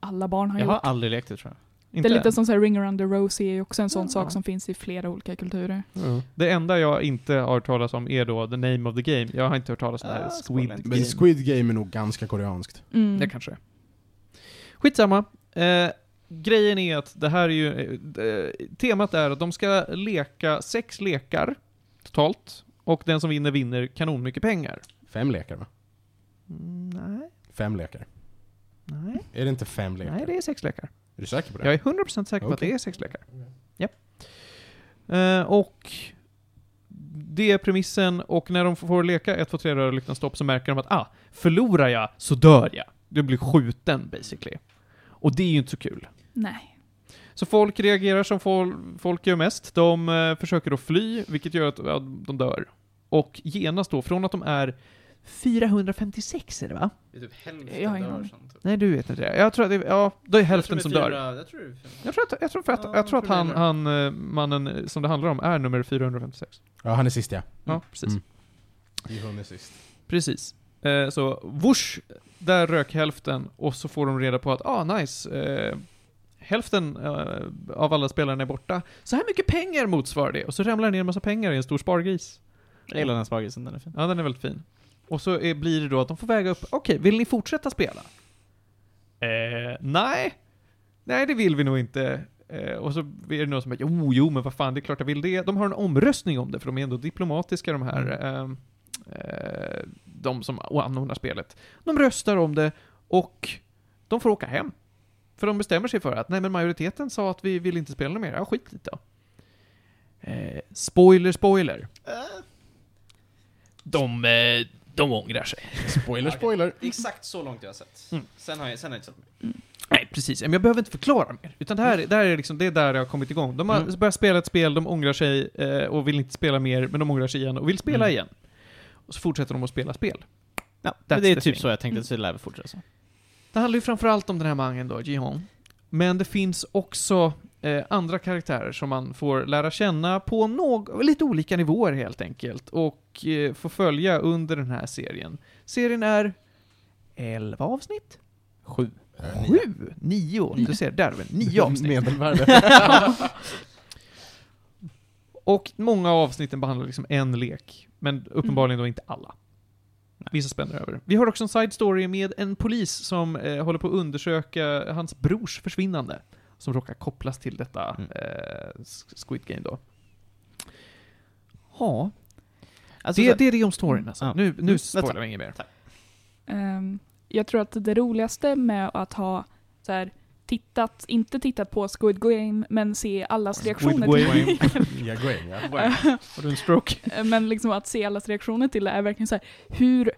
[SPEAKER 2] alla barn har
[SPEAKER 3] jag har
[SPEAKER 2] gjort.
[SPEAKER 3] aldrig lekt det tror jag.
[SPEAKER 2] Det
[SPEAKER 1] Inte
[SPEAKER 2] är
[SPEAKER 1] än.
[SPEAKER 2] lite som så här, ring around the Rosie är ju också en sån
[SPEAKER 1] Ja.
[SPEAKER 2] sak som finns i flera olika kulturer.
[SPEAKER 1] Det enda jag inte har hört talas om är då the name of the game. Jag har inte hört talas om det här
[SPEAKER 3] Ah,
[SPEAKER 1] Squid
[SPEAKER 3] spoiler inte.
[SPEAKER 1] Game.
[SPEAKER 4] Men Squid Game är nog ganska koreanskt.
[SPEAKER 2] Mm.
[SPEAKER 1] Det kanske är. Skitsamma. Eh, grejen är att det här är ju... eh, Eh, temat är att de ska leka sex lekar totalt. Och den som vinner vinner kanon mycket pengar. Mm,
[SPEAKER 4] Fem lekar va?
[SPEAKER 1] nej,
[SPEAKER 4] Fem lekar.
[SPEAKER 1] nej,
[SPEAKER 4] Är det inte fem lekar?
[SPEAKER 1] nej, det är sex lekar.
[SPEAKER 4] Är du säker på det?
[SPEAKER 1] Jag är 100% säker på att
[SPEAKER 4] Okej.
[SPEAKER 1] det är sex lekar. Japp. Eh, och det är premissen, och när de får leka 1, 2, 3 röra lyktan stopp så märker de att ah, förlorar jag så dör jag. Du blir skjuten basically. Och det är ju inte så kul.
[SPEAKER 2] Nej.
[SPEAKER 1] Så folk reagerar som fol- folk gör mest. De eh, försöker då fly, vilket gör att ja, de dör. Och genast då, från att de är 456 är det va?
[SPEAKER 3] Det är typ
[SPEAKER 2] Jag har
[SPEAKER 3] hälften
[SPEAKER 2] ingen dör aning.
[SPEAKER 1] Nej, du vet inte det. Jag tror att det är, ja, det är hälften som dör.
[SPEAKER 3] typ. Jag tror det är fyra.
[SPEAKER 1] Jag tror att, jag tror att,
[SPEAKER 3] Ja,
[SPEAKER 1] jag tror att han,
[SPEAKER 3] jag
[SPEAKER 1] han, eh, mannen eh, som det handlar om är nummer 456.
[SPEAKER 4] Ja, han är sist ja.
[SPEAKER 1] Ja,
[SPEAKER 3] Mm.
[SPEAKER 1] precis.
[SPEAKER 4] Mm. Hon är sist.
[SPEAKER 1] Precis. Eh, så, whoosh! Där rök hälften och så får de reda på att, ah, nice. Eh, hälften eh, av alla spelarna är borta. Så här mycket pengar motsvarar det. Och så ramlar det ner en massa pengar i en stor spargris.
[SPEAKER 3] Jag gillar den här spargrisen, den är fin.
[SPEAKER 1] Ja, den är väldigt fin. Och så är, blir det då att de får väga upp, okej, vill ni fortsätta spela? Eh, nej. Nej, det vill vi nog inte. Eh, och så är det någon som bara, jo, jo, men vad fan, det är klart jag vill det. De har en omröstning om det, för de är ändå diplomatiska de här, eh, eh, de som anordnar spelet. De röstar om det och de får åka hem. För de bestämmer sig för att, nej men majoriteten sa att vi vill inte spela något mer, ja skit lite då. Eh, spoiler, spoiler. De, eh, de ångrar sig.
[SPEAKER 4] Spoiler, spoiler.
[SPEAKER 3] Exakt så långt jag har sett.
[SPEAKER 1] Mm.
[SPEAKER 3] Sen har jag, sen har jag inte sett mer.
[SPEAKER 1] Nej, precis. Men jag behöver inte förklara mer. Utan det här, det här är liksom, det är där jag har kommit igång. De har
[SPEAKER 3] Mm.
[SPEAKER 1] börjat spela ett spel, de ångrar sig eh, och vill inte spela mer, men de ångrar sig igen och vill spela
[SPEAKER 3] Mm.
[SPEAKER 1] igen. Och så fortsätter de att spela spel.
[SPEAKER 3] Ja,
[SPEAKER 1] That's
[SPEAKER 3] men det är
[SPEAKER 1] the
[SPEAKER 3] typ
[SPEAKER 1] thing.
[SPEAKER 3] så jag tänkte, att det lär vi fortsätta så.
[SPEAKER 1] Det handlar ju framförallt om den här mangen då, Jihong. Men det finns också eh, andra karaktärer som man får lära känna på någ- lite olika nivåer helt enkelt. Och eh, får följa under den här serien. Serien är 11 avsnitt?
[SPEAKER 3] Sju.
[SPEAKER 1] Sju? Nio? Du ser, där har vi det. Nio avsnitt.
[SPEAKER 4] Medelvärde.
[SPEAKER 1] Och många av avsnitten behandlar liksom en lek, men uppenbarligen då inte alla. Vissa spänner över. Vi har också en side story med en polis som eh, håller på att undersöka hans brors försvinnande, som råkar kopplas till detta
[SPEAKER 3] Mm.
[SPEAKER 1] eh, s- Squid Game då. Ja,
[SPEAKER 3] Alltså,
[SPEAKER 1] det,
[SPEAKER 3] så,
[SPEAKER 1] det är det om storyn alltså.
[SPEAKER 3] Ja.
[SPEAKER 1] Nu, nu
[SPEAKER 3] Mm,
[SPEAKER 1] spoilar
[SPEAKER 3] vänta.
[SPEAKER 1] vi inget mer.
[SPEAKER 2] Ehm, jag tror att det roligaste med att ha så här, tittat, inte tittat på Squid Game, men se allas reaktioner
[SPEAKER 1] Game.
[SPEAKER 2] till
[SPEAKER 4] Ja, Graham, ja.
[SPEAKER 1] Har du en stroke?
[SPEAKER 2] Men liksom att se allas reaktioner till det är verkligen så här, hur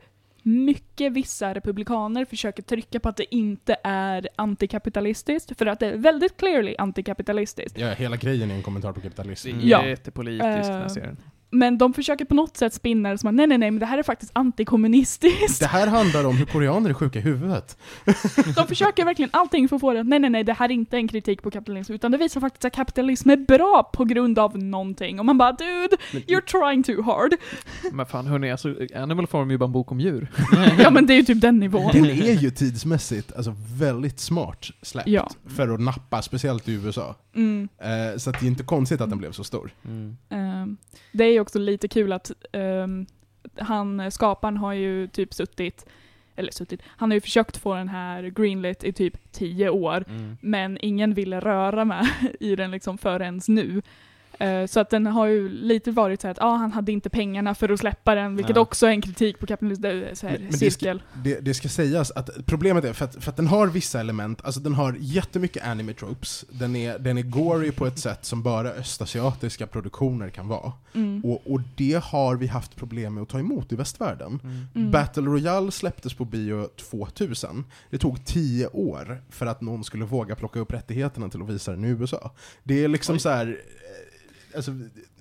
[SPEAKER 2] mycket vissa republikaner försöker trycka på att det inte är antikapitalistiskt, för att det är väldigt clearly antikapitalistiskt.
[SPEAKER 4] ja, hela grejen är en kommentar på kapitalism.
[SPEAKER 1] Det är
[SPEAKER 2] Ja.
[SPEAKER 1] jättepolitiskt den här
[SPEAKER 2] Eh,
[SPEAKER 1] serien.
[SPEAKER 2] Men de försöker på något sätt spinna det som att nej, nej, nej, men det här är faktiskt antikommunistiskt.
[SPEAKER 4] Det här handlar om hur koreaner är sjuka i huvudet.
[SPEAKER 2] De försöker verkligen allting för att få det att nej, nej, nej, det här är inte en kritik på kapitalism, utan det visar faktiskt att kapitalism är bra på grund av någonting. Och man bara dude, you're trying too hard.
[SPEAKER 1] Men fan hörni, alltså Animal Farm är ju bara en bok om djur.
[SPEAKER 2] Ja men det är ju typ den nivån.
[SPEAKER 4] Den är ju tidsmässigt alltså, väldigt smart släppt
[SPEAKER 2] Ja.
[SPEAKER 4] för att nappa, speciellt i USA.
[SPEAKER 2] Mm.
[SPEAKER 4] Eh, så att det är inte konstigt att den blev så stor.
[SPEAKER 3] Mm.
[SPEAKER 2] Ehm, det är ju också lite kul att ehm, han, skaparen har ju typ suttit, eller suttit, han har ju försökt få den här greenlit i typ tio år,
[SPEAKER 3] Mm.
[SPEAKER 2] men ingen ville röra med i den liksom förrän nu. Eh, Så att den har ju lite varit så här att ah, han hade inte pengarna för att släppa den, vilket
[SPEAKER 3] Ja.
[SPEAKER 2] också är en kritik på kapitalism, det är så här,
[SPEAKER 4] Men- men det ska-
[SPEAKER 2] cirkel.
[SPEAKER 4] Det, det ska sägas att problemet är, för att, för att den har vissa element, alltså den har jättemycket anime tropes, den är, den är gory på ett sätt som bara östasiatiska produktioner kan vara.
[SPEAKER 2] Mm.
[SPEAKER 4] Och, och det har vi haft problem med att ta emot i västvärlden.
[SPEAKER 2] Mm.
[SPEAKER 4] Battle Royale släpptes på bio 2000. Det tog 10 år för att någon skulle våga plocka upp rättigheterna till att visa den i USA. Det är liksom så här. eh, Alltså,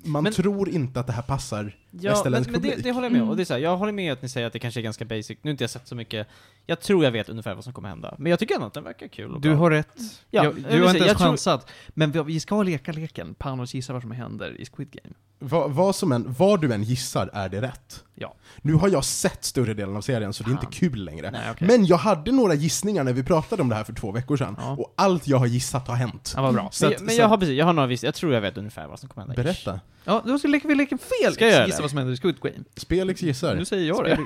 [SPEAKER 4] man
[SPEAKER 3] Men-
[SPEAKER 4] tror inte att det här passar.
[SPEAKER 3] Ja, men,
[SPEAKER 4] Västerländsk
[SPEAKER 3] men det,
[SPEAKER 4] publik.
[SPEAKER 3] det håller jag med om.
[SPEAKER 2] Mm.
[SPEAKER 3] Och det är så här, jag håller med att ni säger att det kanske är ganska basic. Nu har inte jag sett så mycket. Jag tror jag vet ungefär vad som kommer hända. Men jag tycker ändå att den verkar kul och
[SPEAKER 1] Du
[SPEAKER 3] bra.
[SPEAKER 1] har rätt.
[SPEAKER 3] Ja,
[SPEAKER 1] jag,
[SPEAKER 3] jag
[SPEAKER 1] du
[SPEAKER 3] vill
[SPEAKER 1] har
[SPEAKER 3] säga,
[SPEAKER 1] inte ens
[SPEAKER 3] jag tror-
[SPEAKER 1] chansat. Men vi, vi ska leka leken. Panos gissa vad som händer i Squid Game.
[SPEAKER 4] Vad, vad, som än, vad du än gissar är det rätt.
[SPEAKER 1] Ja.
[SPEAKER 4] Nu har jag sett större delen av serien så det är inte
[SPEAKER 1] Fan.
[SPEAKER 4] kul längre.
[SPEAKER 1] Nej, okej.
[SPEAKER 4] Men jag hade några gissningar när vi pratade om det här för två veckor sedan.
[SPEAKER 1] Ja.
[SPEAKER 4] Och allt jag har gissat har hänt.
[SPEAKER 1] Ja, vad bra.
[SPEAKER 4] Så
[SPEAKER 3] men
[SPEAKER 4] att-
[SPEAKER 3] men
[SPEAKER 4] så
[SPEAKER 3] jag
[SPEAKER 4] att-
[SPEAKER 3] har precis, jag har några viss, jag tror jag vet ungefär vad som kommer hända.
[SPEAKER 4] Berätta.
[SPEAKER 1] Ja, då ska leka vi leken fel.
[SPEAKER 3] Ska jag göra
[SPEAKER 1] gissa
[SPEAKER 3] det?
[SPEAKER 1] vad som händer i Squid Game.
[SPEAKER 4] Spelix gissar.
[SPEAKER 1] Nu säger jag det.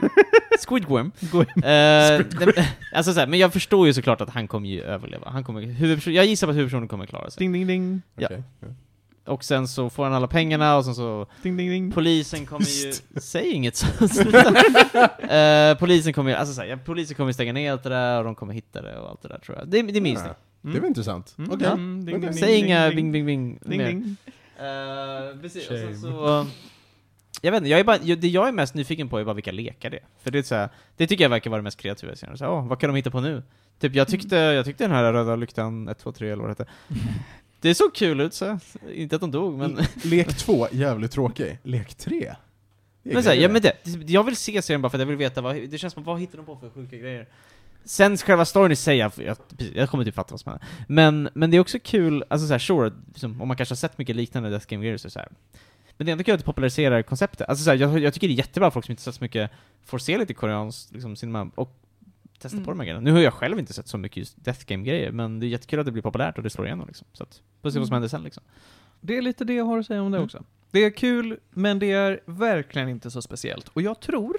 [SPEAKER 3] Squid Game.
[SPEAKER 1] Gå-
[SPEAKER 3] Eh, nej, men- alltså så här, men jag förstår ju såklart att han kommer ju överleva. Han kommer, huvudperson, jag gissar på att huvudpersonen kommer klara sig.
[SPEAKER 1] Ding, ding, ding.
[SPEAKER 3] Ja.
[SPEAKER 4] Okej. Ja.
[SPEAKER 3] Och sen så får han alla pengarna och sen så
[SPEAKER 1] Ding, ding, ding.
[SPEAKER 3] Polisen kommer ju... Säg inget så. Sluta. Eh, polisen kommer ju, alltså så här, ja, polisen kommer ju stänga ner allt det där och de kommer hitta det och allt det där tror jag. Det, det minns ni.
[SPEAKER 4] Ja. Det var intressant.
[SPEAKER 1] Mm,
[SPEAKER 4] Okej.
[SPEAKER 1] mm, ding, ding,
[SPEAKER 3] Säg
[SPEAKER 1] ding,
[SPEAKER 3] inga
[SPEAKER 1] ding,
[SPEAKER 3] bing bing bing.
[SPEAKER 1] Ding,
[SPEAKER 3] mer.
[SPEAKER 1] ding.
[SPEAKER 3] Eh, precis, och sen
[SPEAKER 4] Shame.
[SPEAKER 3] så... Jag vet inte, jag är bara, jag- det jag är mest nyfiken på är bara vilka lekar det är. För det är så här, det tycker jag verkar vara det mest kreativa i serien. Så här, Åh, vad kan de hitta på nu? Typ jag tyckte, jag tyckte den här röda lyktan 1, 2, 3 eller vad det hette. Det såg kul ut så, här. inte att de dog men...
[SPEAKER 4] Lek två, jävligt tråkig. Lek tre? Det är
[SPEAKER 3] Men, så här,
[SPEAKER 4] grejer.
[SPEAKER 3] ja, men det, jag vill se serien bara för att jag vill veta vad, det känns som, vad hittar de på för sjuka grejer? Sen själva storyn i sig, jag, jag, precis, jag kommer typ fatta vad som händer. Men, men det är också kul, alltså såhär sure, liksom, om man kanske har sett mycket liknande Death Game Gears och så här. Men det är ändå kul att det populariserar konceptet. Alltså så här, jag, jag tycker det är jättebra att folk som inte sett så mycket får se lite koreansk liksom, cinema och testa
[SPEAKER 2] Mm.
[SPEAKER 3] på de här grejerna. Nu har jag själv inte sett så mycket just Death Game-grejer, men det är jättekul att det blir populärt och det slår igenom liksom. Så att, får se vad som
[SPEAKER 2] Mm.
[SPEAKER 3] händer sen liksom.
[SPEAKER 1] Det är lite det jag har att säga om det
[SPEAKER 3] Mm.
[SPEAKER 1] också. Det är kul, men det är verkligen inte så speciellt. Och jag tror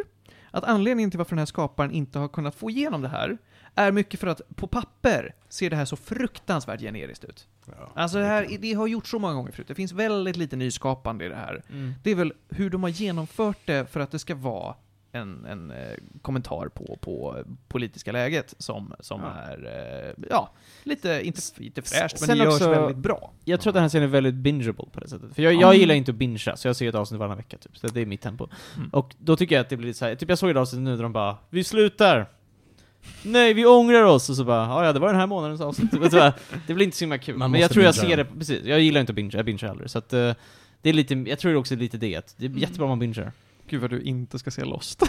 [SPEAKER 1] att anledningen till varför den här skaparen inte har kunnat få igenom det här är mycket för att på papper ser det här så fruktansvärt generiskt ut.
[SPEAKER 4] Ja.
[SPEAKER 1] Alltså det här, det har gjorts så många gånger förut. Det finns väldigt lite nyskapande i det här.
[SPEAKER 3] Mm.
[SPEAKER 1] Det är väl hur de har genomfört det för att det ska vara en, en eh, kommentar på, på politiska läget som, som
[SPEAKER 3] Ja.
[SPEAKER 1] är, eh, ja, lite, inte, inte fräscht, men
[SPEAKER 3] sen
[SPEAKER 1] det görs
[SPEAKER 3] också-
[SPEAKER 1] väldigt bra.
[SPEAKER 3] Jag tror att den här serien är väldigt bingeable på det sättet. För jag, jag
[SPEAKER 2] Mm.
[SPEAKER 3] gillar inte att bingea, så jag ser ett avsnitt varannan vecka typ. Så det är mitt tempo.
[SPEAKER 1] Mm.
[SPEAKER 3] Och då tycker jag att det blir så här. typ jag såg ett avsnitt nu där de bara 'Vi slutar! Nej, vi ångrar oss!' Och så bara 'Ja, ja, det var den här månadens avsnitt' Och så bara, Det blir inte så himla kul.
[SPEAKER 4] Man
[SPEAKER 3] Men jag
[SPEAKER 4] måste
[SPEAKER 3] tror jag
[SPEAKER 4] bingea
[SPEAKER 3] ser det,
[SPEAKER 4] den.
[SPEAKER 3] precis. Jag gillar inte att bingea, jag bingear aldrig. Så att eh, det är lite, jag tror också lite det att det är
[SPEAKER 2] Mm.
[SPEAKER 3] jättebra om man bingear.
[SPEAKER 1] Gud vad du inte ska se Lost.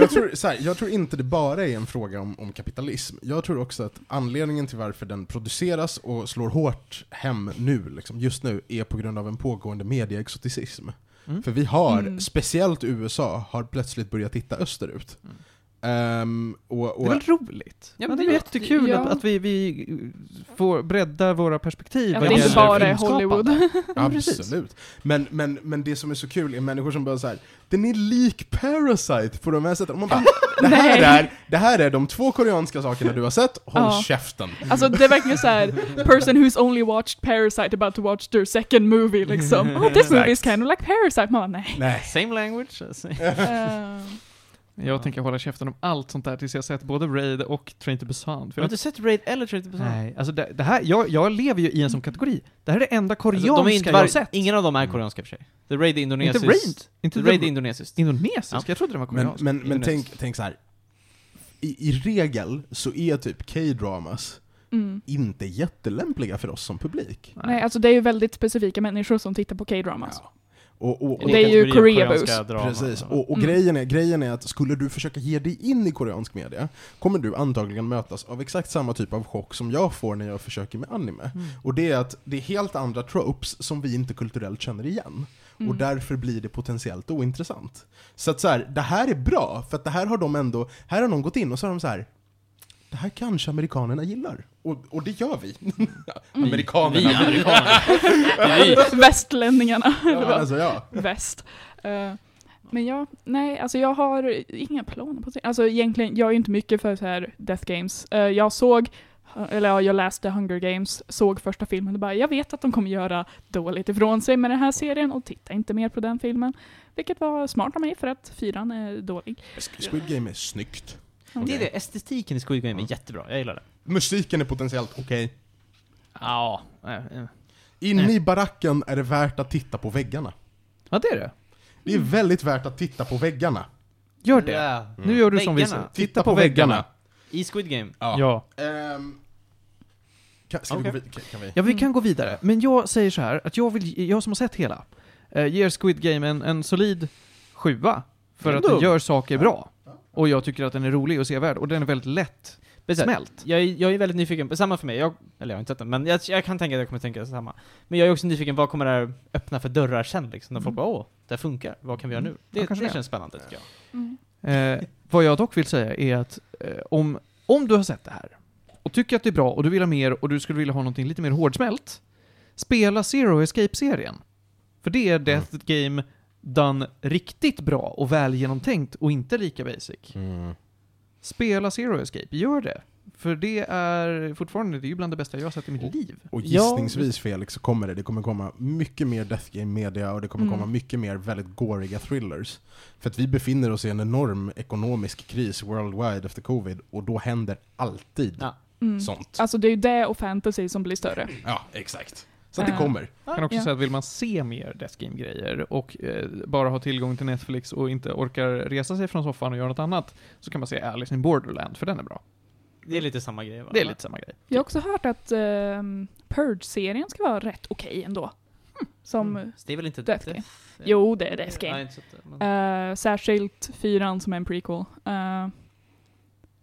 [SPEAKER 4] jag, tror, så här, jag tror inte det bara är en fråga om, om kapitalism. Jag tror också att anledningen till varför den produceras och slår hårt hem nu, liksom, just nu, är på grund av en pågående medieexoticism.
[SPEAKER 1] Mm.
[SPEAKER 4] För vi har,
[SPEAKER 2] Mm.
[SPEAKER 4] speciellt USA, har plötsligt börjat titta österut.
[SPEAKER 1] Mm.
[SPEAKER 4] Ehm, och,
[SPEAKER 1] Det är
[SPEAKER 4] och,
[SPEAKER 1] väl roligt?
[SPEAKER 3] Ja,
[SPEAKER 1] Ja,
[SPEAKER 3] men
[SPEAKER 1] det
[SPEAKER 3] det
[SPEAKER 1] är
[SPEAKER 3] är
[SPEAKER 1] jättekul
[SPEAKER 2] ja.
[SPEAKER 1] att, att vi, vi får bredda våra perspektiv.
[SPEAKER 2] Att
[SPEAKER 1] vad
[SPEAKER 2] det inte
[SPEAKER 1] gäller
[SPEAKER 2] bara är
[SPEAKER 1] filmskapande.
[SPEAKER 2] Hollywood.
[SPEAKER 1] Ja, precis.
[SPEAKER 4] Absolut. Men, men, men det som är så kul är människor som bara så här. den är lik Parasite på de här sätten. Och man bara, det här,
[SPEAKER 2] Nej.
[SPEAKER 4] är, det här är de två koreanska sakerna du har sett, håll
[SPEAKER 2] Ja.
[SPEAKER 4] käften.
[SPEAKER 2] Alltså det är verkligen såhär, person who's only watched Parasite about to watch their second movie liksom. Oh this movie is kind of like Parasite. Man bara, nej.
[SPEAKER 4] Nej.
[SPEAKER 1] Eh,
[SPEAKER 3] Same language? alltså.
[SPEAKER 2] Ehm,
[SPEAKER 1] Jag
[SPEAKER 3] Ja.
[SPEAKER 1] tänker hålla käften om allt sånt där tills jag sett både Raid och Train to Busan. För
[SPEAKER 3] Har du
[SPEAKER 1] jag,
[SPEAKER 3] inte sett Raid eller Train to Busan?
[SPEAKER 1] nej, alltså det, det här, jag, jag lever ju i en sån kategori. Det här är det enda koreanska
[SPEAKER 3] Alltså, de är inte
[SPEAKER 1] jag
[SPEAKER 3] var-
[SPEAKER 1] har sett. Mm.
[SPEAKER 3] Ingen av dem är koreanska i och för sig. The Raid är
[SPEAKER 1] inte
[SPEAKER 3] indonesiskt.
[SPEAKER 1] Raid? Inte
[SPEAKER 3] The Raid är
[SPEAKER 1] The-
[SPEAKER 3] indonesiskt.
[SPEAKER 1] Indonesisk?
[SPEAKER 3] Ja.
[SPEAKER 1] Jag trodde det var
[SPEAKER 4] Men,
[SPEAKER 1] koreansk.
[SPEAKER 4] men, men
[SPEAKER 3] Indonesiskt.
[SPEAKER 4] tänk, tänk så här. I, I regel så är typ K-dramas
[SPEAKER 2] Mm.
[SPEAKER 4] inte jättelämpliga för oss som publik.
[SPEAKER 2] Nej, alltså det är ju väldigt specifika människor som tittar på K-dramas.
[SPEAKER 4] Ja. Och, och, och,
[SPEAKER 2] Det är ju Korea
[SPEAKER 4] Precis,
[SPEAKER 3] Och,
[SPEAKER 4] och, och
[SPEAKER 2] Mm.
[SPEAKER 4] grejen, är, grejen är att skulle du försöka ge dig in i koreansk media kommer du antagligen mötas av exakt samma typ av chock som jag får när jag försöker med anime.
[SPEAKER 3] Mm.
[SPEAKER 4] Och det är att det är helt andra tropes som vi inte kulturellt känner igen. Och
[SPEAKER 2] Mm.
[SPEAKER 4] därför blir det potentiellt ointressant. Så att så här, det här är bra, för att det här har de ändå, här har någon gått in och så har de så här. Det här kanske amerikanerna gillar. Och, och det gör vi.
[SPEAKER 3] vi
[SPEAKER 4] amerikanerna.
[SPEAKER 3] amerikaner. vi.
[SPEAKER 2] Västlänningarna. eller
[SPEAKER 4] Ja,
[SPEAKER 2] vad?
[SPEAKER 4] alltså, ja.
[SPEAKER 2] väst. Eh, men ja, nej, alltså jag har inga planer på det. Alltså egentligen, jag är ju inte mycket för så här Death Games. Eh, jag såg, eller ja, jag läste Hunger Games, såg första filmen och bara, jag vet att de kommer göra dåligt ifrån sig med den här serien och titta inte mer på den filmen. Vilket var smart av mig för att fyran är dålig.
[SPEAKER 4] Squid Game är snyggt.
[SPEAKER 3] Det är det, estetiken i Squid Game är jättebra, jag gillar det.
[SPEAKER 4] Musiken är potentiellt okej.
[SPEAKER 1] Ja, eh, eh.
[SPEAKER 4] Inne
[SPEAKER 3] Nej.
[SPEAKER 4] i baracken är det värt att titta på väggarna.
[SPEAKER 1] ja, det är det.
[SPEAKER 4] Det
[SPEAKER 3] Mm.
[SPEAKER 4] är väldigt värt att titta på väggarna.
[SPEAKER 1] Gör det.
[SPEAKER 3] Ja.
[SPEAKER 1] Nu gör du som vi
[SPEAKER 3] Väggarna.
[SPEAKER 1] sa.
[SPEAKER 4] Titta på väggarna.
[SPEAKER 3] I Squid Game.
[SPEAKER 1] Ja.
[SPEAKER 4] Ehm, kan, ska
[SPEAKER 3] Okej.
[SPEAKER 4] vi gå vid- kan vi?
[SPEAKER 1] Ja, vi
[SPEAKER 2] Mm.
[SPEAKER 1] kan gå vidare. Men jag säger så här, att jag, vill, jag som har sett hela, eh, ger Squid Game en, en solid sjua. För att
[SPEAKER 3] Ändå.
[SPEAKER 1] den gör saker bra.
[SPEAKER 4] Ja.
[SPEAKER 1] Och jag tycker att den är rolig och sevärd, och den är väldigt lätt
[SPEAKER 3] Men så här,
[SPEAKER 1] smält.
[SPEAKER 3] Jag, är- jag är väldigt nyfiken, på- samma för mig, jag, eller jag har inte sett den, men jag, jag kan tänka att jag kommer tänka samma. Men jag är också nyfiken, vad kommer det här öppna för dörrar sen liksom? När folk bara åh, det här funkar, vad kan vi göra nu? Mm. Det,
[SPEAKER 1] Ja,
[SPEAKER 3] det,
[SPEAKER 1] kanske det.
[SPEAKER 3] känns spännande tycker jag.
[SPEAKER 1] Eh, vad jag dock vill säga är att eh, om, om du har sett det här, och tycker att det är bra, och du vill ha mer, och du skulle vilja ha någonting lite mer hårdsmält, spela Zero Escape-serien. För det är Death Game done riktigt bra och väl genomtänkt och inte lika basic.
[SPEAKER 4] Mm.
[SPEAKER 1] Spela Zero Escape, gör det. För det är fortfarande, det är ju bland det bästa jag har sett i mitt liv.
[SPEAKER 4] Och
[SPEAKER 3] Ja,
[SPEAKER 4] gissningsvis Felix så kommer det, det kommer komma mycket mer Death Game media och det kommer
[SPEAKER 2] Mm.
[SPEAKER 4] komma mycket mer väldigt goriga thrillers. För att vi befinner oss i en enorm ekonomisk kris worldwide efter covid och då händer alltid
[SPEAKER 3] Ja.
[SPEAKER 2] Mm.
[SPEAKER 4] sånt.
[SPEAKER 2] Alltså det är ju det och fantasy som blir större.
[SPEAKER 4] Ja, exakt. Så att det
[SPEAKER 2] Äh.
[SPEAKER 4] kommer.
[SPEAKER 1] Jag kan också
[SPEAKER 2] Ja.
[SPEAKER 1] säga att vill man se mer Death Game-grejer och eh, bara ha tillgång till Netflix och inte orkar resa sig från soffan och göra något annat, så kan man se Alice in Borderland, för den är bra.
[SPEAKER 3] Det är lite samma grej va?
[SPEAKER 1] Det är lite samma grej. Typ,
[SPEAKER 2] Jag har också hört att ehm, Purge-serien ska vara rätt okej ändå. Hm, Som
[SPEAKER 3] Mm. Så det är väl inte
[SPEAKER 2] Death
[SPEAKER 3] Death?
[SPEAKER 2] Jo, det är Death Game.
[SPEAKER 3] Ja, inte så att- men-
[SPEAKER 2] Eh, särskilt fyran som är en prequel. Eh,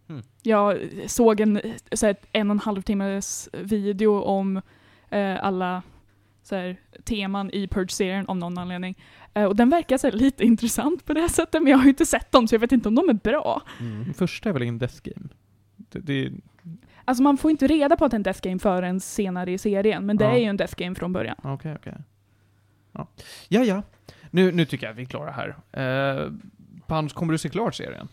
[SPEAKER 3] Hmm.
[SPEAKER 2] Jag såg en, eh, så här, en och en halv timmes video om eh, alla så här, teman i Purge-serien om någon anledning. Eh, och den verkar så här, lite intressant på det här sättet, men jag har ju inte sett dem så jag vet inte om de är bra.
[SPEAKER 4] Mm.
[SPEAKER 1] Den första är väl ingen Death Game? Det, det,
[SPEAKER 2] Alltså man får inte reda på att det är en Death Game förrän senare i serien, men det
[SPEAKER 1] Ja.
[SPEAKER 2] är ju en Death Game från början.
[SPEAKER 1] Okej, okej. Ja. ja, ja. Nu, nu tycker jag att vi är klara här. Eh, Pans, kommer du se klart serien?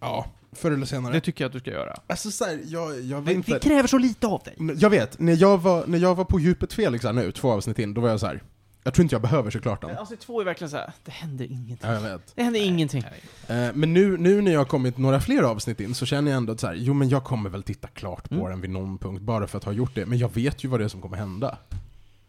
[SPEAKER 4] Ja, förr eller senare.
[SPEAKER 1] Det tycker jag att du ska göra.
[SPEAKER 4] Alltså så här, jag, jag vet
[SPEAKER 3] Men
[SPEAKER 4] inte.
[SPEAKER 3] det kräver så lite av dig.
[SPEAKER 4] N- Jag vet, när jag var, när jag var på djupet Felix här nu, två avsnitt in, då var jag så här. jag tror inte jag behöver såklart den.
[SPEAKER 3] Avsnitt Alltså, två är verkligen såhär, det händer ingenting.
[SPEAKER 4] Ja, jag vet.
[SPEAKER 3] Det händer ingenting.
[SPEAKER 4] Eh, Men nu, nu när jag har kommit några fler avsnitt in så känner jag ändå att så här, jo men jag kommer väl titta klart på
[SPEAKER 3] Mm.
[SPEAKER 4] den vid någon punkt bara för att ha gjort det, men jag vet ju vad det är som kommer hända.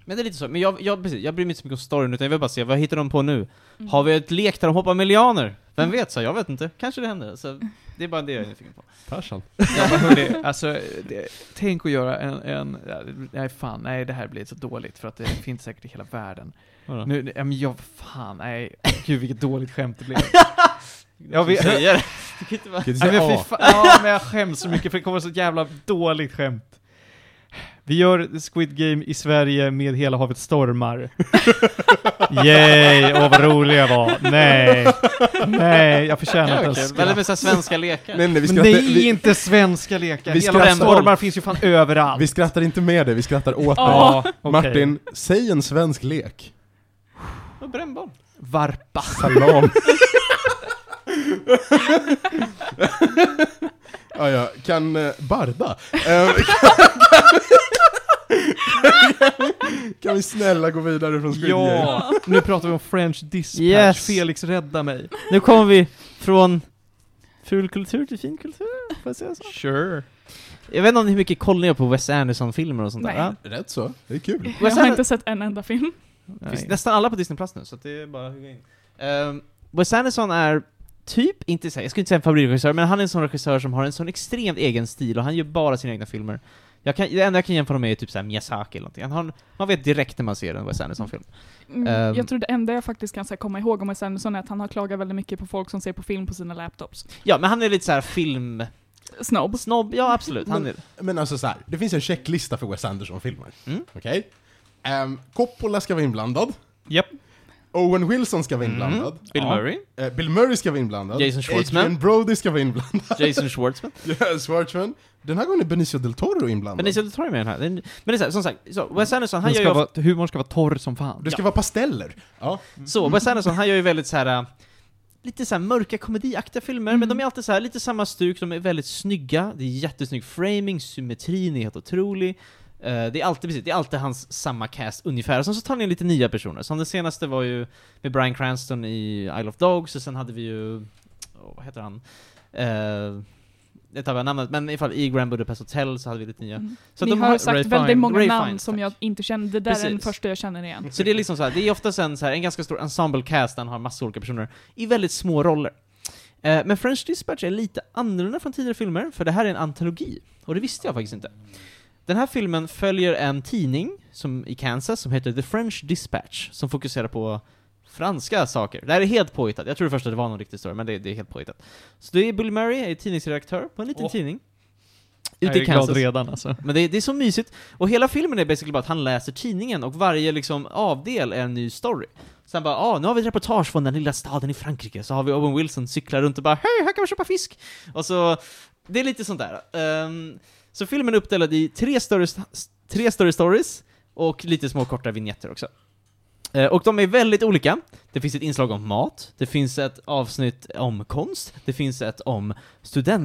[SPEAKER 3] Men det är lite så, men jag, jag, precis, jag bryr mig inte så mycket om storyn utan jag vill bara se, vad hittar de på nu? Har vi ett lek där de hoppar miljarder? Vem vet, så jag vet inte. Kanske det händer. Så det är bara det jag är nyfiken på.
[SPEAKER 4] Persson.
[SPEAKER 1] Ja, men hörni, alltså, det, tänk att göra en, en... Nej, fan, nej, det här blir så dåligt för att det finns säkert i hela världen.
[SPEAKER 3] Nu,
[SPEAKER 1] Nu, ja, men jag, fan, nej. Gud, vilket dåligt skämt det blev. Jag
[SPEAKER 3] vi
[SPEAKER 1] vet... Nej,
[SPEAKER 3] säger det. Du kan inte bara-
[SPEAKER 1] men, fy fan, ja, men jag skäms så mycket för det kommer så jävla dåligt skämt. Vi gör Squid Game i Sverige med Hela havet stormar. Yay, åh vad rolig jag var. Nej, nej, jag förtjänar inte ens
[SPEAKER 3] Eller med såhär svenska lekar.
[SPEAKER 4] Nej, nej, vi
[SPEAKER 1] Men
[SPEAKER 4] skrattar,
[SPEAKER 1] det är
[SPEAKER 4] vi,
[SPEAKER 1] inte svenska lekar.
[SPEAKER 4] vi
[SPEAKER 1] Hela havet
[SPEAKER 4] skrattar-
[SPEAKER 1] stormar finns ju fan överallt.
[SPEAKER 4] vi skrattar inte med dig, vi skrattar åt dig.
[SPEAKER 2] Ja,
[SPEAKER 1] okej.
[SPEAKER 4] Martin, säg en svensk lek.
[SPEAKER 3] Och brännboll.
[SPEAKER 1] Varpa.
[SPEAKER 4] Salam. ja, ja, kan eh, Barda? Eh, kan, kan, kan vi snälla gå vidare från Squid Game?
[SPEAKER 1] Ja, nu pratar vi om French dispatch.
[SPEAKER 3] Yes.
[SPEAKER 1] Felix, rädda mig.
[SPEAKER 3] Nu kommer vi från Ful kultur till fin kultur, får jag säga så?
[SPEAKER 1] Sure.
[SPEAKER 3] Jag vet inte om hur mycket koll ni har på Wes Anderson-filmer och sånt
[SPEAKER 2] Nej.
[SPEAKER 3] där. Ja.
[SPEAKER 4] Rätt så, det är kul.
[SPEAKER 2] Jag
[SPEAKER 3] Wes
[SPEAKER 2] har
[SPEAKER 3] Ander-
[SPEAKER 2] inte sett en enda film.
[SPEAKER 3] Det finns
[SPEAKER 1] Nej.
[SPEAKER 3] nästan alla på Disney Plus nu, så att det är bara att hugga in. Ehm, Wes Anderson är typ, inte så här, jag skulle inte säga en favoritregissör, men han är en sån regissör som har en sån extremt egen stil och han gör bara sina egna filmer. Jag kan, det enda jag kan jämföra med är typ såhär Miyazaki eller någonting. Han har, man vet direkt när man ser en Wes Anderson-film.
[SPEAKER 2] Mm,
[SPEAKER 3] Ehm.
[SPEAKER 2] jag tror det enda jag faktiskt kan så här, komma ihåg om Wes Anderson är att han har klagat väldigt mycket på folk som ser på film på sina laptops.
[SPEAKER 3] Ja, men han är lite såhär film...
[SPEAKER 2] Snobb.
[SPEAKER 3] Snobb, ja absolut. Han är,
[SPEAKER 4] Men alltså så här, det finns en checklista för Wes Anderson-filmer.
[SPEAKER 3] Mm.
[SPEAKER 4] Okej? Ehm, Coppola ska vara inblandad.
[SPEAKER 1] Japp.
[SPEAKER 4] Owen Wilson ska vara inblandad.
[SPEAKER 3] Bill
[SPEAKER 1] Ja.
[SPEAKER 3] Murray,
[SPEAKER 4] Eh, Bill Murray ska vara inblandad.
[SPEAKER 3] Mm. Jason Schwartzman.
[SPEAKER 4] Adrian Brody ska vara inblandad.
[SPEAKER 3] Jason Schwartzman.
[SPEAKER 4] Ja, Schwartzman. Den här gången är Benicio del Toro inblandad.
[SPEAKER 3] Benicio del Toro är med i den här. Det är- Men det är så här, som sagt, så Wes Anderson
[SPEAKER 1] Den
[SPEAKER 3] han gör
[SPEAKER 1] ska
[SPEAKER 3] ju ofta-
[SPEAKER 1] vara, humorn ska vara torr som fan.
[SPEAKER 4] Det ska vara pasteller. Ja.
[SPEAKER 3] Så,
[SPEAKER 2] Mm.
[SPEAKER 3] Wes Anderson, han gör ju väldigt så här äh, lite så här mörka komediaktiga filmer, men
[SPEAKER 2] Mm.
[SPEAKER 3] de är alltid så här lite samma stuk, de är väldigt snygga, det är jättesnygg framing, symmetrin är helt otrolig. Eh, det är alltid precis, det är alltid hans samma cast ungefär, och sen så tar han in lite nya personer. Som den senaste var ju med Bryan Cranston i Isle of Dogs, och sen hade vi ju, åh, vad heter han? Eh, jag tappade namnet, men ifall i Grand Budapest Hotel så hade vi lite nya.
[SPEAKER 2] Mm.
[SPEAKER 3] Så
[SPEAKER 2] Ni
[SPEAKER 3] de
[SPEAKER 2] har,
[SPEAKER 3] har-
[SPEAKER 2] sagt
[SPEAKER 1] Ray
[SPEAKER 2] väldigt
[SPEAKER 1] Fiennes.
[SPEAKER 2] många
[SPEAKER 3] Ray
[SPEAKER 2] namn
[SPEAKER 3] Fiennes,
[SPEAKER 2] som
[SPEAKER 3] tack.
[SPEAKER 2] jag inte känner. Det där är den
[SPEAKER 3] Precis.
[SPEAKER 2] första jag känner igen.
[SPEAKER 3] Så det är liksom så här, det är oftast en, så här, en ganska stor ensemble-cast där han har massa olika personer i väldigt små roller. Eh, men French Dispatch är lite annorlunda från tidigare filmer, för det här är en antologi. Och det visste jag faktiskt inte. Den här filmen följer en tidning som, i Kansas som heter The French Dispatch, som fokuserar på franska saker. Det här är helt påhittat. Jag tror först att det var någon riktig story, men det, det är helt påhittat. Så det är Bill Murray, är tidningsredaktör på en liten
[SPEAKER 1] Åh.
[SPEAKER 3] tidning.
[SPEAKER 1] Jag
[SPEAKER 3] Ute
[SPEAKER 1] är
[SPEAKER 3] i Kansas.
[SPEAKER 1] glad redan alltså.
[SPEAKER 3] Men det, det är så mysigt. Och hela filmen är basically bara att han läser tidningen och varje liksom avdel är en ny story. Sen bara, ah, nu har vi ett reportage från den lilla staden i Frankrike, så har vi Owen Wilson cyklar runt och bara, hej, här kan man köpa fisk! Och så, det är lite sånt där. Ehm, så filmen är uppdelad i tre större, st- tre större stories och lite små korta vignetter också. Eh, Och de är väldigt olika. Det finns ett inslag om mat, det finns ett avsnitt om konst, det finns ett om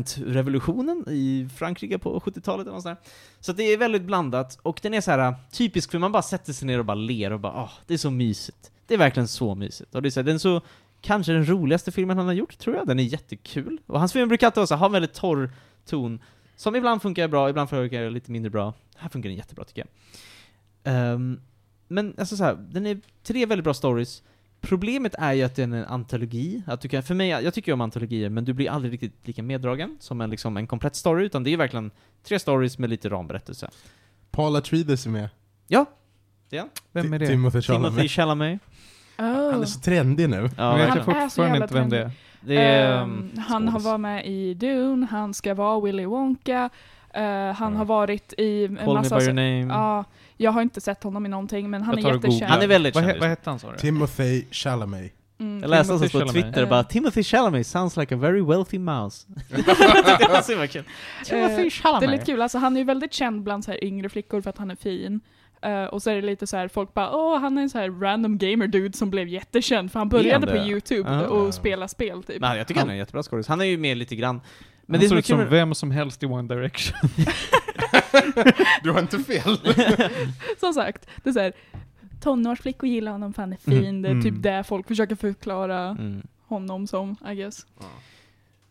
[SPEAKER 3] studentrevolutionen i Frankrike på 70-talet eller något sånt där. Så att det är väldigt blandat, och den är så här äh, typisk för man bara sätter sig ner och bara ler och bara ah, det är så mysigt. Det är verkligen så mysigt. Och det är så här, den är så, kanske den roligaste filmen han har gjort, tror jag. Den är jättekul. Och hans filmer brukar alltid vara så här, ha en väldigt torr ton, som ibland funkar bra, ibland funkar lite mindre bra. Här funkar den jättebra tycker jag. Ehm, men alltså så här, den är tre väldigt bra stories. Problemet är ju att den är en antologi. Att du kan, för mig, jag tycker ju om antologier, men du blir aldrig riktigt lika meddragen som en, liksom, en komplett story, utan det är verkligen tre stories med lite ramberättelse.
[SPEAKER 4] Paula Trides är med.
[SPEAKER 1] Vem är det?
[SPEAKER 4] Ti- Timothy
[SPEAKER 3] Timothy
[SPEAKER 4] Chalamet.
[SPEAKER 3] Chalamet.
[SPEAKER 4] Han är så trendig nu.
[SPEAKER 3] Ja,
[SPEAKER 1] Jag vet
[SPEAKER 2] Han
[SPEAKER 1] jag
[SPEAKER 3] verkligen.
[SPEAKER 2] är så
[SPEAKER 1] fortfarande
[SPEAKER 2] jävla
[SPEAKER 1] inte vem det är.
[SPEAKER 3] det är,
[SPEAKER 2] Ehm,
[SPEAKER 3] ehm,
[SPEAKER 2] han har
[SPEAKER 3] skådis.
[SPEAKER 2] varit med i Dune, han ska vara Willy Wonka, eh, han
[SPEAKER 4] Mm.
[SPEAKER 2] har varit i en
[SPEAKER 3] Call me by
[SPEAKER 2] massa...
[SPEAKER 3] your name.
[SPEAKER 2] Ja, jag har inte sett honom i någonting, men han
[SPEAKER 1] Jag
[SPEAKER 2] är
[SPEAKER 1] tar och googlar.
[SPEAKER 2] jättekänd.
[SPEAKER 3] Han är väldigt
[SPEAKER 1] Vad,
[SPEAKER 3] känd
[SPEAKER 1] he-
[SPEAKER 3] just
[SPEAKER 1] vad
[SPEAKER 3] nu.
[SPEAKER 1] hette han sa du?
[SPEAKER 4] Timothy Chalamet.
[SPEAKER 2] Mm.
[SPEAKER 3] Jag läste alltså på
[SPEAKER 1] Timothy Chalamet.
[SPEAKER 3] Twitter bara Timothy Chalamet sounds like a very wealthy mouse. det var så himla kul. Timothy
[SPEAKER 2] Eh, Det är lite
[SPEAKER 3] Chalamet.
[SPEAKER 2] kul, alltså han är ju väldigt känd bland så här yngre flickor för att han är fin. Eh, och så är det lite så här, folk bara åh han är en så här random gamer dude som blev jättekänd för han
[SPEAKER 3] Är han
[SPEAKER 2] började
[SPEAKER 3] det?
[SPEAKER 2] på youtube
[SPEAKER 3] Ah.
[SPEAKER 2] och spela spel typ.
[SPEAKER 3] Men jag tycker han är en jättebra skådis. Han är ju med lite grann. Men
[SPEAKER 1] Men
[SPEAKER 3] det
[SPEAKER 1] han
[SPEAKER 3] som
[SPEAKER 1] såg
[SPEAKER 3] är
[SPEAKER 1] ut
[SPEAKER 3] kul
[SPEAKER 1] som
[SPEAKER 3] med-
[SPEAKER 1] vem som helst i One Direction.
[SPEAKER 4] Du har inte fel.
[SPEAKER 2] Som sagt, det är så här, tonårsflickor gillar honom för han är fin,
[SPEAKER 1] Mm.
[SPEAKER 2] det är
[SPEAKER 1] Mm.
[SPEAKER 2] typ det folk försöker förklara
[SPEAKER 3] Mm.
[SPEAKER 2] honom som, I guess.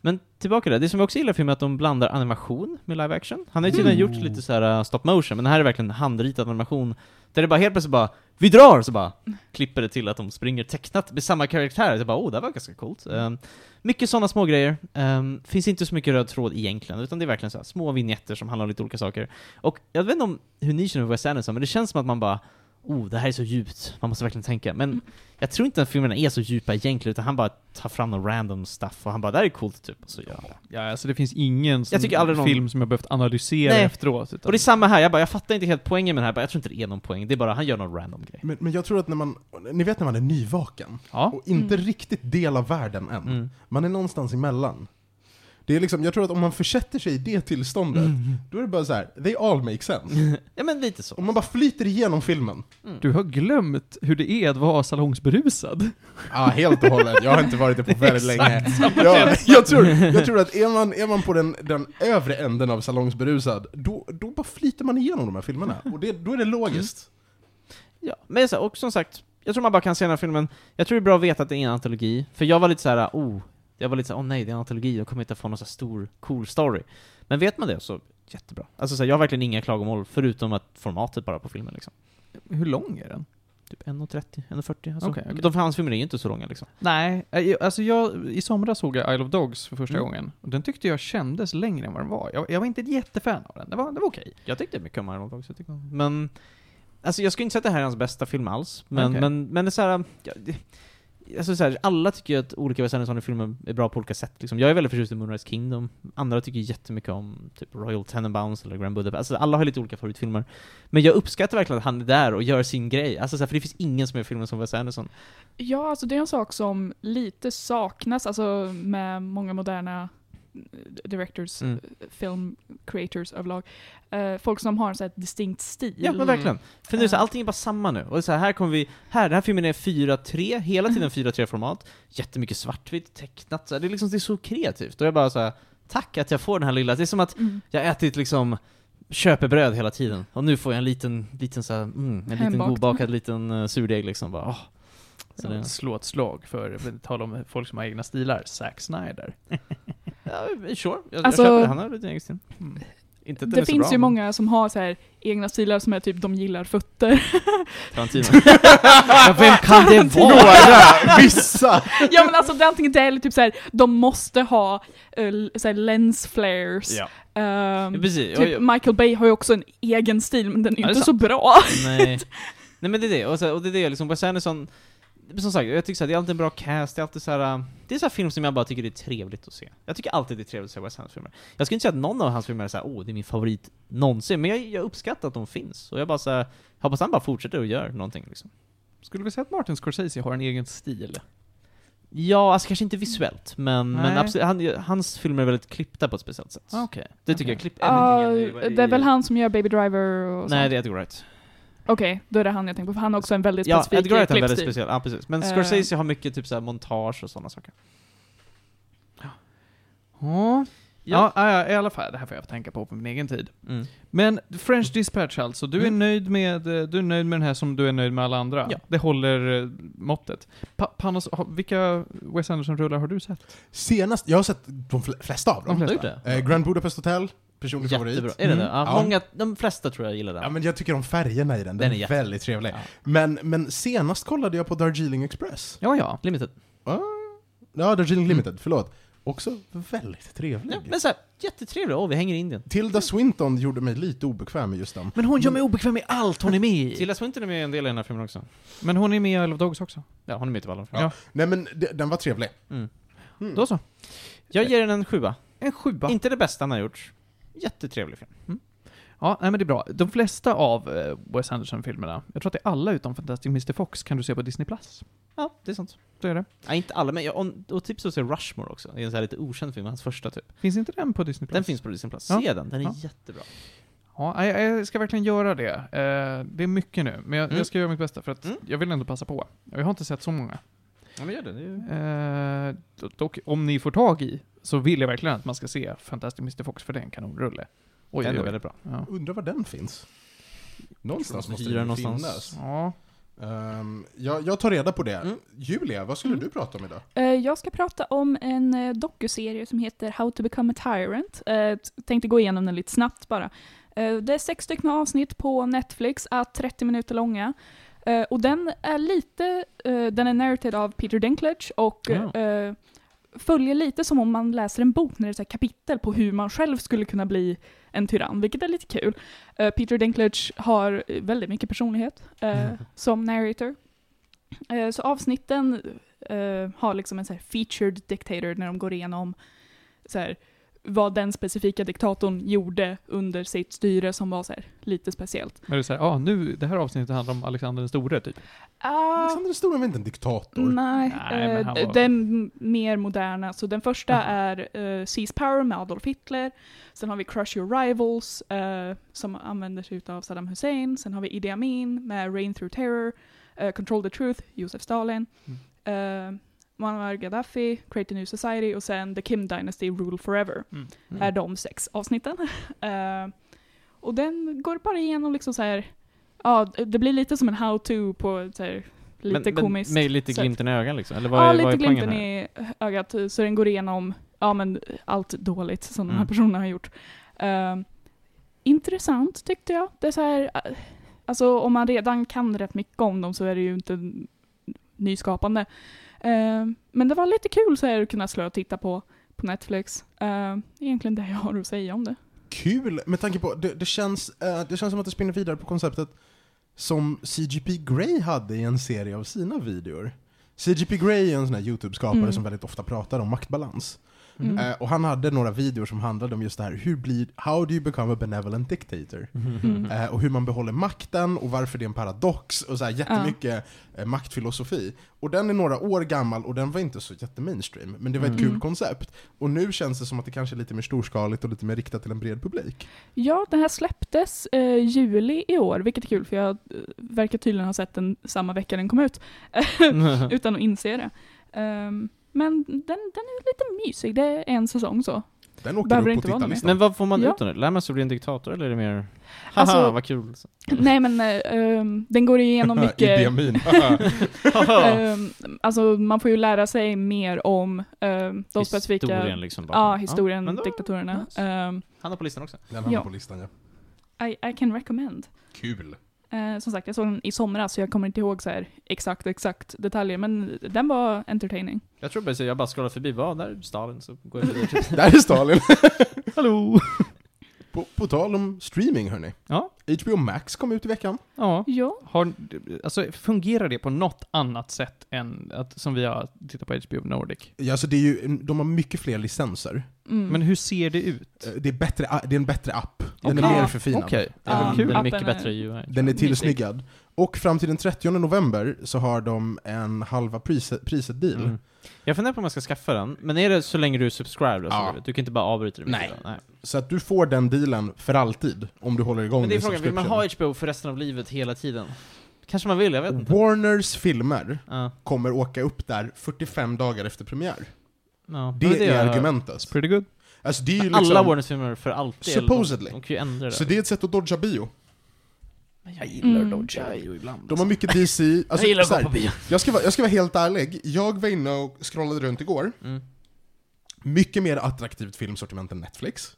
[SPEAKER 3] Men tillbaka till det, det som jag också gillar i filmen är att de blandar animation med live action. Han har ju tydligen
[SPEAKER 4] Mm.
[SPEAKER 3] gjort lite så här uh, stop motion, men det här är verkligen handritad animation. Där det bara helt plötsligt bara ”Vi drar!” så bara klipper det till att de springer tecknat med samma karaktär. Jag bara ”Oh, det här var ganska coolt”. Um, mycket sådana små grejer. Um, finns inte så mycket röd tråd egentligen, utan det är verkligen så här små vignetter som handlar om lite olika saker. Och jag vet inte om hur ni känner för Wes Anderson, men det känns som att man bara ”Oh, det här är så djupt, man måste verkligen tänka”. Men jag tror inte att filmerna är så djupa egentligen, utan han bara tar fram någon random stuff och han bara ”Det här är coolt” typ, och så gör han det.
[SPEAKER 1] Ja, alltså det finns ingen sån
[SPEAKER 3] tycker aldrig någon-
[SPEAKER 1] film som jag behövt analysera
[SPEAKER 3] Nej.
[SPEAKER 1] efteråt. Utan
[SPEAKER 3] Och det är samma här, jag bara, jag fattar inte helt poängen med det här, bara, jag tror inte det är någon poäng, det är bara han gör någon random grej.
[SPEAKER 4] Men, men jag tror att när man, ni vet när man är nyvaken
[SPEAKER 1] ja.
[SPEAKER 4] och inte
[SPEAKER 2] Mm.
[SPEAKER 4] riktigt del av världen än.
[SPEAKER 3] Mm.
[SPEAKER 4] Man är någonstans emellan. Det är liksom, jag tror att om man försätter sig i det
[SPEAKER 1] Mm.
[SPEAKER 4] tillståndet,
[SPEAKER 3] Mm.
[SPEAKER 4] då är det bara så här: they all make sense.
[SPEAKER 3] ja men lite så.
[SPEAKER 4] Om man bara flyter igenom filmen.
[SPEAKER 1] Du har glömt hur det är att vara salongsberusad.
[SPEAKER 4] Ja, helt och hållet. Jag har inte varit det på väldigt
[SPEAKER 1] Exakt
[SPEAKER 4] länge. Jag, jag, tror, jag tror att är man, är man på den, den övre änden av salongsberusad, då, då bara flyter man igenom de här filmerna. Och det, då är det logiskt.
[SPEAKER 3] Ja, men så, här, och som sagt, jag tror man bara kan se den här filmen, jag tror det är bra att veta att det är en antologi, för jag var lite så här: oh, Jag var lite såhär, åh nej, det är en antologi, jag kommer inte få någon så här stor, cool story. Men vet man det så, jättebra. Alltså så här, jag har verkligen inga klagomål, förutom att formatet bara på filmen liksom.
[SPEAKER 1] Hur lång är den?
[SPEAKER 3] Typ 1.30, 1.40, alltså.
[SPEAKER 1] Okej, okej.
[SPEAKER 3] De hans filmer är ju inte så långa liksom.
[SPEAKER 1] Nej, eh, alltså jag, i somras såg jag Isle of Dogs för första
[SPEAKER 3] Mm.
[SPEAKER 1] gången. Och den tyckte jag kändes längre än vad den var. Jag, jag var inte ett jättefan av den, det var, det var okej.
[SPEAKER 3] Jag tyckte mycket om Arnold också, jag tycker om- men... Alltså jag skulle inte säga att det här är hans bästa film alls, men,
[SPEAKER 1] Okej.
[SPEAKER 3] men, men det är såhär... Ja, det- alltså så här, alla tycker ju att olika Wes Anderson-filmer är bra på olika sätt liksom. Jag är väldigt förtjust i Moonrise Kingdom, andra tycker jättemycket om typ Royal Tenenbaums eller Grand Budapest, alltså alla har lite olika favoritfilmer. Men jag uppskattar verkligen att han är där och gör sin grej, alltså så här, för det finns ingen som gör filmen som Wes Anderson.
[SPEAKER 2] Ja, alltså det är en sak som lite saknas, alltså med många moderna eh, directors,
[SPEAKER 3] Mm.
[SPEAKER 2] film creators överlag. Eh, folk som har en sån här distinkt stil.
[SPEAKER 3] Ja men verkligen.
[SPEAKER 2] Mm.
[SPEAKER 3] För nu så här, allting är bara samma nu. Och så här, här kommer vi, här, den här filmen är 4-3, hela
[SPEAKER 2] Mm.
[SPEAKER 3] tiden 4-3 format. Jättemycket svartvitt, tecknat, så här, det är liksom, det är så kreativt. Och jag bara så här, tack att jag får den här lilla, det är som att
[SPEAKER 2] Mm.
[SPEAKER 3] jag har ätit liksom köpebröd hela tiden. Och nu får jag en liten, liten så här, mm, en liten
[SPEAKER 2] Hembakt.
[SPEAKER 3] godbakad liten uh, surdeg liksom. Bara, åh. Så det,
[SPEAKER 1] Slå ett slag för, tala om folk som har egna stilar, Zack Snyder.
[SPEAKER 3] ja, sure, jag,
[SPEAKER 2] Alltså-
[SPEAKER 3] jag köper det, han har lite egen stil.
[SPEAKER 1] Mm.
[SPEAKER 3] Inte att den är
[SPEAKER 2] Det
[SPEAKER 3] så
[SPEAKER 2] finns
[SPEAKER 3] bra,
[SPEAKER 2] ju
[SPEAKER 3] men-
[SPEAKER 2] många som har så här egna stilar som är typ de gillar fötter.
[SPEAKER 3] Tarantino. ja, vem kan det vara?
[SPEAKER 4] Några, vissa!
[SPEAKER 2] ja men alltså det är antingen det eller typ så här, de måste ha uh, så här lens flares.
[SPEAKER 1] Ja.
[SPEAKER 2] Ehm,
[SPEAKER 3] Ja, Precis. Och
[SPEAKER 2] typ
[SPEAKER 3] jag-
[SPEAKER 2] Michael Bay har ju också en egen stil men den är ju
[SPEAKER 1] Ja, det är
[SPEAKER 2] inte så bra.
[SPEAKER 3] Nej. Nej men det är det, och, så, och det är det liksom, Wes Anderson som sagt, jag tycker så här, det är alltid en bra cast, det är alltid så här. äh, Det är så här film som jag bara tycker det är trevligt att se. Jag tycker alltid det är trevligt att se Wes Andersons filmer. Jag skulle inte säga att någon av hans filmer är såhär, åh, det är min favorit någonsin, men jag, jag uppskattar att de finns. Och jag bara såhär, hoppas han bara fortsätter och gör någonting liksom.
[SPEAKER 1] Skulle vi säga att Martin Scorsese har en egen stil?
[SPEAKER 3] Ja, alltså kanske inte visuellt, men, men
[SPEAKER 1] Nej.
[SPEAKER 3] absolut, han, hans filmer är väldigt klippta på ett speciellt sätt.
[SPEAKER 1] Ah, Okej.
[SPEAKER 3] Det tycker
[SPEAKER 1] okej.
[SPEAKER 3] jag, klipp
[SPEAKER 2] Ja,
[SPEAKER 3] ändringen i-
[SPEAKER 2] Ah, Ehm, det är väl han som gör Baby Driver och
[SPEAKER 3] Nej,
[SPEAKER 2] sånt?
[SPEAKER 3] det är Edgar Wright.
[SPEAKER 2] Okej, då är det han jag tänker på, för han har också en väldigt
[SPEAKER 3] Ja,
[SPEAKER 2] specifik
[SPEAKER 3] Edgar Wright är en väldigt
[SPEAKER 2] klippstil.
[SPEAKER 3] speciell, ja precis. Men
[SPEAKER 2] Eh.
[SPEAKER 3] Scorsese har mycket typ såhär montage och sådana saker.
[SPEAKER 1] Ja.
[SPEAKER 3] Ja.
[SPEAKER 1] Ja. Ja, ja, i alla fall. Det här får jag tänka på på min egen tid.
[SPEAKER 3] Mm.
[SPEAKER 1] Men French Dispatch alltså, du är,
[SPEAKER 3] Mm.
[SPEAKER 1] nöjd med, eh, du är nöjd med den här som du är nöjd med alla andra?
[SPEAKER 3] Ja.
[SPEAKER 1] Det håller eh, måttet. Pa Panos, har- vilka Wes Anderson-rullar har du sett?
[SPEAKER 4] Senast, jag har sett de fl- flesta av
[SPEAKER 1] De
[SPEAKER 4] dem.
[SPEAKER 1] flesta.
[SPEAKER 3] Har du gjort det?
[SPEAKER 4] Eh, Grand Budapest Hotel, personlig
[SPEAKER 3] Jättebra.
[SPEAKER 4] favorit.
[SPEAKER 3] Är det
[SPEAKER 1] Mm.
[SPEAKER 3] det? Ja,
[SPEAKER 4] Ja.
[SPEAKER 3] Många, de flesta tror jag gillar den.
[SPEAKER 4] Ja, men jag tycker om färgerna i den, den,
[SPEAKER 3] Den är
[SPEAKER 4] är
[SPEAKER 3] jätte-
[SPEAKER 4] väldigt trevlig.
[SPEAKER 3] Ja.
[SPEAKER 4] Men, men senast kollade jag på Darjeeling Express.
[SPEAKER 1] Ja, ja.
[SPEAKER 3] Limited.
[SPEAKER 4] Ja, Darjeeling Limited, förlåt. Också väldigt trevlig.
[SPEAKER 3] Ja, men såhär, jättetrevlig. Åh, vi hänger i Indien.
[SPEAKER 4] Tilda Swinton gjorde mig lite obekväm med just den.
[SPEAKER 1] Men hon gör mig obekväm i allt hon är med i.
[SPEAKER 3] Tilda Swinton är med i en del i den här filmen också.
[SPEAKER 1] Men hon är med i Isle of Dogs också.
[SPEAKER 3] Ja, hon är med i typ alla de
[SPEAKER 1] Ja.
[SPEAKER 3] filmerna.
[SPEAKER 4] Nej men de- den var trevlig.
[SPEAKER 3] Mm.
[SPEAKER 4] Mm.
[SPEAKER 1] Då så.
[SPEAKER 3] Jag ger den en sjua.
[SPEAKER 1] En sjua.
[SPEAKER 3] Inte det bästa han har gjort. Jättetrevlig film.
[SPEAKER 1] Ja, nej men det är bra. De flesta av eh, Wes Anderson-filmerna, jag tror att det är alla utom Fantastic Mr. Fox, kan du se på Disney+. Plus.
[SPEAKER 3] Ja, det är sant.
[SPEAKER 1] Så är det.
[SPEAKER 3] Ja, inte alla, men jag, om, och tips att se Rushmore också. Det är en sån här lite okänd film, hans första typ.
[SPEAKER 1] Finns inte den på Disney+. Plus?
[SPEAKER 3] Den finns på Disney Plus.
[SPEAKER 1] Ja.
[SPEAKER 3] Se den, den är
[SPEAKER 1] Ja.
[SPEAKER 3] jättebra.
[SPEAKER 1] Ja, jag, jag ska verkligen göra det. Eh, det är mycket nu, men jag,
[SPEAKER 3] Mm.
[SPEAKER 1] jag ska göra mitt bästa för att
[SPEAKER 3] Mm.
[SPEAKER 1] jag vill ändå passa på. Jag har inte sett så många.
[SPEAKER 3] Ja, men gör det. det är ju...
[SPEAKER 1] Eh, do- dock, om ni får tag i, så vill jag verkligen att man ska se Fantastic Mr. Fox, för det är en kanonrulle. Oj,
[SPEAKER 3] den
[SPEAKER 1] oj,
[SPEAKER 3] är
[SPEAKER 1] oj.
[SPEAKER 3] väldigt bra.
[SPEAKER 1] Ja.
[SPEAKER 4] Undrar var den finns. Någonstans
[SPEAKER 3] Tror
[SPEAKER 4] måste
[SPEAKER 3] hyra
[SPEAKER 4] den ju
[SPEAKER 3] någonstans.
[SPEAKER 4] finnas.
[SPEAKER 1] Ja.
[SPEAKER 4] Ehm, jag, jag tar reda på det.
[SPEAKER 3] Mm.
[SPEAKER 4] Julia, vad skulle
[SPEAKER 2] Mm.
[SPEAKER 4] du prata om idag?
[SPEAKER 2] Eh, Jag ska prata om en eh, docuserie som heter How to become a tyrant. Eh, t- Tänkte gå igenom den lite snabbt bara. Eh, Det är sex stycken avsnitt på Netflix, ah, 30 minuter långa. Eh, Och den är lite, eh, den är narrated av Peter Dinklage och
[SPEAKER 1] Ja.
[SPEAKER 2] eh, följer lite som om man läser en bok när det är så här kapitel på hur man själv skulle kunna bli en tyrann, vilket är lite kul. Eh, Peter Dinklage har eh, väldigt mycket personlighet eh, som narrator. Eh, Så avsnitten eh, har liksom en så här featured dictator när de går igenom så här, vad den specifika diktatorn gjorde under sitt styre som var så här, lite speciellt.
[SPEAKER 1] Men det är såhär, ah, nu, det här avsnittet handlar om Alexander den store, typ.
[SPEAKER 3] Ah.
[SPEAKER 4] Alexander den store var inte en diktator.
[SPEAKER 3] Mm.
[SPEAKER 2] Nej,
[SPEAKER 1] Nej, men
[SPEAKER 2] eh,
[SPEAKER 1] han var-
[SPEAKER 2] den mer moderna. Så den första
[SPEAKER 1] Aha.
[SPEAKER 2] är eh, Seize Power med Adolf Hitler. Sen har vi Crush Your Rivals eh, som använder sig av Saddam Hussein. Sen har vi Idi Amin med Reign Through Terror. eh, Control the Truth, Josef Stalin.
[SPEAKER 1] Mm.
[SPEAKER 2] eh, Muammar Gaddafi, Create a New Society och sen The Kim Dynasty Rule Forever
[SPEAKER 1] Mm.
[SPEAKER 2] är de sex avsnitten. Eh, och den går bara igenom liksom så här, ja, det blir lite som en how-to på så här, Lite
[SPEAKER 3] men,
[SPEAKER 2] komiskt.
[SPEAKER 3] Men, med lite
[SPEAKER 2] sätt.
[SPEAKER 3] glimten i ögat liksom? Eller vad
[SPEAKER 2] Ja,
[SPEAKER 3] är, vad
[SPEAKER 2] lite
[SPEAKER 3] är
[SPEAKER 2] glimten
[SPEAKER 3] poängen här?
[SPEAKER 2] i ögat, så den går igenom ja, men allt dåligt som de här
[SPEAKER 3] Mm.
[SPEAKER 2] personerna har gjort. Ehm, intressant tyckte jag. Det är så här, eh, alltså om man redan kan rätt mycket om dem så är det ju inte n- nyskapande. Ehm, men det var lite kul så här att kunna slå och titta på på Netflix. Ehm, egentligen det jag har att säga om det.
[SPEAKER 4] Kul! Med tanke på, det, det, känns, eh, det känns som att det spinner vidare på konceptet som CGP Grey hade i en serie av sina videor. CGP Grey är en sån här YouTube-skapare
[SPEAKER 2] Mm.
[SPEAKER 4] som väldigt ofta pratar om maktbalans.
[SPEAKER 2] Mm.
[SPEAKER 4] Eh, och han hade några videor som handlade om just det här, hur blir, how do you become a benevolent dictator?
[SPEAKER 2] Mm.
[SPEAKER 4] Eh, och hur man behåller makten och varför det är en paradox och så här jättemycket eh, maktfilosofi. Och den är några år gammal och den var inte så jättemainstream, men det var ett
[SPEAKER 2] Mm.
[SPEAKER 4] kul koncept. Och nu känns det som att det kanske är lite mer storskaligt och lite mer riktat till en bred publik.
[SPEAKER 2] Ja, den här släpptes eh, juli i år, vilket är kul för jag eh, verkar tydligen ha sett den samma vecka den kom ut. utan att inse det. Ehm, men den, den är lite mysig, det är en säsong så.
[SPEAKER 4] Den åker
[SPEAKER 2] Behöver det
[SPEAKER 4] upp
[SPEAKER 2] inte
[SPEAKER 4] på
[SPEAKER 2] vara någon
[SPEAKER 4] tittarlistan.
[SPEAKER 3] Men vad får man
[SPEAKER 2] Liksom. Ja.
[SPEAKER 3] ut av det? Lär man sig att bli en diktator eller är det mer Haha,
[SPEAKER 2] Alltså-
[SPEAKER 3] vad kul! liksom?
[SPEAKER 2] Nej men eh, ehm, den går igenom
[SPEAKER 4] Idi
[SPEAKER 2] mycket,
[SPEAKER 4] Amin.
[SPEAKER 2] ehm, alltså man får ju lära sig mer om ehm, de specifika
[SPEAKER 3] Historien liksom bakom.
[SPEAKER 2] Ja, historien,
[SPEAKER 3] men då-
[SPEAKER 2] diktatorerna.
[SPEAKER 3] nice.
[SPEAKER 2] Ehm,
[SPEAKER 3] Han är på listan också.
[SPEAKER 4] Den hamnar
[SPEAKER 2] Ja.
[SPEAKER 4] på listan ja.
[SPEAKER 2] I, I can recommend.
[SPEAKER 4] Kul.
[SPEAKER 2] Eh, som sagt, jag såg den i somras så jag kommer inte ihåg så här exakt, exakt detaljer, men den var entertaining.
[SPEAKER 3] Jag tror bara jag bara scrollar förbi, vad där är Stalin, så går jag vidare.
[SPEAKER 4] Där är Stalin.
[SPEAKER 1] Hallå!
[SPEAKER 4] på, på tal om streaming hörni.
[SPEAKER 1] Ja.
[SPEAKER 4] HBO Max kom ut i veckan.
[SPEAKER 1] Ja.
[SPEAKER 2] Ja,
[SPEAKER 1] Har, alltså, fungerar det på något annat sätt än att, som vi har tittat på HBO Nordic?
[SPEAKER 4] Ja, Alltså det är ju, de har mycket fler licenser.
[SPEAKER 2] mm.
[SPEAKER 1] Men hur ser det ut?
[SPEAKER 4] Eh, Det är, bättre, det är en bättre app. Den
[SPEAKER 2] Okej.
[SPEAKER 4] är mer
[SPEAKER 2] Ja,
[SPEAKER 4] förfinad.
[SPEAKER 1] det
[SPEAKER 2] Ja.
[SPEAKER 1] är väl kul.
[SPEAKER 3] Den är
[SPEAKER 2] Appen
[SPEAKER 3] mycket
[SPEAKER 2] är-
[SPEAKER 3] bättre UI.
[SPEAKER 4] Den är
[SPEAKER 2] Mysigt.
[SPEAKER 4] tillsnyggad. Och fram till den 30 november så har de en halva priset, priset deal.
[SPEAKER 3] Mm. Jag funderar på om jag ska skaffa den, men är det så länge du är subscribed? Alltså,
[SPEAKER 4] Ja.
[SPEAKER 3] Du kan inte bara avbryta det. mitt
[SPEAKER 4] Nej.
[SPEAKER 3] i då? Nej.
[SPEAKER 4] Så att du får den dealen för alltid om du håller igång
[SPEAKER 3] Men det är
[SPEAKER 4] din
[SPEAKER 3] frågan, vill man
[SPEAKER 4] subscription.
[SPEAKER 3] ha HBO för resten av livet hela tiden? Kanske man vill, jag vet inte.
[SPEAKER 4] Warners filmer
[SPEAKER 3] Ja,
[SPEAKER 4] kommer åka upp där 45 dagar efter premiär.
[SPEAKER 3] ja.
[SPEAKER 4] Det,
[SPEAKER 3] Men
[SPEAKER 4] är
[SPEAKER 3] jag hör.
[SPEAKER 4] argumentet.
[SPEAKER 1] Pretty good.
[SPEAKER 4] Alltså det är ju
[SPEAKER 3] Alla
[SPEAKER 4] liksom,
[SPEAKER 3] Warner-filmer för alltid. eller
[SPEAKER 4] Supposedly.
[SPEAKER 3] De, de kan ju ändra det.
[SPEAKER 4] så det är ett sätt att dodga bio.
[SPEAKER 3] Men jag
[SPEAKER 2] gillar Mm. Dodge
[SPEAKER 3] ibland.
[SPEAKER 4] De har mycket DC, alltså,
[SPEAKER 3] jag gillar att
[SPEAKER 4] så
[SPEAKER 3] gå
[SPEAKER 4] här,
[SPEAKER 3] på bio.
[SPEAKER 4] jag, ska vara, jag ska vara helt ärlig, jag var inne och scrollade runt igår,
[SPEAKER 3] Mm.
[SPEAKER 4] mycket mer attraktivt filmsortiment än Netflix.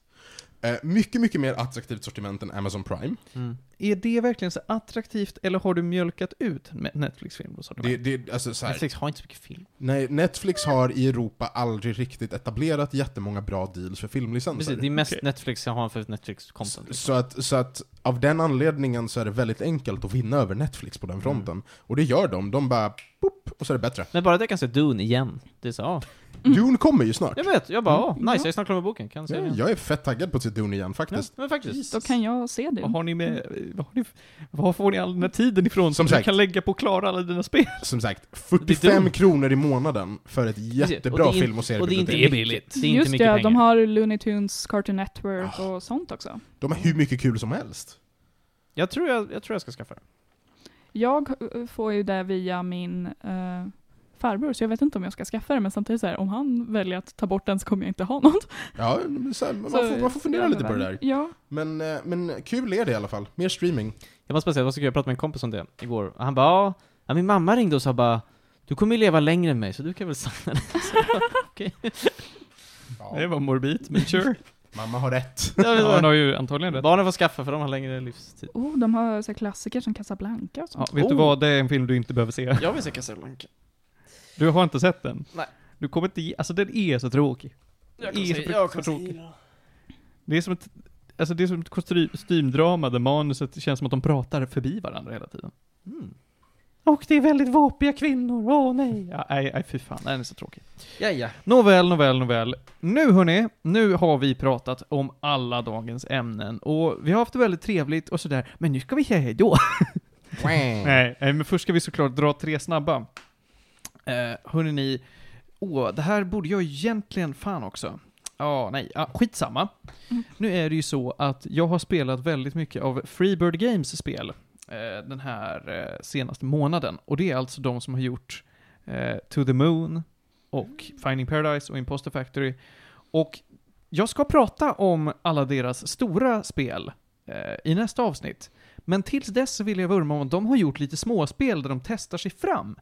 [SPEAKER 4] Eh, mycket, mycket mer attraktivt sortiment än Amazon Prime.
[SPEAKER 3] Mm.
[SPEAKER 1] Är det verkligen så attraktivt, eller har du mjölkat ut med Netflix-film? och sånt?
[SPEAKER 4] Det, det, alltså, så här,
[SPEAKER 3] Netflix har inte så mycket film.
[SPEAKER 4] Nej, Netflix har i Europa aldrig riktigt etablerat jättemånga bra deals för filmlicenser.
[SPEAKER 3] Precis, det är liksom. mest
[SPEAKER 1] Okej.
[SPEAKER 3] Netflix jag har för Netflix-content.
[SPEAKER 4] så, att, så att av den anledningen så är det väldigt enkelt att vinna över Netflix
[SPEAKER 3] Mm.
[SPEAKER 4] på den fronten. Och det gör de, de bara pop, och så är det bättre.
[SPEAKER 3] Men bara det kan se Dune igen. Det är så, ja.
[SPEAKER 2] Mm.
[SPEAKER 4] Dune kommer ju snart.
[SPEAKER 3] Jag vet, jag bara,
[SPEAKER 2] Mm.
[SPEAKER 3] åh, nice, jag är snart klar med boken. Kan se
[SPEAKER 4] Ja,
[SPEAKER 3] den igen.
[SPEAKER 4] jag är fett taggad på att se Dune igen
[SPEAKER 3] Ja,
[SPEAKER 4] faktiskt.
[SPEAKER 3] men faktiskt.
[SPEAKER 2] då kan jag se det.
[SPEAKER 1] Vad har ni med... Vad, har ni, vad får ni all den här tiden ifrån
[SPEAKER 4] Som
[SPEAKER 1] som, du
[SPEAKER 4] sagt.
[SPEAKER 1] kan lägga på att klara alla dina spel?
[SPEAKER 4] Som sagt,
[SPEAKER 3] Det är
[SPEAKER 4] 45
[SPEAKER 3] Dune.
[SPEAKER 4] kronor i månaden för ett
[SPEAKER 3] Och
[SPEAKER 4] jättebra
[SPEAKER 3] det är-
[SPEAKER 4] film och
[SPEAKER 3] och det är inte
[SPEAKER 4] seriebibliotek.
[SPEAKER 1] är billigt.
[SPEAKER 3] Det är inte
[SPEAKER 2] Just
[SPEAKER 3] mycket
[SPEAKER 2] det,
[SPEAKER 3] pengar. Ah.
[SPEAKER 2] de har Looney Tunes, Cartoon Network och sånt också.
[SPEAKER 4] De har hur mycket kul som helst.
[SPEAKER 3] jag, tror jag, jag tror jag ska skaffa den.
[SPEAKER 2] Jag eh, får ju det via min eh, farbror, så jag vet inte om jag ska skaffa det, men samtidigt så här, om han väljer att ta bort den så kommer jag inte ha något.
[SPEAKER 4] Ja, men så här, man,
[SPEAKER 2] Så-
[SPEAKER 4] får, man får fundera lite på det där.
[SPEAKER 2] Ja.
[SPEAKER 4] Men, eh, men kul är det i alla fall. Mer streaming.
[SPEAKER 3] Jag måste bara säga, det var så kul, jag pratade med en kompis om det igår. Och han bara, "Ja, ja, min mamma ringde och sa bara, du kommer ju leva längre än mig, så du kan väl signa den. Så jag bara, Okej.
[SPEAKER 1] Det var morbid, men sure.
[SPEAKER 4] Mamma har rätt.
[SPEAKER 3] Det var
[SPEAKER 1] ja, han
[SPEAKER 3] så-
[SPEAKER 1] har ju antagligen rätt.
[SPEAKER 3] Barnen får skaffa, för de har längre livstid.
[SPEAKER 2] Oh, de har så här klassiker som Casablanca och
[SPEAKER 1] Ja,
[SPEAKER 2] sånt.
[SPEAKER 1] vet du
[SPEAKER 3] Oh.
[SPEAKER 1] vad, det är en film du inte behöver se.
[SPEAKER 3] Jag vill se Casablanca.
[SPEAKER 1] Du har inte sett den.
[SPEAKER 3] Nej.
[SPEAKER 1] Du kommer inte... ge- Alltså den är så tråkig.
[SPEAKER 3] Jag
[SPEAKER 1] Det är
[SPEAKER 3] se-
[SPEAKER 1] så
[SPEAKER 3] jag kommer
[SPEAKER 1] tråkigt.
[SPEAKER 3] se-
[SPEAKER 1] Det är som ett... Alltså det är som ett kostry- kostymdrama där manuset känns som att de pratar förbi varandra hela tiden.
[SPEAKER 3] Mm.
[SPEAKER 1] Och det är väldigt våpiga kvinnor, åh nej. Ja, nej, nej, fy fan, den är så tråkig.
[SPEAKER 3] Ja, ja.
[SPEAKER 1] Nåväl, nåväl, nåväl. Nu hörni, nu har vi pratat om alla dagens ämnen och vi har haft det väldigt trevligt och sådär, men nu ska vi säga hej då. Nej, nej, men först ska vi såklart dra tre snabba. Eh, hörrni, ni, åh, det här borde jag egentligen fan också. Ja, nej, ah, skitsamma.
[SPEAKER 2] Mm.
[SPEAKER 1] Nu är det ju så att jag har spelat väldigt mycket av Freebird Games spel eh, den här eh, senaste månaden. Och det är alltså de som har gjort eh, To the Moon och Finding Paradise och Imposter Factory. Och jag ska prata om alla deras stora spel eh, i nästa avsnitt. Men tills dess så vill jag vurma om att de har gjort lite småspel där de testar sig fram.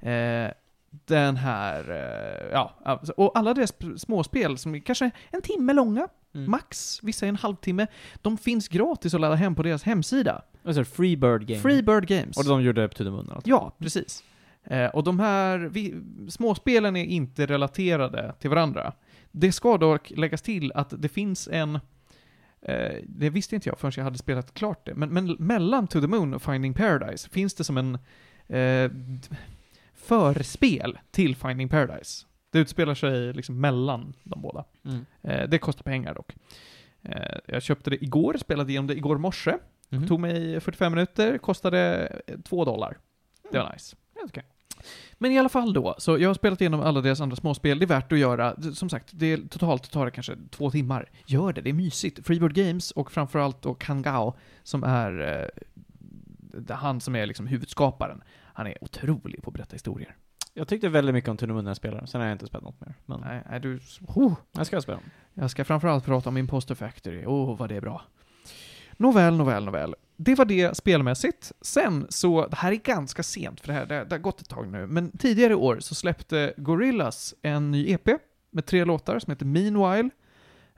[SPEAKER 1] Eh, den här, eh, ja, alltså- och alla deras p- småspel som är kanske en timme långa,
[SPEAKER 3] Mm.
[SPEAKER 1] max, vissa är en halvtimme, de finns gratis att ladda hem på deras hemsida.
[SPEAKER 3] Vad sa du? Freebird Game?
[SPEAKER 1] Freebird Games.
[SPEAKER 3] Och de gjorde Up to the Moon alltså. eller något.
[SPEAKER 1] Ja, precis. Eh, och de här vi, småspelen är inte relaterade till varandra. Det ska dock läggas till att det finns en... Eh, det visste inte jag förrän jag hade spelat klart det, men, men mellan To the Moon och Finding Paradise finns det som en... Eh, d- förspel till Finding Paradise. Det utspelar sig liksom mellan de båda.
[SPEAKER 3] Mm.
[SPEAKER 1] Eh, det kostar pengar dock. Eh, jag köpte det igår, spelade igenom det igår morse.
[SPEAKER 3] Mhm.
[SPEAKER 1] Tog mig 45 minuter, kostade 2 dollar. Det
[SPEAKER 3] Mm.
[SPEAKER 1] var nice. Men i alla fall då, så jag har spelat igenom alla deras andra småspel, det är värt att göra. D- Som sagt, det är, totalt tar det kanske två timmar. Gör det, det är mysigt. Freebird Games och framförallt då Kangao, som är eh, det- han som är liksom huvudskaparen. Han är otrolig på att berätta historier.
[SPEAKER 3] Jag tyckte väldigt mycket om To the Moon när jag spelade, sen har jag inte spelat något mer. Men
[SPEAKER 1] Nej, nej, du... Oh,
[SPEAKER 3] Mm. jag ska spela dem.
[SPEAKER 1] Jag ska framförallt prata om Imposter Factory. Åh, vad det är bra. Nåväl, nåväl, nåväl. Det var det spelmässigt. Sen så, det här är ganska sent för det här, det, det har gått ett tag nu, men tidigare i år så släppte Gorillaz en ny EP med tre låtar som heter Meanwhile.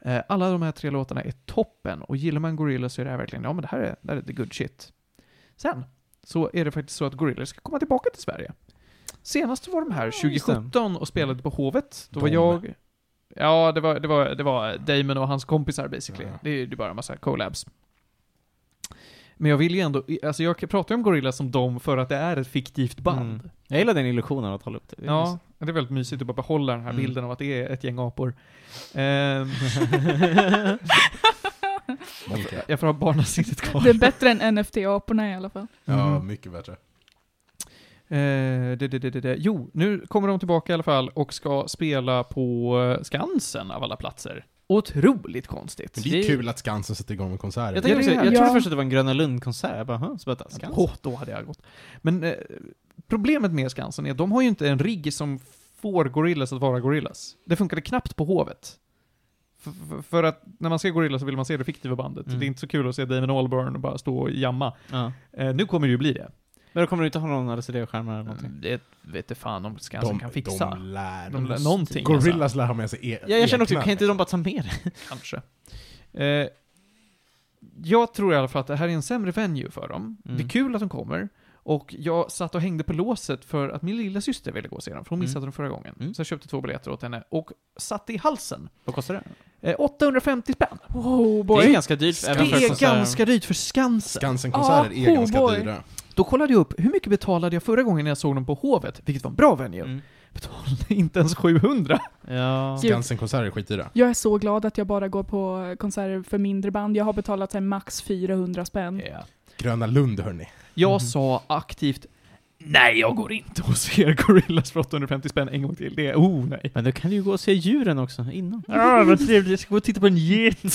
[SPEAKER 1] Eh, Alla de här tre låtarna är toppen och gillar man Gorillaz så är det här verkligen, ja men det här är, det här är the good shit. Sen så är det faktiskt så att Gorillaz ska komma tillbaka till Sverige. Senast var de här
[SPEAKER 3] Ja, just det.
[SPEAKER 1] 2017 och spelade på Hovet. Då var
[SPEAKER 4] De.
[SPEAKER 1] jag... Ja, det var, det, var, det var Damon och hans kompisar basically.
[SPEAKER 4] Ja.
[SPEAKER 1] Det är ju det är bara en massa collabs. Men jag vill ju ändå, alltså jag pratar ju om Gorillaz som dem för att det är ett fiktivt band.
[SPEAKER 3] Mm. Jag gillar den illusionen att hålla upp det. det. är liksom-
[SPEAKER 1] Ja, det är väldigt mysigt att bara behålla den här
[SPEAKER 3] Mm.
[SPEAKER 1] bilden av att det är ett gäng apor. Ehm,
[SPEAKER 4] Mycket.
[SPEAKER 1] jag får ha barnasinnet kvar.
[SPEAKER 2] Det är bättre än NFT-aporna i alla fall.
[SPEAKER 4] Ja,
[SPEAKER 1] Mhm.
[SPEAKER 4] mycket bättre.
[SPEAKER 1] Eh, det, det, det, det, det. Jo, nu kommer de tillbaka i alla fall och ska spela på eh, Skansen av alla platser. Otroligt konstigt.
[SPEAKER 4] Men det är
[SPEAKER 3] Det-
[SPEAKER 4] kul att Skansen sätter igång med konserter.
[SPEAKER 3] Jag,
[SPEAKER 1] Ja,
[SPEAKER 3] tänkte
[SPEAKER 1] det
[SPEAKER 3] också,
[SPEAKER 1] är
[SPEAKER 3] jag
[SPEAKER 1] det.
[SPEAKER 3] trodde
[SPEAKER 2] Ja.
[SPEAKER 3] först att det var en Gröna Lund-konsert, jag bara "Huh?" så bara Skansen.
[SPEAKER 1] Åh, då hade jag gått. Men eh, problemet med Skansen är att de har ju inte en rigg som får Gorillas att vara Gorillas. Det funkade knappt på Hovet. F- f- för att när man ser Gorillas så vill man se det fiktiva bandet.
[SPEAKER 3] Mm.
[SPEAKER 1] Det är inte så kul att se Damon Albarn och bara stå och jamma.
[SPEAKER 3] Ja.
[SPEAKER 1] Eh, nu kommer det ju bli det.
[SPEAKER 3] Men då kommer du inte ha någon LCD-skärmar eller någonting?
[SPEAKER 1] Mm, Det vet det fan om Skansen kan fixa.
[SPEAKER 4] De lär.
[SPEAKER 1] De lär-
[SPEAKER 4] måste-
[SPEAKER 1] någonting,
[SPEAKER 4] Gorillaz lär ha med sig e-
[SPEAKER 3] Ja, jag känner också,
[SPEAKER 4] egna.
[SPEAKER 3] kan inte de bara ta med det?
[SPEAKER 1] Kanske. Eh, jag tror i alla fall att det här är en sämre venue för dem.
[SPEAKER 3] Mm.
[SPEAKER 1] Det är kul att de kommer. Och jag satt och hängde på låset för att min lilla syster ville gå och se dem, för hon missade
[SPEAKER 3] Mm.
[SPEAKER 1] dem förra gången.
[SPEAKER 3] Mm.
[SPEAKER 1] Så jag köpte två biljetter åt henne och satte i halsen.
[SPEAKER 3] Vad kostar det?
[SPEAKER 1] Eh, 850 spänn!
[SPEAKER 2] Oh
[SPEAKER 3] Det är
[SPEAKER 2] boy.
[SPEAKER 3] ganska dyrt
[SPEAKER 1] Det
[SPEAKER 3] även för
[SPEAKER 1] är
[SPEAKER 3] konserter.
[SPEAKER 1] ganska dyrt för Skansen.
[SPEAKER 4] Skansen-konserter
[SPEAKER 2] Ah,
[SPEAKER 4] är ganska
[SPEAKER 2] oh boy.
[SPEAKER 4] dyra.
[SPEAKER 1] Då kollade jag upp, hur mycket betalade jag förra gången när jag såg dem på Hovet? Vilket var en bra venue.
[SPEAKER 3] Mm.
[SPEAKER 1] Betalade inte ens 700.
[SPEAKER 3] Ja.
[SPEAKER 2] Gud.
[SPEAKER 4] Skansen-konserter är skitdyra.
[SPEAKER 2] Jag är så glad att jag bara går på konserter för mindre band. Jag har betalat så här, max 400
[SPEAKER 4] Eh,
[SPEAKER 2] spänn.
[SPEAKER 1] Yeah.
[SPEAKER 4] Gröna Lund, hörni.
[SPEAKER 1] Jag
[SPEAKER 3] Mhm.
[SPEAKER 1] sa aktivt Nej, jag går inte och ser Gorillas för 850 spänn en gång till. Det är, oh nej.
[SPEAKER 3] Men då kan du ju gå och se djuren också, innan.
[SPEAKER 1] Ah, vad trevligt, jag ska gå och titta på en get.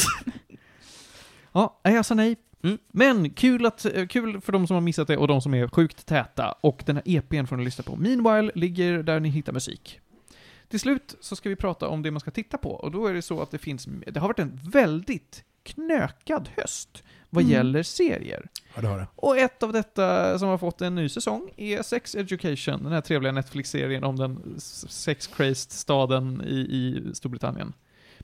[SPEAKER 1] ja, nej, jag sa nej.
[SPEAKER 3] Mm.
[SPEAKER 1] Men kul, att, eh, kul för de som har missat det och de som är sjukt täta. Och den här EPn får ni lyssna på. Meanwhile ligger där ni hittar musik. Till slut så ska vi prata om det man ska titta på och då är det så att det finns, det har varit en väldigt knökad höst vad
[SPEAKER 2] Mm.
[SPEAKER 1] gäller serier.
[SPEAKER 4] Ja, det har det.
[SPEAKER 1] Och ett av detta som har fått en ny säsong är Sex Education, den här trevliga Netflix-serien om den s- sex-crazed staden i, i Storbritannien.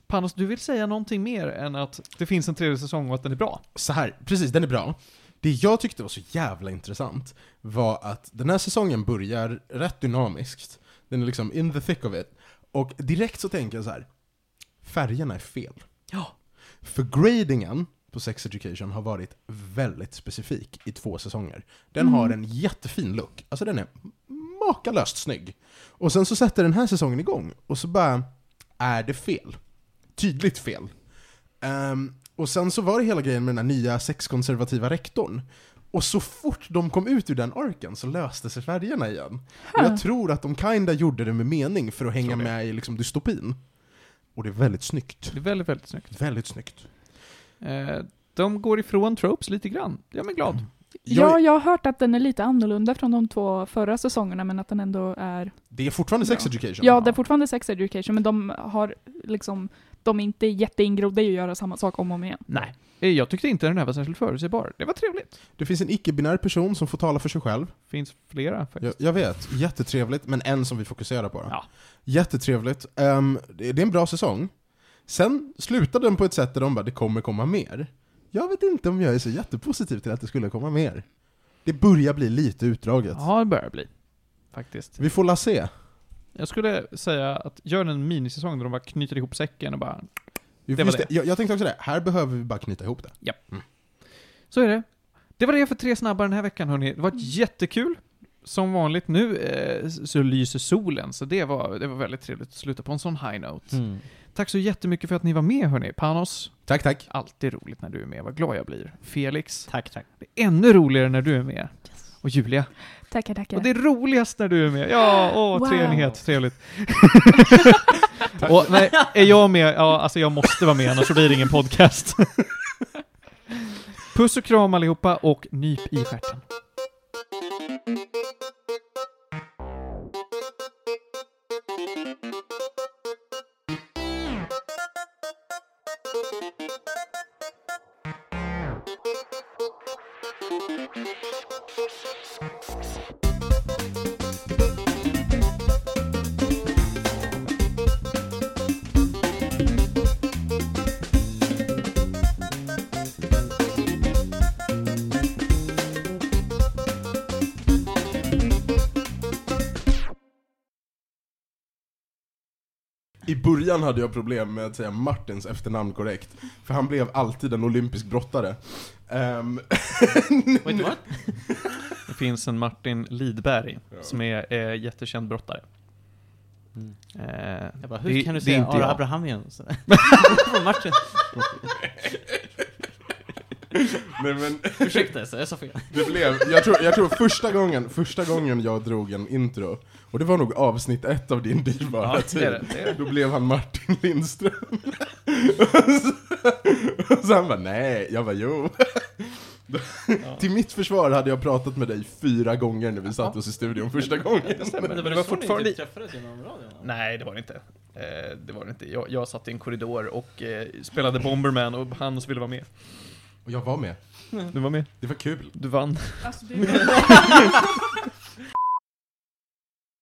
[SPEAKER 1] Panos, du vill säga någonting mer än att det finns en tredje säsong och att den är bra?
[SPEAKER 4] Så här, precis, den är bra. Det jag tyckte var så jävla intressant var att den här säsongen börjar rätt dynamiskt. Den är liksom in the thick of it. Och direkt så tänker jag så här. färgerna är fel.
[SPEAKER 1] Ja.
[SPEAKER 4] För gradingen på Sex Education har varit väldigt specifik i två säsonger. Den
[SPEAKER 2] Mm.
[SPEAKER 4] har en jättefin look, alltså den är makalöst snygg. Och sen så sätter den här säsongen igång, och så bara är det fel. Tydligt fel. Ehm, och sen så var det hela grejen med den här nya sexkonservativa rektorn. Och så fort de kom ut ur den arken så löste sig färgerna igen. Och jag tror att de kinda gjorde det med mening för att hänga
[SPEAKER 1] Tror det.
[SPEAKER 4] med i liksom dystopin. Och det är väldigt snyggt.
[SPEAKER 1] Det är väldigt, väldigt snyggt.
[SPEAKER 4] Väldigt snyggt.
[SPEAKER 1] Eh, de går ifrån tropes lite grann. Jag är glad.
[SPEAKER 4] Jag-
[SPEAKER 2] Ja, jag har hört att den är lite annorlunda från de två förra säsongerna, men att den ändå är...
[SPEAKER 4] Det är fortfarande sex
[SPEAKER 1] Ja.
[SPEAKER 4] education.
[SPEAKER 2] Ja, det är fortfarande sex education, men de har liksom de inte är jätteingrodda i att göra samma sak om och om igen.
[SPEAKER 1] Nej. Eh, Jag tyckte inte den här var särskilt förutsägbar. Det var trevligt.
[SPEAKER 4] Det finns en icke-binär person som får tala för sig själv.
[SPEAKER 1] Finns flera faktiskt.
[SPEAKER 4] Jag, jag vet, jättetrevligt, men en som vi fokuserar på. då.
[SPEAKER 1] Ja.
[SPEAKER 4] Jättetrevligt. Ehm, det, det är en bra säsong. Sen slutade den på ett sätt där de bara, det kommer komma mer. Jag vet inte om jag är så jättepositiv till att det skulle komma mer. Det börjar bli lite utdraget.
[SPEAKER 1] Ja, det börjar bli. Faktiskt.
[SPEAKER 4] Vi får la se.
[SPEAKER 1] Jag skulle säga att gör en minisäsong där de bara knyter ihop säcken och bara,
[SPEAKER 4] Vi-
[SPEAKER 1] Det var
[SPEAKER 4] just
[SPEAKER 1] det.
[SPEAKER 4] Jag, jag tänkte också det, här behöver vi bara knyta ihop det.
[SPEAKER 1] så är det. Det var det för tre snabba den här veckan hörni. Det var jättekul. Som vanligt nu eh, så lyser solen, så det var, det var väldigt trevligt att sluta på en sån high note.
[SPEAKER 3] Mm.
[SPEAKER 1] Tack så jättemycket för att ni var med hörni. Panos,
[SPEAKER 4] Tack, tack.
[SPEAKER 1] alltid roligt när du är med. Vad glad jag blir. Felix,
[SPEAKER 3] Tack, tack.
[SPEAKER 1] det är ännu roligare när du är med. Och Julia.
[SPEAKER 2] Tackar, tackar.
[SPEAKER 1] Och det är roligast när du är med. Ja, åh,
[SPEAKER 2] Wow.
[SPEAKER 1] treenighet, trevligt. och, nej, är jag med? Ja, alltså jag måste vara med, annars blir det ingen podcast. Puss och kram allihopa och nyp i stjärten.
[SPEAKER 4] I början hade jag problem med att säga Martins efternamn korrekt, för han blev alltid en olympisk brottare. Ehm,
[SPEAKER 3] Wait, what?
[SPEAKER 1] Det finns en Martin Lidberg
[SPEAKER 4] Ja.
[SPEAKER 1] som är eh, jättekänd brottare.
[SPEAKER 3] Mm.
[SPEAKER 1] Eh,
[SPEAKER 3] Jag bara, hur
[SPEAKER 1] det-
[SPEAKER 3] kan du
[SPEAKER 1] det är
[SPEAKER 3] säga
[SPEAKER 1] inte
[SPEAKER 3] Ara
[SPEAKER 1] jag.
[SPEAKER 3] Abraham igen? Så- Från matchen.
[SPEAKER 4] Nej, men
[SPEAKER 3] Ursäkta, så jag sa fel.
[SPEAKER 4] det blev, jag tror, jag tror första gången, första gången jag drog en intro, och det var nog avsnitt ett av din dyrbara
[SPEAKER 1] Ja, det är
[SPEAKER 4] tid,
[SPEAKER 1] det, det är det.
[SPEAKER 4] då blev han Martin Lindström. och så han bara nej, jag bara jo. Till mitt försvar hade jag pratat med dig fyra gånger när vi satt oss i studion första gången.
[SPEAKER 1] Det stämmer. Men det var fortfarande... Nej, det var det inte. Eh, det var det inte. Jag, jag satt i en korridor och eh, spelade Bomberman och Hans ville vara med.
[SPEAKER 4] Och jag var med.
[SPEAKER 1] Du var med.
[SPEAKER 4] Det var kul.
[SPEAKER 1] Du vann.
[SPEAKER 2] Alltså, det är-